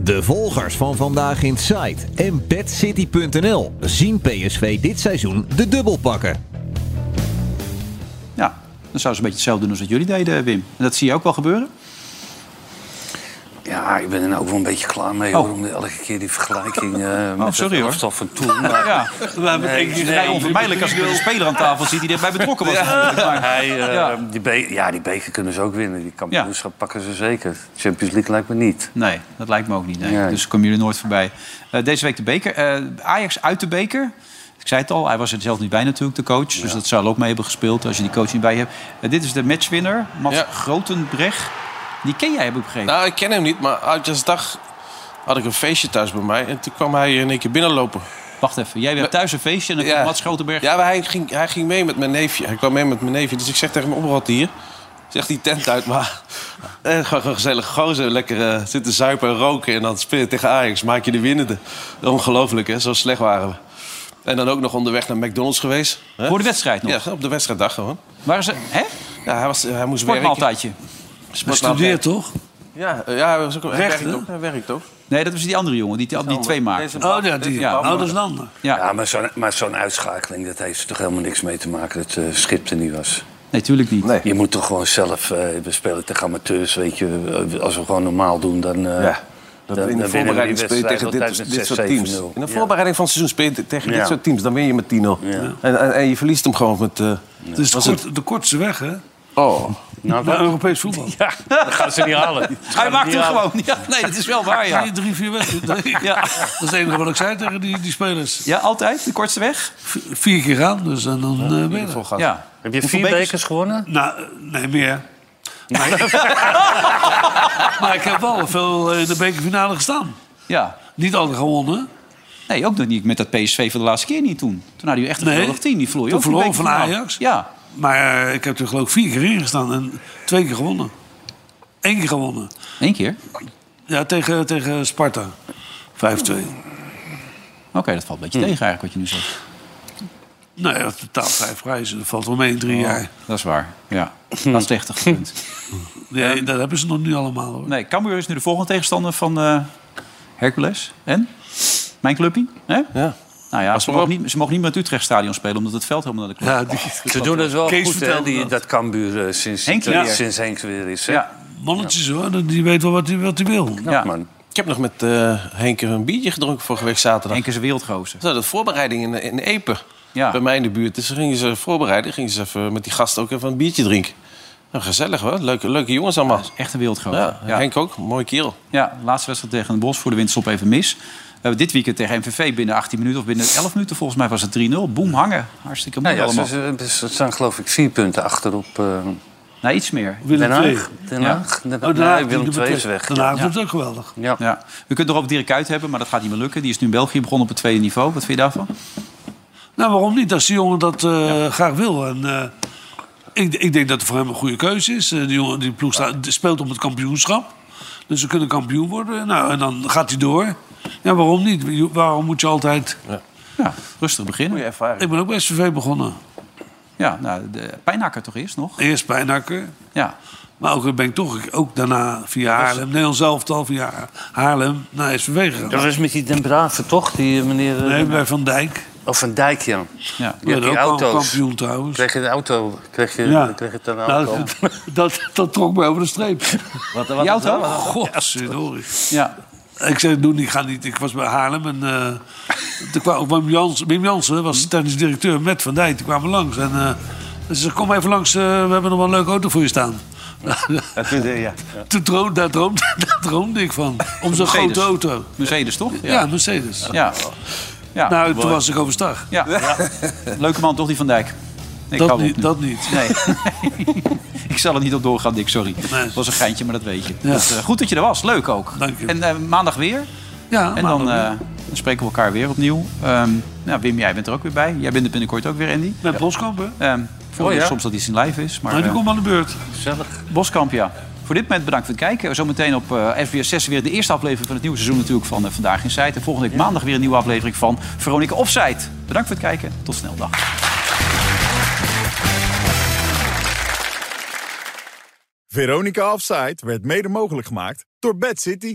[SPEAKER 16] De volgers van Vandaag in Site en BadCity.nl zien PSV dit seizoen de dubbel pakken.
[SPEAKER 2] Ja, dan zouden ze een beetje hetzelfde doen als wat jullie deden, Wim. En dat zie je ook wel gebeuren.
[SPEAKER 4] Ja, ik ben er nou ook wel een beetje klaar
[SPEAKER 3] Oh.
[SPEAKER 4] mee hoor, om elke keer die vergelijking eh met
[SPEAKER 2] sorry,
[SPEAKER 4] het
[SPEAKER 2] hoor.
[SPEAKER 4] elftal van toen. Maar...
[SPEAKER 2] Ja, het is vrij onvermijdelijk als je een speler aan tafel ziet die erbij betrokken was. natuurlijk, maar-
[SPEAKER 4] Hij, eh,
[SPEAKER 2] Ja.
[SPEAKER 4] Die be- ja, die beker kunnen ze ook winnen. Die kampioenschap pakken ze zeker. Champions League lijkt me niet.
[SPEAKER 2] Nee, dat lijkt me ook niet. nee.
[SPEAKER 4] Nee.
[SPEAKER 2] Dus komen jullie nooit voorbij. Eh, deze week de beker. Eh, Ajax uit de beker. Ik zei het al, hij was er zelf niet bij natuurlijk, de coach. Dus dat zou ook mee hebben gespeeld als je die coach niet bij hebt. Eh, dit is de matchwinner, Mats Grotenbrecht. Die ken jij, heb ik begrepen.
[SPEAKER 7] Nou, ik ken hem niet, maar oudjaarsdag had ik een feestje thuis bij mij. En toen kwam hij in één keer binnenlopen.
[SPEAKER 2] Wacht even, jij bent thuis een feestje en dan komt Mats Grotenberg.
[SPEAKER 7] Ja, maar hij ging, hij ging mee met mijn neefje. Hij kwam mee met mijn neefje. Dus ik zeg tegen hem, opgehaald hier. Zegt die tent uit, maar eh, gewoon een gezellige gozer. Lekker eh, zitten zuipen en roken en dan spelen tegen Ajax. Maak je de winnende. Ongelooflijk, hè? Zo slecht waren we. En dan ook nog onderweg naar McDonald's geweest. hè?
[SPEAKER 2] Voor de wedstrijd nog?
[SPEAKER 7] Ja, op de wedstrijddag gewoon.
[SPEAKER 2] Waar is hè?
[SPEAKER 7] Ja, hij, was, hij moest werken.
[SPEAKER 2] Sportmaaltijdje.
[SPEAKER 7] Sportmaaltijd.
[SPEAKER 3] toch?
[SPEAKER 7] Ja, eh, ja, hij was ook, hij
[SPEAKER 2] Recht,
[SPEAKER 7] werkt
[SPEAKER 2] hè?
[SPEAKER 7] ook. Hij werkt ook.
[SPEAKER 2] Nee, dat was die andere jongen die, die, die twee maakte.
[SPEAKER 3] ander.
[SPEAKER 2] Ja,
[SPEAKER 4] maar zo'n maar zo'n uitschakeling, dat heeft er toch helemaal niks mee te maken dat eh Schip er niet was.
[SPEAKER 2] Nee, tuurlijk niet.
[SPEAKER 4] Je moet toch gewoon zelf, eh, we spelen tegen amateurs, weet je. eh, Als we gewoon normaal doen, dan... eh
[SPEAKER 7] Ja.
[SPEAKER 4] dan-
[SPEAKER 7] Dat in de
[SPEAKER 4] dan winnen we die
[SPEAKER 7] voorbereiding speel je
[SPEAKER 4] wedstrijd
[SPEAKER 7] tegen
[SPEAKER 4] altijd
[SPEAKER 7] dit,
[SPEAKER 4] met
[SPEAKER 7] dit
[SPEAKER 4] 6,
[SPEAKER 7] soort teams.
[SPEAKER 4] 7-0.
[SPEAKER 7] In de
[SPEAKER 4] Ja.
[SPEAKER 7] voorbereiding van het seizoen speel je te- tegen
[SPEAKER 4] Ja.
[SPEAKER 7] dit soort teams. Dan win je met 10-0. En, en, en je verliest hem gewoon met... eh
[SPEAKER 3] Het is de,
[SPEAKER 7] was
[SPEAKER 3] kort, de kortste weg, hè?
[SPEAKER 7] Oh.
[SPEAKER 3] Naar Europees voetbal.
[SPEAKER 4] Nou, Ja,
[SPEAKER 2] dat
[SPEAKER 4] gaan ze niet halen.
[SPEAKER 2] Hij maakt hem gewoon. Ja, nee, dat is wel waar, ja.
[SPEAKER 3] Die drie, vier wedstrijden.
[SPEAKER 2] Ja.
[SPEAKER 3] Dat is het enige wat ik zei tegen die, die spelers.
[SPEAKER 2] Ja, altijd? De kortste weg?
[SPEAKER 3] Vier keer gaan, dus en dan eh ben je er.
[SPEAKER 2] Ja.
[SPEAKER 4] Heb je vier bekers gewonnen?
[SPEAKER 3] Nou, eh, nee, meer. Maar, maar ik heb wel veel eh, in de bekerfinale gestaan.
[SPEAKER 2] Ja.
[SPEAKER 3] Niet altijd gewonnen.
[SPEAKER 2] Nee, ook nog niet met dat PSV van de laatste keer niet toen. Toen hadden jullie echt een
[SPEAKER 3] Nee.
[SPEAKER 2] geweldig team. Die vloeien
[SPEAKER 3] Toen verloren van Ajax.
[SPEAKER 2] Ja.
[SPEAKER 3] Maar eh, ik heb er geloof ik vier keer in gestaan en twee keer gewonnen. Eén keer gewonnen.
[SPEAKER 2] Eén keer?
[SPEAKER 3] Ja, tegen, tegen Sparta. 5-2.
[SPEAKER 2] Oké, dat valt een beetje tegen eigenlijk wat je nu zegt.
[SPEAKER 3] Nou ja, totaal vijf prijzen. Dat valt wel mee in
[SPEAKER 4] Oh.
[SPEAKER 3] drie jaar.
[SPEAKER 2] Dat is waar, ja. Dat is echt een punt.
[SPEAKER 3] Nee, dat hebben ze nog niet allemaal hoor.
[SPEAKER 2] Nee, Cambuur is nu de volgende tegenstander van eh, Hercules. En? Mijn clubpie? Hè?
[SPEAKER 7] Ja.
[SPEAKER 2] Nou ja, ze mogen, niet, ze mogen niet meer in het Utrechtstadion spelen... omdat het veld helemaal naar de club
[SPEAKER 3] Ja, die-
[SPEAKER 4] Ze doen het wel
[SPEAKER 3] Kees
[SPEAKER 4] goed, hè,
[SPEAKER 3] vertelde
[SPEAKER 4] die,
[SPEAKER 3] dat.
[SPEAKER 4] dat. Kambuur eh, sinds,
[SPEAKER 2] Henk
[SPEAKER 4] Henk,
[SPEAKER 2] weer.
[SPEAKER 4] sinds Henk weer is.
[SPEAKER 2] Ja.
[SPEAKER 3] Mannetjes hoor, die weet wel wat hij wat hij wil.
[SPEAKER 2] Ja.
[SPEAKER 4] man.
[SPEAKER 7] Ik heb nog met eh Henk een biertje gedronken vorige week zaterdag.
[SPEAKER 2] Henk is een wereldgozer.
[SPEAKER 7] Nou, dat voorbereiding in, in Epe.
[SPEAKER 2] Ja.
[SPEAKER 7] Bij mij in de buurt. Dus gingen ze voorbereiden. Gingen ze even met die gasten ook even een biertje drinken. Nou, gezellig hoor. Leuke, leuke jongens allemaal.
[SPEAKER 2] Echt een wereldgozer.
[SPEAKER 7] Ja,
[SPEAKER 2] Ja.
[SPEAKER 7] Henk ook. Mooi kerel.
[SPEAKER 2] Ja, laatste wedstrijd tegen de Bos voor de winststop even mis. We hebben dit weekend tegen MVV binnen 18 minuten of binnen 11 minuten volgens mij was het 3-0. Boem hangen. Hartstikke mooi
[SPEAKER 4] Nou ja,
[SPEAKER 2] allemaal.
[SPEAKER 4] ze, ze- ze staan geloof ik vier punten achter op eh,
[SPEAKER 2] Nou, iets meer.
[SPEAKER 4] Den Haag. Den Haag. Oh, Den Haag. Nee, Willem II is weg.
[SPEAKER 3] Daarna
[SPEAKER 4] Ja.
[SPEAKER 3] Oh, doet het ook geweldig.
[SPEAKER 4] Ja.
[SPEAKER 2] Ja. We kunnen er over Dirk Kuyt hebben, maar dat gaat niet meer lukken. Die is nu in België begonnen op het tweede niveau. Wat vind je daarvan?
[SPEAKER 3] Nou, waarom niet? Als die jongen dat eh, graag wil. En, eh, ik, ik denk dat het voor hem een goede keuze is. Eh, die, jongen, die ploeg staat- die speelt om het kampioenschap. Dus ze kunnen kampioen worden. Nou, en dan gaat hij door. Ja, waarom niet? Je- Waarom moet je altijd...
[SPEAKER 2] Ja, rustig beginnen.
[SPEAKER 7] Goeie ervaring.
[SPEAKER 3] Ik ben ook bij SVV begonnen.
[SPEAKER 2] Ja, nou, de pijnhakker toch eerst nog?
[SPEAKER 3] Eerst Pijnakker.
[SPEAKER 2] Ja.
[SPEAKER 3] Maar ook ben ik toch ook daarna via Haarlem, Nederlands elftal, via Haarlem naar SVV gegaan.
[SPEAKER 4] Dat is met die Den Brave, toch? Die eh, meneer... eh,
[SPEAKER 3] Nee, bij Van Dijk.
[SPEAKER 4] Of Van Dijk, ja.
[SPEAKER 2] Ja.
[SPEAKER 4] Die had
[SPEAKER 3] Ja,
[SPEAKER 4] die
[SPEAKER 3] ook wel
[SPEAKER 4] auto's.
[SPEAKER 3] kampioen trouwens.
[SPEAKER 4] Kreeg je de auto? Kreeg je,
[SPEAKER 3] Ja.
[SPEAKER 4] kreeg je het dan Oh,
[SPEAKER 3] Nou,
[SPEAKER 4] auto?
[SPEAKER 3] dat, dat, dat trok mij over de streep.
[SPEAKER 4] Wat,
[SPEAKER 2] Die auto?
[SPEAKER 3] Godverdorie.
[SPEAKER 2] Ja.
[SPEAKER 3] Ik zei, doe niet, ga niet. Ik was bij Haarlem en eh toen kwam ook Wim Jansen, Wim Jansen
[SPEAKER 4] Hm?
[SPEAKER 3] was technisch directeur met Van Dijk. Die kwamen langs en eh, ze zei, kom even langs, eh, we hebben nog wel een leuke auto voor je staan.
[SPEAKER 7] 啊
[SPEAKER 3] Toen droom, daar, droomde, daar droomde ik van, om zo'n
[SPEAKER 2] Mercedes.
[SPEAKER 3] grote auto.
[SPEAKER 2] Mercedes toch?
[SPEAKER 3] Ja, Mercedes.
[SPEAKER 2] Ja. Ja.
[SPEAKER 3] Nou, toen was ik overstag.
[SPEAKER 2] Ja. Leuke man toch, die Van Dijk? Ik
[SPEAKER 3] Dat
[SPEAKER 2] hou op
[SPEAKER 3] niet,
[SPEAKER 2] nu.
[SPEAKER 3] dat niet.
[SPEAKER 2] Nee. ik zal er niet op doorgaan, Dick, sorry. Het was een geintje, maar dat weet je.
[SPEAKER 3] Ja.
[SPEAKER 2] Dus, eh, goed dat je er was, leuk ook.
[SPEAKER 3] Dank je.
[SPEAKER 2] En eh, maandag weer.
[SPEAKER 3] Ja, nou,
[SPEAKER 2] en dan, eh, dan spreken we elkaar weer opnieuw. Ehm, nou, Wim, jij bent er ook weer bij. Jij bent er binnenkort ook weer, Andy.
[SPEAKER 3] Met Boskamp, hè?
[SPEAKER 2] Ehm voor
[SPEAKER 3] Oh, ja.
[SPEAKER 2] soms dat iets in live is. Maar,
[SPEAKER 3] Nou, die
[SPEAKER 2] eh,
[SPEAKER 3] komt aan de beurt.
[SPEAKER 2] Boskamp, ja. Voor dit moment bedankt voor het kijken. Zometeen op eh SBS 6 weer de eerste aflevering van het nieuwe seizoen natuurlijk van eh, Vandaag in Site. En volgende week maandag weer een nieuwe aflevering van Veronica Offsite. Bedankt voor het kijken. Tot snel. Dag.
[SPEAKER 1] Veronica Offside werd mede mogelijk gemaakt door Bad City.